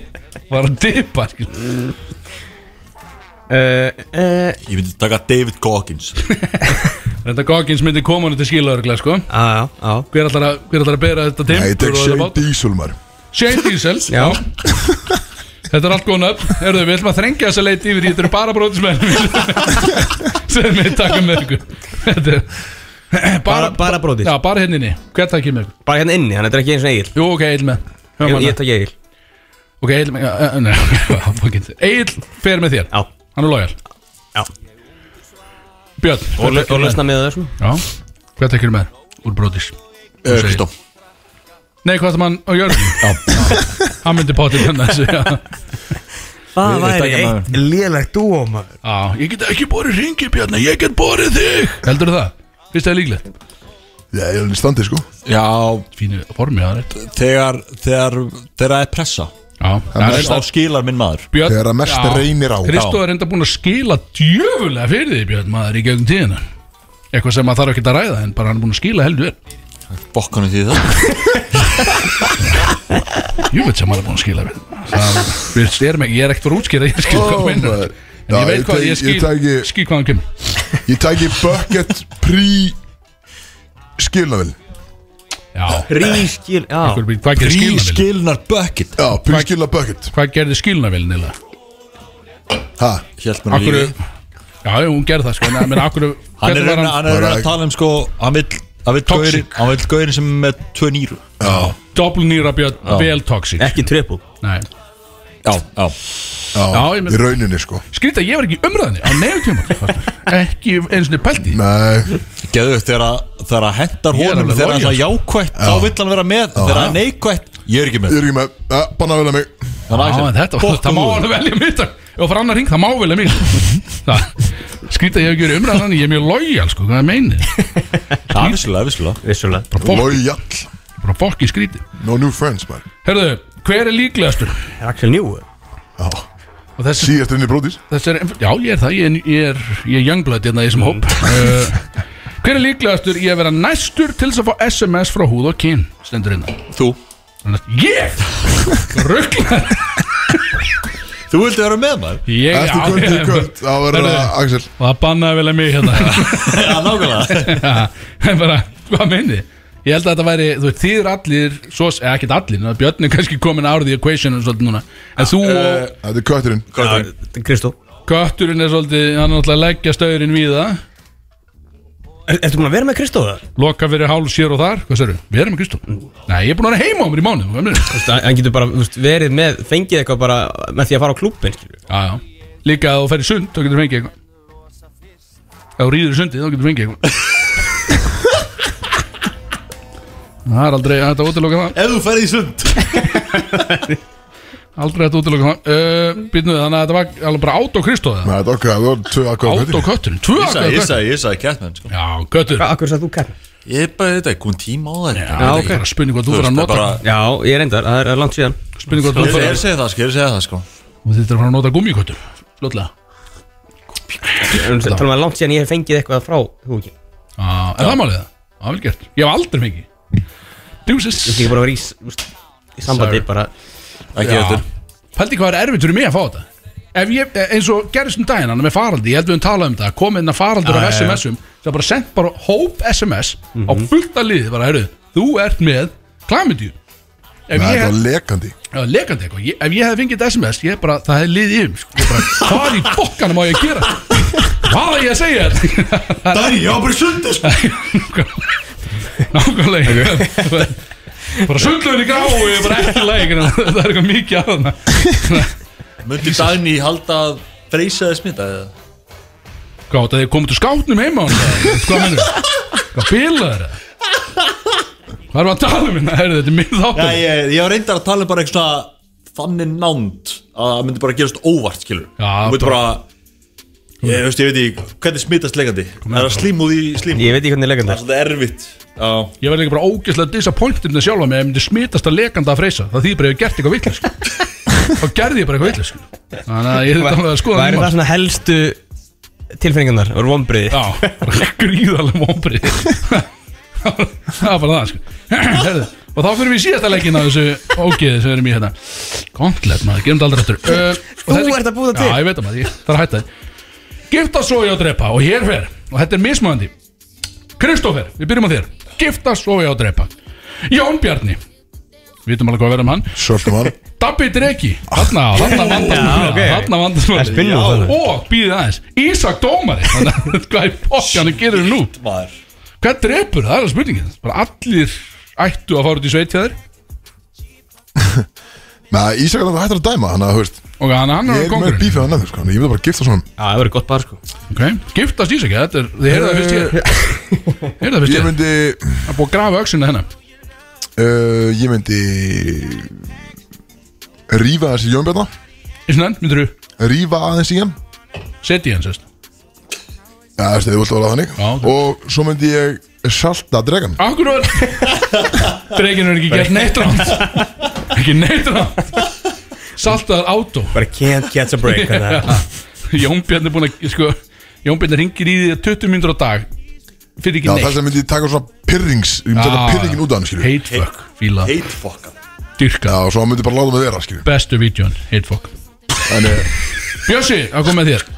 bara að dipa skilju,
uh, uh,
Ég myndi taka David Goggins
þetta Goggins myndi koma hann til skilaðurglega, sko
Já, já,
hver ætlar að, hver ætlar að bera þetta
Nei, ég tek
timpur og þetta
Shane
bát?
Diesel maður
Shane Diesel
Já.
Þetta er allt góðan upp Erðu, við ætlum að þrengja þessa leit yfir í Þetta eru bara brótismenn sem við taka með ykkur Þetta er
Bara- bara brotis.
Já, bara henninni Hver takk ég með? ykkur?
Bara hérna inni, þannig að þetta er ekki eins og Egil
Jú, ok, Egil með
Ég,
Höfum
ég
hana.
tek Egil
Ok, Egil með já, eh, nei, fucking- Egil fer með þér
Já,
Hann er lojal
já
Björn
Og,
hver
lau-
tekur
og
með?
lausna með þessum
Já, hver takk ég með? þér? Úr brótis
Eh, Kristó
Nei, hvað það mann á jörgum? Já Hann myndi pátið hennar þessu já.
Það
Við- við
væri
taka
eitt lélegt dúo, maður
já, ég get ekki borið ringi, Björn Ég get borið þig Heldurðu það? Fyrst það er líklegt
Já, ég er alveg í standi sko
Já,
fínu formi það er rétt.
þegar, þegar, þegar það er pressa
Já. Já, það er
Mest á
enda
skilar minn maður
Björn
Þegar að mest
já,
reynir á.
Kristó er enda búin að skila djöfulega fyrir því Björn maður í gegnum tíðina Eitthvað sem maður þarf ekki að ræða En bara hann er búin að skila heldur vel
Bokkanum því það
Jú veit sem maður er búin að skila vel það, við erum ekki, Ég er ekkert fyrir útskýra Ég skil hvað
Ó,
hann meinar
maður. Já,
En ég veit hvað,
tæki-
ég skil,
Ég tæki-
skil hvað hann kemur
Ég tæki bucket pre skilnavel
Já,
Rískil, já
hvað gerði skilnavel?
Prískilnar bucket
Já, pre skilna bucket
Hvað gerði skilnavel nýla?
Ha,
Hjælt mér
Akkur,
lífi
já, jú, hún gerði það sko En menn, akkur,
Hann er reyna, hann er reyna að
Bara-
tala um sko Hann vill Hann vill
Toxic.
gaurin Hann vill gaurin sem er með tvö nýru
Doppelnýra björn,
Já.
vel toxic
Ekki triple
Nei.
Já, já
já,
Já, ég meina-
í rauninni sko
Skrýta, ég var ekki í umræðinni á nefntjóma Ekki eins og pælti
Nei,
Geðvögt þegar að Þegar að hendar
Ég er
honum
alveg
Þegar hann
loyal.
er jákvætt Þá vill hann vera með Þegar hann er neykvætt Ég er ekki
ég
með
er ekki með ja, Banna vel að mig
Þannig
Já, en þetta var, það má alveg velja mig þetta Ef það fara annar ring, það má velja mig Skrýta, ég hef ekki verið umræðinni Ég er mjög lojal, sko, hvað það meinir
Það er vissulega, vissulega
Vissulega
Fólk,
Loyal
bara fólk í skrýti
No new friends, maður
Herðu, hver er líklegastur?
Er Axel New
Já,
Og þessi,
síðast inn í brótis
þessi er, já, ég er það Ég er, ég er, ég er youngblood hérna í þessum hóp uh, Hver er líklegastur í að vera næstur til þess að fá SMS frá húð og kyn Stendur innan
Þú
Ég? Rugglar
Þú vildi vera með maður
Ég
Eftir
á-
kvöld til
ég-
kvöld, þá verður
Herðu,
það Axel
Og það bannaði vel að mig hérna
Já, nákvæmlega
Já, En bara, hvað meinið? Ég held að þetta væri, þú veit, þið er allir Svo, eða ekkert allir, ná, Björn er kannski komin out of the equation og svolítið núna En þú og
Þetta er kötturinn
Kristó
kötturinn er svolítið Hann er náttúrulega að leggja staurinn við það
Er- Ertu búin að vera með Kristó það?
Loka fyrir háls hér og þar, hvað sérðu? Við erum með Kristó Nei, ég er búin að vera heima á mér í mánu
Hann getur bara þú veist, verið með, fengið eitthvað bara með því að fara á klúbbin
Já, já Líka að þú fer í sund, þá getur fengið eitthvað Ef þú rýður í sundi, þá getur fengið eitthvað Það er aldrei, þetta útiloka það
Ef þú ferði í sund
Aldrei þetta útiloka það uh, Býtnuð, þannig að þetta var alveg bara át og kristóða
Nei, þetta er okkar, það var tvö um akkvæða
Át og kötturinn, tvö
Ég sagði, ég
kötturinn
sagði, ég sagði Catman sko
Já, köttur
Akkur sagði þú Kevin?
Ég er bara, þetta er komin tíma á það
Já, ok
ok.
Bara Spurning hvað þú fyrir að nota
Já, ég reyndar, það er- er langt síðan
Spurning hvað þú
Ég
fyrir að
er segið það sko, ég er segið það sko
Þú þurftir að fara að nota gummiköttur Fljótlega
Þannig að langt síðan ég hef fengið eitthvað frá þú ekki
Já, Er það málið það? Já, vel gert Ég hef aldrei fengið Djúsis
Ég er bara að vera í, s- þú veist, í sambandi
Sorry.
bara
Ekki
Já.
eftir
Pældi hvað er erfitt fyrir mig að fá þetta Ef ég, eins og gerðist um daginn hann með faraldi, ég held við um talað um það komið inn að faraldur af SMS-um sem bara sendt bara hóp SMS á fullt að liði, bara, heyrðu, þú ert með klamidjú Ef
Nei,
ég
þetta var
hef,
lekandi
ja, lekandi eitthvað, ég, ef ég hef fengið þetta SMS, ég hef bara, það hef liðið yfir, mig, sko, ég bara, hvað í bokkanum á ég að gera? Hvað er ég að segja þetta?
Dæri, ég á bara í sundi sko
Nákvæmlega Bara sundlöfin í gráu, ég er bara ekki læg Það er eitthvað mikið að þarna
Möndi Dæni halda að freysa þið smita eða?
Hvað, það er komið til skátnum heima á hann Hvað mennur? Hvað bila er það? Hvað erum við að tala um hérna? Herðu, þetta er minn þáttur
Nei, ég, ég var reyndar að tala um bara eitthvað svona þannig nánd að það myndi bara gerast óvart, skilur
Já,
Þú myndi bara Ég, veist, ég veit ekki, hvernig smitast leikandi Það er að slímúð í slím
Ég veit ekki hvernig leikandar
Það er svolítið erfitt Já,
Ég verði líka bara ógeðslega disappointed með sjálfa mig ef ég myndi smitast að lekanda að freysa Það þýðir bara að ég hef gert eitthvað vitlega Þá gerði ég bara eitthvað vitlega Þannig að ég þurfti alveg að skoða
Væri
núna.
það svona helstu tilfinningarnar og vombriði
Já, bara gríðarlega vombrið Það var bara það sko. Herðu, Og þá fyrir við í síðasta leikin af þessu ógeði sem við erum í hérna Gauntlet maður, gerum þetta aldrei aftur uh, og
Þú
þessi-
ert að búa það til.
Já, ég veit það maður, ég þarf að hætta þið Gifta svo ég á drepa og hér fer Og þetta er mismöðandi Kristófer, við byrjum á þér Gifta svo ég á drepa Jón Bjarni Vitum alveg hvað verðum hann
Svolítið mann
Dabbi Dreki Þarna, þarna
Já, ok.
vandasmáli Þarna
Það er spinnur
vandasmáli
þarna.
Og býðið aðeins Ísak Dómari Þannig að Hvað er pokkanu gerir nú?
maður
Hvað drepur? Það er alveg spurningin Bara allir ættu að fara út í sveit hjá þér
Nei, Ísak er alltaf hættur að dæma Þannig að, þú veist
Og hann
Ég
hann er
er ekki með
kongurinn
bífið hann nefnir, sko Ég vil bara gifta svona
Já, það verður gott bara sko
okay. Giftast Ísaki, þetta er Þið heyrðu það fyrst hér Heyrðu það fyrst
Eh, Ég myndi
hér Það er búið að grafa öxina hérna. hennar
uh, Ég myndi Rífa aðeins í Jónbjörna
Ísnan, myndir þú
Rífa aðeins í hann
Seti hann sérst
Já, þessi, þið viltu að vera þannig
Já, ok.
Og svo myndi ég salta dregan
Akkur var Drekinu er ekki gert neitt ránt Ekki neitt ránt Saltaður átó
Bara can't catch a break hérna.
Jónbjörn er búin að sko, Jónbjörn ringir í því 20 minnur á dag Fyrir ekki
Já,
neitt
þess að myndi ég taka svona pyrrings Ég myndi taka
Já,
pyrringin út af hann, skilju
Hate fuck, fíla,
Heit fokkan
dyrka
Já, og svo hann myndi bara láta mig vera, skilju
Bestu vídjón, hate fuck
Þannig,
Bjössi, að koma með þér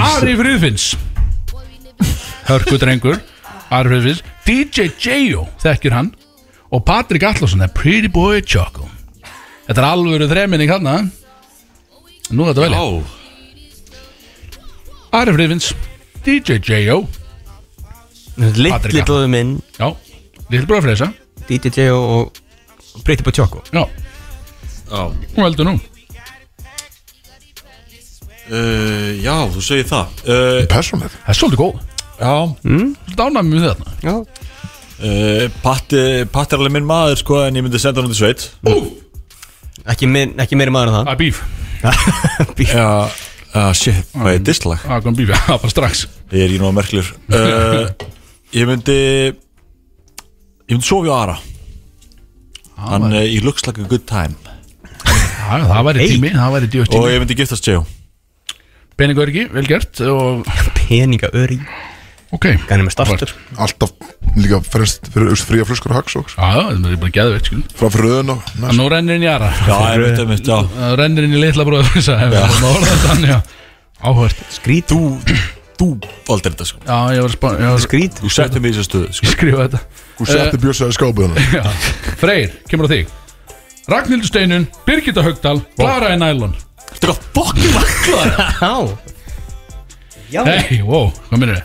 Ari Friðfinns Hörku drengur Ari Friðfinns DJ J.O. þekkir hann og Patrik Allarsson er Pretty Boy Choco Þetta er alvöru þreminning hann Nú er þetta velja
Ó,
Ari Friðfinns, DJ J.O. Patrik
Litli
Allan.
blóðu minn
Já, lill bróða freysa
DJ og og Pretty Boy Choco
Já,
já
hún veldur nú
uh, Já, þú segir það uh,
persónlega
Það er svolítið góð
Já
Svolítið ánæmi með þetta
Já
uh, Patt eh, Patt er alveg minn maður sko En ég myndi senda hann út í sveit
Ekki, minn, ekki meiri maður en
Það er bíf,
það Bí-
Já, uh, shit Hvað er dislag?
það er komið bíf, það er bara strax
Ég er í náða merklir uh, Ég myndi Ég myndi sofi á Ara Hann uh, í looks like a good time
Já, það væri
Hey.
tími, það væri djótt
Og
tími
ég myndi giftast J.O.
Peningur ekki, vel gert og,
Peninga öri
Ok,
Gæni með startur
Alltaf líka fremst fyrir aust fría flöskur og hagsóks
Já, já, það er bara geðveitt, skil
Frá fyrir röðun og
En
næst
nú rennir inn í aðra
Já, ég myndi, ég myndi, já
Það rennir inn í litla bróður þess að hefur Nú orða þetta hann, já Áhört
Skrít
Þú, þú valdir þetta sko
Já, ég var að spá Ég var að
Skrít
Þú settum í þessu stöðu sko
skrifa þetta
Þú setti bjössaði skápið hann
já. Freyr, kemur á þig Ragnhildur Steinun, Birgitta Haugdal Klara í nælon
Þetta er hvað fokkin laklaður
Já Já
Hei, wow, hvað minnir þið?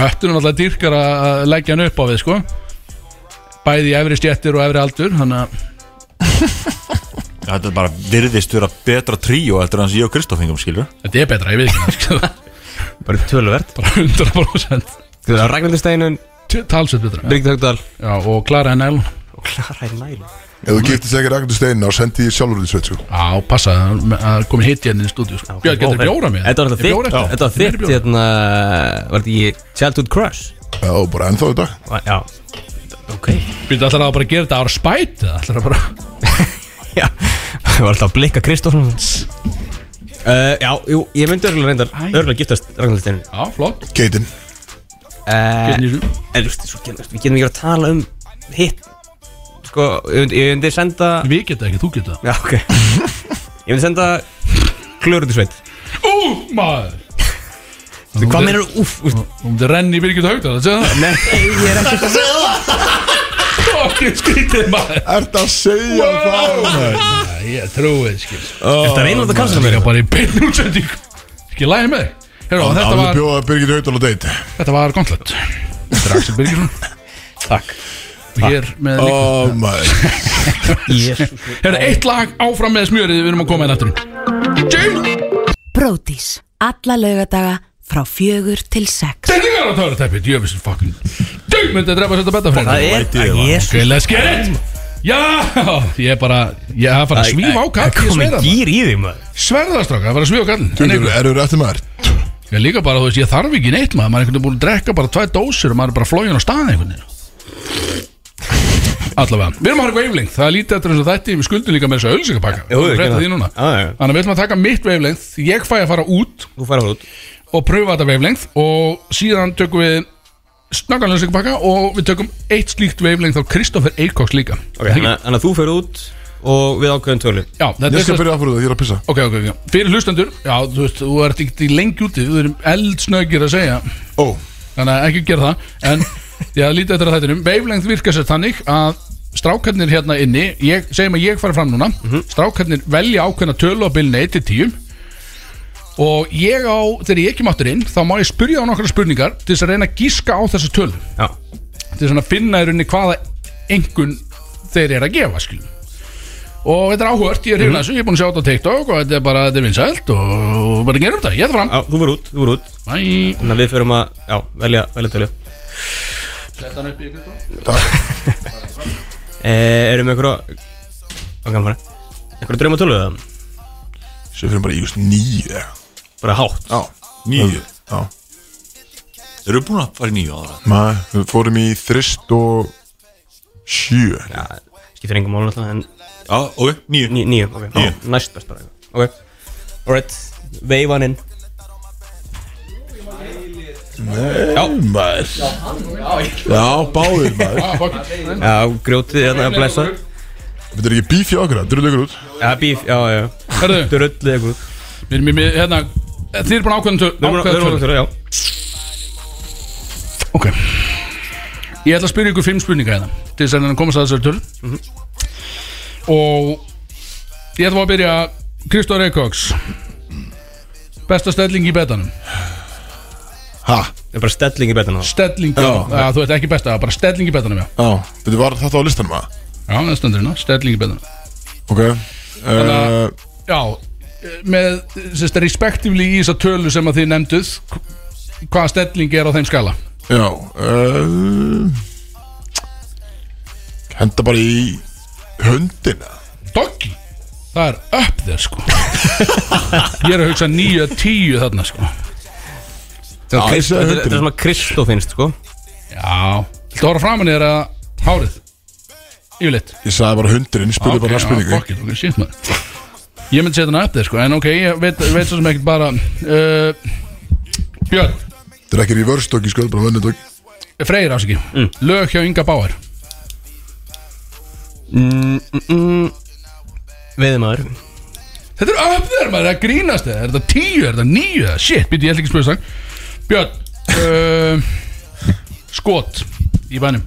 Köttunum alltaf dýrkar að að leggja hann upp á við, sko Bæði í efri stjettir og efri aldur Þannig að
Þetta er bara virðist vera betra tríó Þetta er hans ég og Kristoff hengum skilur
þetta er betra, ég veit ekki sko.
Bara töluvert
Bara 100%
Þú veist að Ragnhildur Steinun
Talsett betra
Bryggd Haugdal
Já, og Klara í nælon
Og Klara í nælu
Ef þú giftist ekki Ragnhildur Steina og sendi ég sjálfur því sveit sko.
Já, passa, það er komin hitt hérna í stúdíu sko. Björn, getur bjóra með
Þetta var alltaf þitt Þetta var
Þetta
þitt Hérna Var þetta í Childhood Crush
Já, og bara ennþá í dag
Já Ok
Býttu alltaf að bara gera þetta ára spæt eða ætlarðu að bara
Já Það var alltaf að blikka Kristófn uh, Já, jú, ég myndi örgulega reyndar Örgulega giftast Ragnhildur Steinun
Já, flott
Keitin
uh,
Getur nýsum
En þú veist, svo getum- við getum ekki verið að tala um hitt Sko, ég myndi- ég myndi senda
Við geta ekki, þú geta
Já, ok Ég myndi senda Klöruði sveit
Ú, maður
Hvað meinar þú? Úf, úf
Þú myndi renni í Birgit Haugdal, það segja
Nei, ég er ekki að segja
það Fokkin skrítið maður
Ert að segja um það maður?
Nei, Ég trúið, skil
Þetta reynir þetta kannski
Það
mér
er bara í beinni útsending Skil lægi með þig Herra,
Hann
þetta
alveg
var,
bjóða Birgit Haugdal á date
þetta var gauntlet Þetta er Axel Birgisson
Takk
Og hér með líka
Oh my
Jésús
Herra, eitt lag áfram með smjörið Við erum að koma inn aftur James
Bródís. Alla laugadaga frá fjögur til sex.
Denningar á törutæpi Djöfisir fucking James myndi að drepa sér þetta betta freynd
Það er
lætið var.
Jésús
Ok, let's get it Já, ég er bara Ég er að fara að svífa á kall Ég
komið
sverða það
gýr í þig maður
Sverðastráka, það er að fara að svífa á kall En einhver-
Erur eftir maður
Ég er líka bara, þú veist, ég þarf ekki neitt maður Maður er einhvern veginn búin að drekka bara tvær dósir Og maður er bara flóin á stað einhvern veginn Allavega, við erum að hafa veiflengt Það er lítið eftir þessu þætti Við skuldum líka með þessu ölsingapakka
Jú, ég gerði
Frétta því
það.
núna
Já, já, já.
Þannig að við ætlum að taka mitt veiflengt Ég fæ að fara út
Þú fær á út
og pröfa þetta veiflengt og síðan tökum við snakkan ölsingapakka og við tökum eitt slíkt veiflengt á Kristoffer Eikoks líka
Ok, þannig að- þannig að þú fer út Og við ákveðum tölu
Já, þetta
Ég
er
skal byrja að fyrir það, ég er að pissa
Ok, ok, ok. Fyrir hlustendur, já, þú veist, þú ert ekki lengi úti, þú erum eldsnöggir að segja,
Ó,
þannig að ekki gera það, en ég hafði lítið eftir að þættinum. Veiflengð virka sér þannig að strákarnir hérna inni, ég, segjum að ég fara fram núna, strákarnir velja ákveðna tölu á bylni 1 til 10 og ég á, þegar ég ekki máttur inn, þá má ég spyrja á nokkra spurningar til þess að reyna að gíska á þessa tölu
Já
til svona að finna í rauninni hvaða engun þeir eru að gefa skilum og þetta er áhört, ég er hrifin að þessu ég er búin að sjá þetta á TikTok og þetta er bara þetta er vinsælt og, og bara gerum þetta, ég er fram
Já, þú fer út Þú fer út
Æ,
Þannig að við förum að Já, velja, velja tölu Eh, Erum við einhverja Hvað kannan fara? Einhverja drauma tölu eða?
svo fyrir bara í just nýju
Bara hátt
Já
Níu
Já
Eru búin að fara í níu ára?
Maður, við fórum í þrist og sjö
skiptir engum mál náttúrulega en
Já, ok, nýju
Ní- Níu, ok,
Níu.
Ná, næst best bara Ok, alright, veifa hann inn
Já, maður Já, báðir maður
Ah,
Já, grjótið er þarna að blessa
Þetta er ekki bíf hjá okkur, drullu ykkur út
Já, bíf, já, já, já
Herðu,
Þetta er öll eitthvað
við erum í mið, hérna Þið erum búin að um ákveðin töl
Við erum- við erum að um
töl
fara, já
Ok Ég ætla að spyrja ykkur fimm spurninga hérna Til þess að hann komast að þessari töl
Mhm.
Og Ég ætla bara að byrja Kristóð Reykjóks Besta stelling í betanum
Ha,
Það er bara stelling í betan á það
Stelling í betanum Já, Þú veit ekki besta, bara stelling í betanum já
já, þetta var þetta á listanum Eh, að
Já, það stendur hérna, stelling í betanum
Ok
að-
uh,
Já, með sérst, respektífli í þessa tölu sem að þið nefnduð hvaða stelling er á þeim skala
Já uh, Henda bara í höndina
Doggy, það er upp þér sko Ég er að hugsa 9-10 þarna sko
Já, ég
Þetta
segi
er- þetta er
höndina
svona Kristó finnst, sko
Já, þú voru framan þér að hárið Yfirleitt
Ég sagði bara hundurinn, spurði
Ok,
bara
já,
spurningu
fuck it, ok, shit, maður. Ég myndi setja hana upp þér sko En ok, ég veit, veit svo sem ekkert bara uh, Björn,
Þetta er ekki reverse-doggi, sko, bara vönnudoggi
Freyr ásiki
Mm.
Lög hjá Inga Báar
Veiðmaður
Þetta er upp þér maður, það grínast þér Er þetta 10, er þetta 9, shit, býtti ég ætla ekki að spyrja það Björn uh, Skot í bænum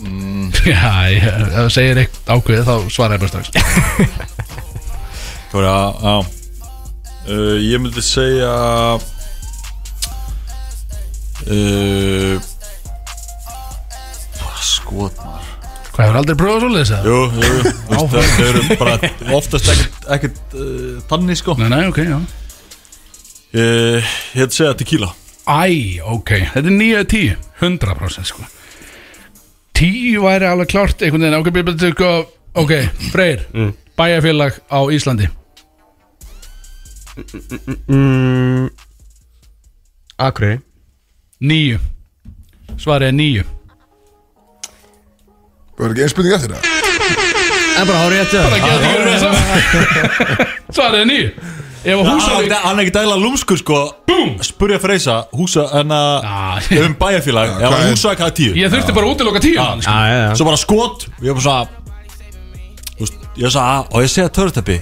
Mm. Já, ég, ef það segir eitt ákveðið þá svara ég bara strax
Það var að, já uh, Ég myndi segja uh, Skot maður
Hvað hefur aldrei prófað svo leiðis það?
Jú, jú, jú, þú veist, þau- þau eru bara oftast ekkert, ekkert uh, tanni sko
Nei, nei, ok, já
uh, Ég hefði segja tequila
Æ, ok, þetta er 9 af 10 100% sko 10 væri alveg klárt einhvern veginn, ok, byrja til sko Ok, Freyr, bæjarfélag á Íslandi
Akureyri
9 Svarið er 9
Var ekki einn spurning eftir það?
Það er bara hárið eftir það
Svarið er nýju Ef að Húsavík
Hann er ekki dæla lúmsku sko Búm Spurja Freysa Húsa
Ah.
Enna Um bæjarfélag Ef
hvað
hann
er-
húsavík hafði tíu
Ég þurfti bara að útiloka tíu hann, sko.
Já, já, já
Svo bara skot og Ég var bara svona Þú veist Ég sagði Og ég segja törutæpi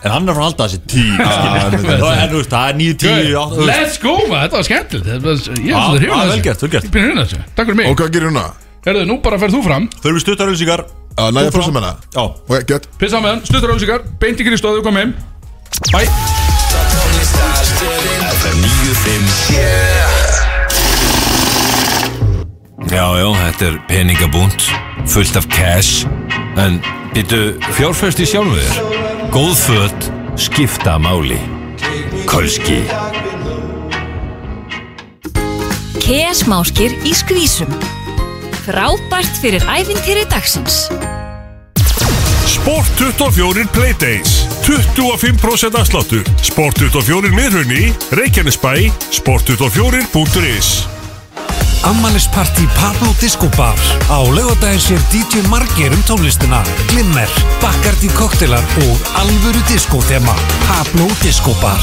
En hann er frá að halda þessi tíu
Ah,
skilur. Þá er- En þú veist Það er níu tíu átta, þú veist.
Let's go maður, þetta var skemmtilegt Þetta var- Ég er
Já,
svolítið
já,
hrifin
vel gert, vel
Ég
gert.
er hrifin þessu, takk fyrir mig
Og hvað gerir hún að?
Herðu, nú bara ferð þú fram
Þau eru stuttar auðlýsingar
Að næja fyrst með hana?
Já
Ok, gett
Pissa með hann, stuttur auðvísikar Beint í Kristóðu, kom heim Bæ
Já, já, þetta er peningabúnt, fullt af cash, en býtu fjárfæst í sjálfu þér. Góð föt, skipta máli. Kolski.
KEA smáskir í skvísum Frábært fyrir æfintýri dagsins
Sport 24 Playdays 25% afsláttur Sport 24 miðrunni Reykjanesbæ Sport24.is
Ammanisparti Pablo Disco Bar Á laugardaginn sér DJ Margir um tónlistina Glimmer, Bacardi Koktelar og alvöru diskóþema Pablo Disco Bar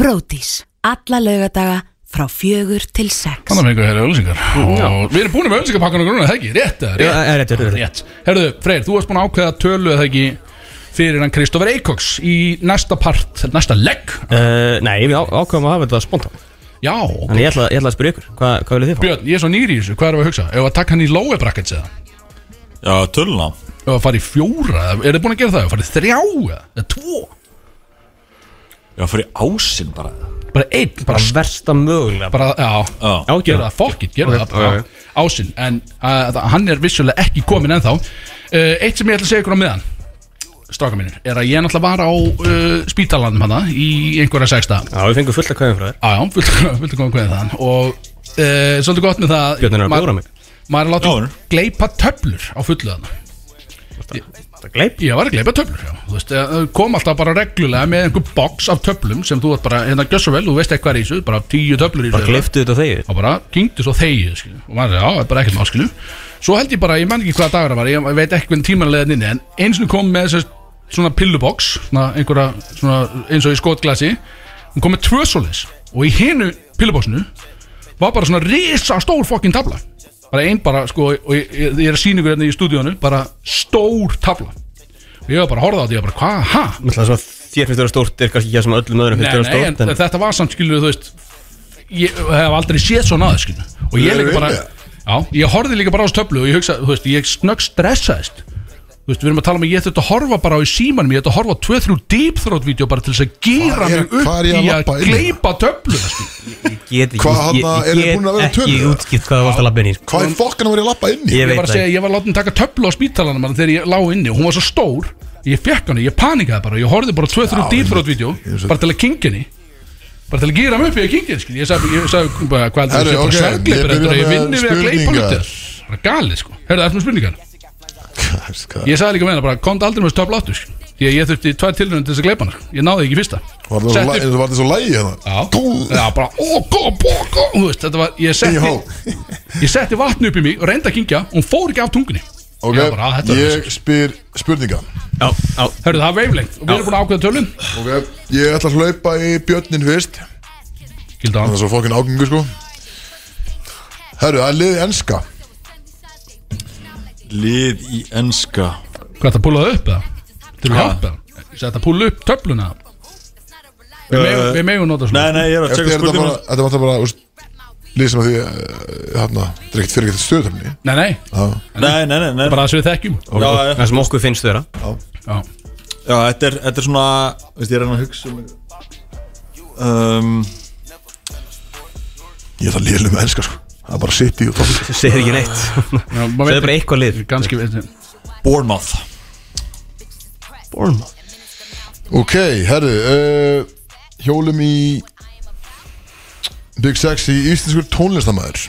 Bródís, alla laugadaga frá fjögur til sex
Þannig að fengu herra auðvísingar Og við erum búin með auðvísingarpakkan og grunna, það ekki? Rétt, eða?
Já, já, rétt, rétt, rétt.
rétt Herðu, Freyr, þú varst búin að ákveða tölu eða ekki Fyrir hann Kristófur Eikoks Í næsta part, næsta legg
Uh, Nei, við á- ákváðum að hafa þetta spontán
Já, ok
Þannig ég ætla, ég ætla að spyrja ykkur, hvað, hvað viljið þið fá?
Björn, ég er svo nýri í þessu, hvað erum við að hugsa? Ef að taka hann í lower brackets eða?
Já, töluna
Ef að fara í fjóra, eða- er þið búin að gera það? Ef að fara í þrjá eða eða tvo?
Já, fyrir ásinn bara
Bara einn, bara,
Bara versta mögulega
bara já,
Já.
gera það, fokkitt, gera
Ok,
það
ok.
Ásinn, en að, að- hann er vissulega ekki kominn ennþá uh, Eitt sem ég ætla að segja ykkur á meðan Stráka mínir, er að ég náttúrulega var á uh, spítalanum hana í einhverja sexta
Já, við fengum fullt að kvæðum frá þér
Já, já, fullt fullt að koma hvernig þaðan Og uh, svolítið gott með það
Björn er að
maður-
bjóra mig.
Maður er
Já, hann
látið
er.
gleipa töflur á fullu þarna
Þetta gleip
Ég var að gleypa töflur já. Þú veist, eh, þau kom alltaf bara reglulega með einhver box af töflum sem þú vart bara, hérna, gjör svo vel, þú veist eitthvað er í þessu bara tíu töflur í
Bara
þessu
gleiftu þetta þegið
og bara kynntu svo þegið skilju. og maður sagði, já, það er bara ekkert mál skilju svo held ég bara, ég man ekki hvaða dagar það var ég veit ekki hvernig tíman leðin inni en eins og kom með þess, svona pillubox svona einhverja, svona, eins og í skotglasi hún kom með tvö svoleiðis og í hinu pilluboxinu var bara svona risa stór fokkin tabla bara ein bara, sko, og ég, ég, ég er að sína ykkur hérna í stúdíónu bara stór tabla og ég var bara að horfa á því, ég var bara, hvað, hæ?
Mér ætla að þér finnst vera stórt er kannski ekki það sem öllum öðrum finnst
Nei,
vera
nei, en
stórt en
þetta var samt skilur þú veist Ég hef aldrei séð svona aðeins skilur Og ég
Þú
líka bara
vinnur.
Já, ég horfði líka bara á þessu töflu og ég hugsa, þú veist, ég snögg stressaðist Þú veist, við erum að tala um að ég þurfti að horfa bara á í símanum Ég þurfti að horfa á 2-3 deep throat vídeo bara til þess að gera
Hvar er-
mig upp
hvar er ég að
í að
labba inn í
gleypa töflu skilur.
ég get ekki
Hvað þarna,
ég-
eru
ég
búin að vera
get
tölur,
ekki
eða?
útskipt hvað það varst að labba inn í sko.
Hvað er fokkan að vera að lappa inn í?
Ég
Ég
veit
var að
það
segja, ég var látin taka töflu á spítalanum bara þegar ég lá inni og hún var svo stór Ég fekk hana, ég panikaði bara, ég horfði bara á 2-3 deep throat vídeo
Ég-
bara til að kingja henni bara til að gera mig upp í að kingja henni skilur. Ég sagði, ég sagði bara, hvað heldur
Herru,
þú sé
ok,
bara
ég
sörgleipur
byrja
eftir að ég
með
vinni við að gleypa
spurningar.
hlutir bara galið sko, herðu, ertu með spurningar?
Hvað-
Ég sagði líka með hana bara, komdu aldrei með töflu áttu sko. Því að ég þurfti tvær tilrönd til þess að gleypa hana sko. Ég náði ekki í fyrsta
Var það svo
Setti-
lægi- var það svo lægi hérna?
Já,
Gú-
já bara, ó, gó, bó, gó Þú veist, þetta var, ég
Í hól.
setti Ég setti vatn upp í mig og reyndi að kingja og hún fór ekki af tungunni
Ok,
Ég var bara, þetta var
ég spyr spurninga
Já, já,
Hörru, það er veiflengt og við erum búin að ákveða tölun
Ok, ég ætla að hlaupa í björnin fyrst
Gildan
Það er svo fokkin ágengu sko Herru, það er liðið enska
Lið í enska
Hvað er það að púla það upp eða? Til að hjálpa það? Þetta að púla upp töfluna Við megum- Við megum nota svona
Nei, nei, ég er að
Eftir
tjekka
er þetta
spurninguna
bara, þetta vantar bara úst, Lið sem að því, eh, hérna Þetta er ekkert fyrir ekkert stöðtöfni
Nei, nei,
Nei, nei, nei, nei.
bara þess að við þekkjum
Já, já,
það sem okkur finnst vera
Já,
já, þetta er, þetta er svona veist, Ég er að reyna að hugsa um- um,
Ég ætla að liðið með enska sko Það er bara sitt í og tók
segir ekki neitt segir
Já, maður veit
bara eitthvað lið
Ganski veit
Bournemouth
Bournemouth
Ok, herru uh, Hjólum í Big Sex í íslenskur tónlistamæður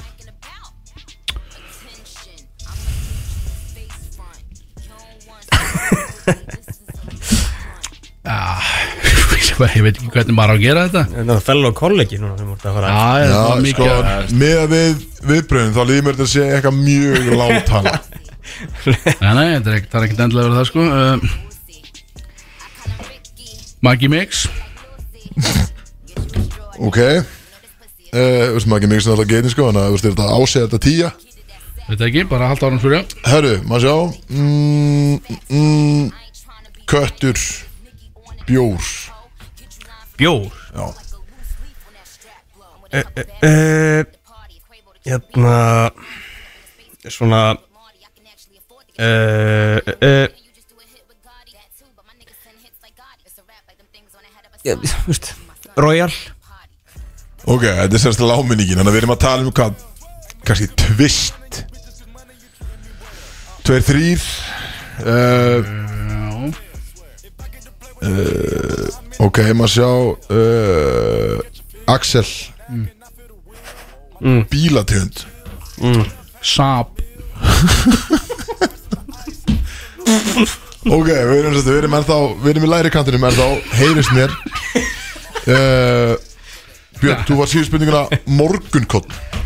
Ég veit ekki hvernig maður á að gera þetta
En það er fellow college núna sem voru að fara
Já,
Já,
þetta Eh, var
sko,
mikið að-
með að við viðbröðum þá líður mér þetta að segja eitthvað mjög láttala
Nei, nei, þetta er ekkert- það er ekkert endilega verið það sko uh, Maggi Mix
Ok Eh, Þú veist maður ekki mikið sem alltaf getin sko Þannig að þú veist er þetta ásegja þetta tíja
Veit ekki, bara halda árum fyrir
Herru, maður sjá mm, mm, Köttur Bjór
Bjór
Já,
Eh, Hérna Svona uh, uh, Já, þú veist Royal
ok, þetta er semst láminningin Þannig að við erum að tala um hvað kannski tvist Tveir þrýr uh, uh, Ok, maður sjá uh, Axel Bílategund
Saab
Ok, við erum, við erum ennþá Við erum í læri kantinum ennþá Heyrist mér uh, Björn, þú var síður spurninguna Morgunkotn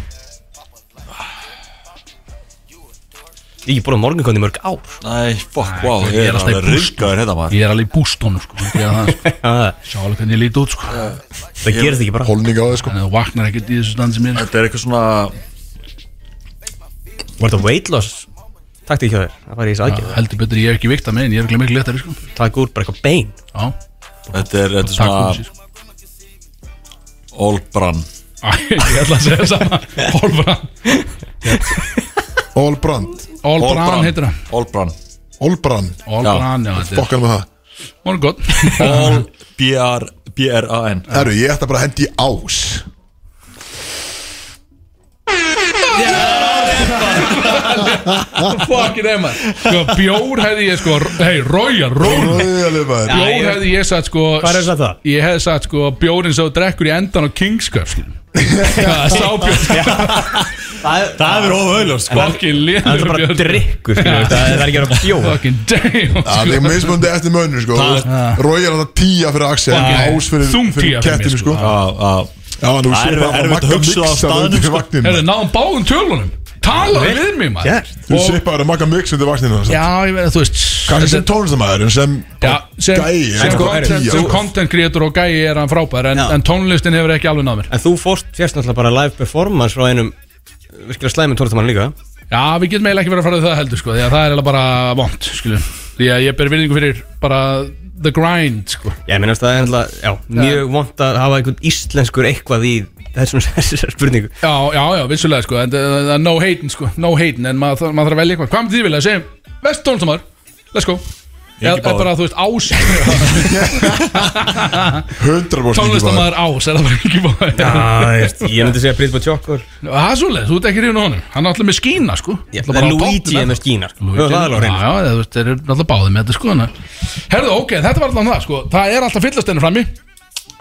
Ég hef ekki búin á morgunkonni mörg ár
Nei, fuck, wow,
ég
ég
er
er
alltaf í
alveg
búst.
ruggaður hérna maður
Ég er alveg í bústónu sko, ég gera það, sko.
ah,
Sjá alveg hvernig ég líti út sko Þannig
Það gerist ekki bara
Holning á þig sko
að þú vaknar ekkert í þessu standi sem ég er
Þetta er eitthvað svona
Var þetta weight loss Takti ekki á þér Það var í þessu aðgjörð
heldur betur ég hef ekki vikta með en ég er ekki miklu letari sko.
Takk úr bara eitthvað bein
Já,
Þetta er, þetta er
takk fyrir
svona
sér
Olbran
Æ, ég ætla að segja sama Olbran
Olbrand
Olbran heitir það
Olbran
Olbrand
Olbran, já, þetta er
Fokkan með það
Hún er gott
Ol B-R- B-R-A-N
Herru, ég ætla bara að hendi í ás
Fucking emma Sko, bjór hefði ég sko Hei, royal, royal
Rauðaleg maður
Bjór hefði ég sagt sko
Hvað er þetta?
Ég hefði sko. sagt sko Bjórinn sem þú drekkur í endan á Kingsköf skilur. Það er sábjór
Það hefur ofauðljóst sko
Fucking liður
Það er bara
Björn.
drikkur skilur við, Það það er ekki að vera bjór
Fucking damn sko.
Það er mismundi eftir mönnum sko Rói er alltaf tíja fyrir Axel
Fucking
Ás fyrir,
þung
fyrir
tíja fyrir mér,
kettinu sko
Á, á.
Já, nú
Það
séu
er
bara
erfitt að
makka
hugsa á
miksa
staðnum,
undir
Herðu,
sko.
vagninu
náðum báðum tölunum Talaðu
Vel
við mig maður
gert.
Þú
Og-
séu bara makka miksa undir vagninu
Já, ég veit að þú veist
Kanski sem tónlistamæður en sem
Já, sem,
gæi
sem,
er bara
content,
tíja,
sem
sko.
content creator og gæi er hann frábær en,
Já.
en tónlistin hefur ekki alveg náð mér
En þú fórst fjast náttúrulega bara live performance frá einum eh, virkilega slæmi tónlistamann líka
Já, við getum eiginlega ekki verið að fara við það heldur sko, því að það er eiginlega bara vond skilju. Því að ég ber virðingu fyrir bara the grind sko.
Ég minnast að það er náttúrulega, já, mjög vont að hafa einhvern íslenskur eitthvað í þessum þessar spurningu
Já, já, já, vissulega sko, en það það er no hating sko, no hating, en maður mað þarf að velja eitthvað Hvað með því vilja, segjum, vest tónlistamar, let's go
Ég
Eða
ekki báður.
eða bara, þú veist, ás
100% ekki bara.
Tónlistamar ás, er það bara ekki báður Já,
Ég myndi segja Britbo Tjokkur
það er svoleið, þú ert ekki rífin á honum Hann er alltaf með skína sko
Það er Luigi með skína sko.
Já,
Höfum það alveg á hreinu.
já, eða, þú veist, þeir eru náttúrulega báðið með þetta sko þannig að- Herðu, ok, þetta var alltaf það sko Það er alltaf fyllastennu frammi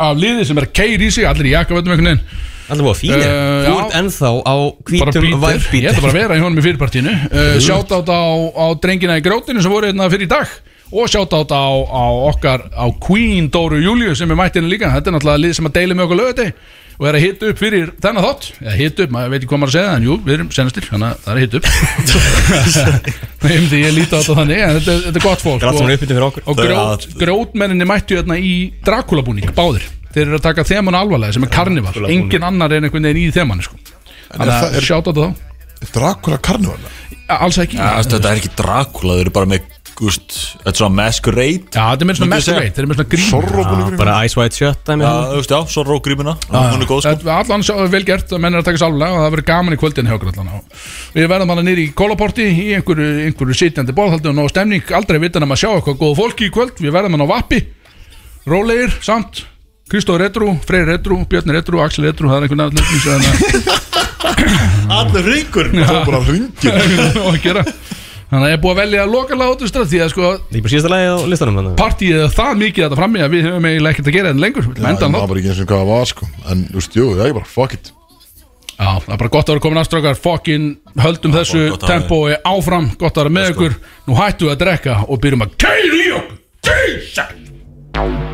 Af liði sem er keir í sig, allir í jakkavöldum einhvern veginn
Allir búið að fína
Eh,
Þú
já.
ert ennþá á
bara
hvítum
býtir, ég ætla bara
værbít
að vera í honum í fyrirpartínu uh, sjátt á þetta á drengina í grjótinu sem voru hérna fyrir í dag og sjátt á þetta á, á okkar á Queen Dóru Júliu sem er mættinu líka þetta er náttúrulega lið sem að deila með okkur lögati og er að hita upp fyrir þennan þátt eða hita upp, maður veit ekki hvað maður að segja en jú, við erum senastir, þannig að það er að hita upp ég myndi ég líti á þetta þannig en þetta, þetta er gott fólk
Það er allt
og-
saman uppbyttu fyrir okkur
og
Þau eru
grjót,
að-
grjótmenninni mættu hérna í Dracula-búning, báðir þeir eru að taka þeman alvarlega sem er karnival
Dracula-búning.
engin annar en einhvern veginn í þeman sko. þannig
það
að
er-
sjáta þetta þá
Dracula Carnival
Ja, alls ekki
Já,
já,
veistu, Þetta er ekki Dracula, þau eru bara með gúst, Þetta er svona masquerade
þetta er með svona
Myndi ég segja.
mesturveit, þetta er með svona grín
Sorro búin ykkur
Bara Ice White Shut dæmi
Já,
þarna.
þú veist, já, svo rógrímina Hún er góð sko
Þetta er allan sjá- vel gert að menn er að taka sálega og það verður gaman í kvöldin hjá okkur allan Og Við verðum hana nýri í kólaporti í einhverju, einhverju sitjandi borðhaldi og nóg stemning aldrei vitan að maður sjá eitthvað góða fólki í kvöld Við verðum hana á vappi, rólegir samt Kristóð Redru, Freyr Redru, Björn Redru, Axel Redru, það er einhvern veginn sem
Allir ringur
Það er bara ringir
það er að gera Þannig að ég er búið að velja að loka látustra því að sko
Það er bara síðasta lagi á listanum þannig
partíið er það mikið þetta frammi að við höfum eiginlega ekkert að gera þetta lengur Við ætlum að enda
Það
hann
var bara ekki eins og hvað það var sko En þú veist, jú, það er bara fuck it
Já, það er bara gott að vera komin afstrákar Fokkin höldum þessu
gott að vera.
tempói áfram Gott að vera með ykkur Nú hættu að drekka og byrjum að keiri okkur Jesus!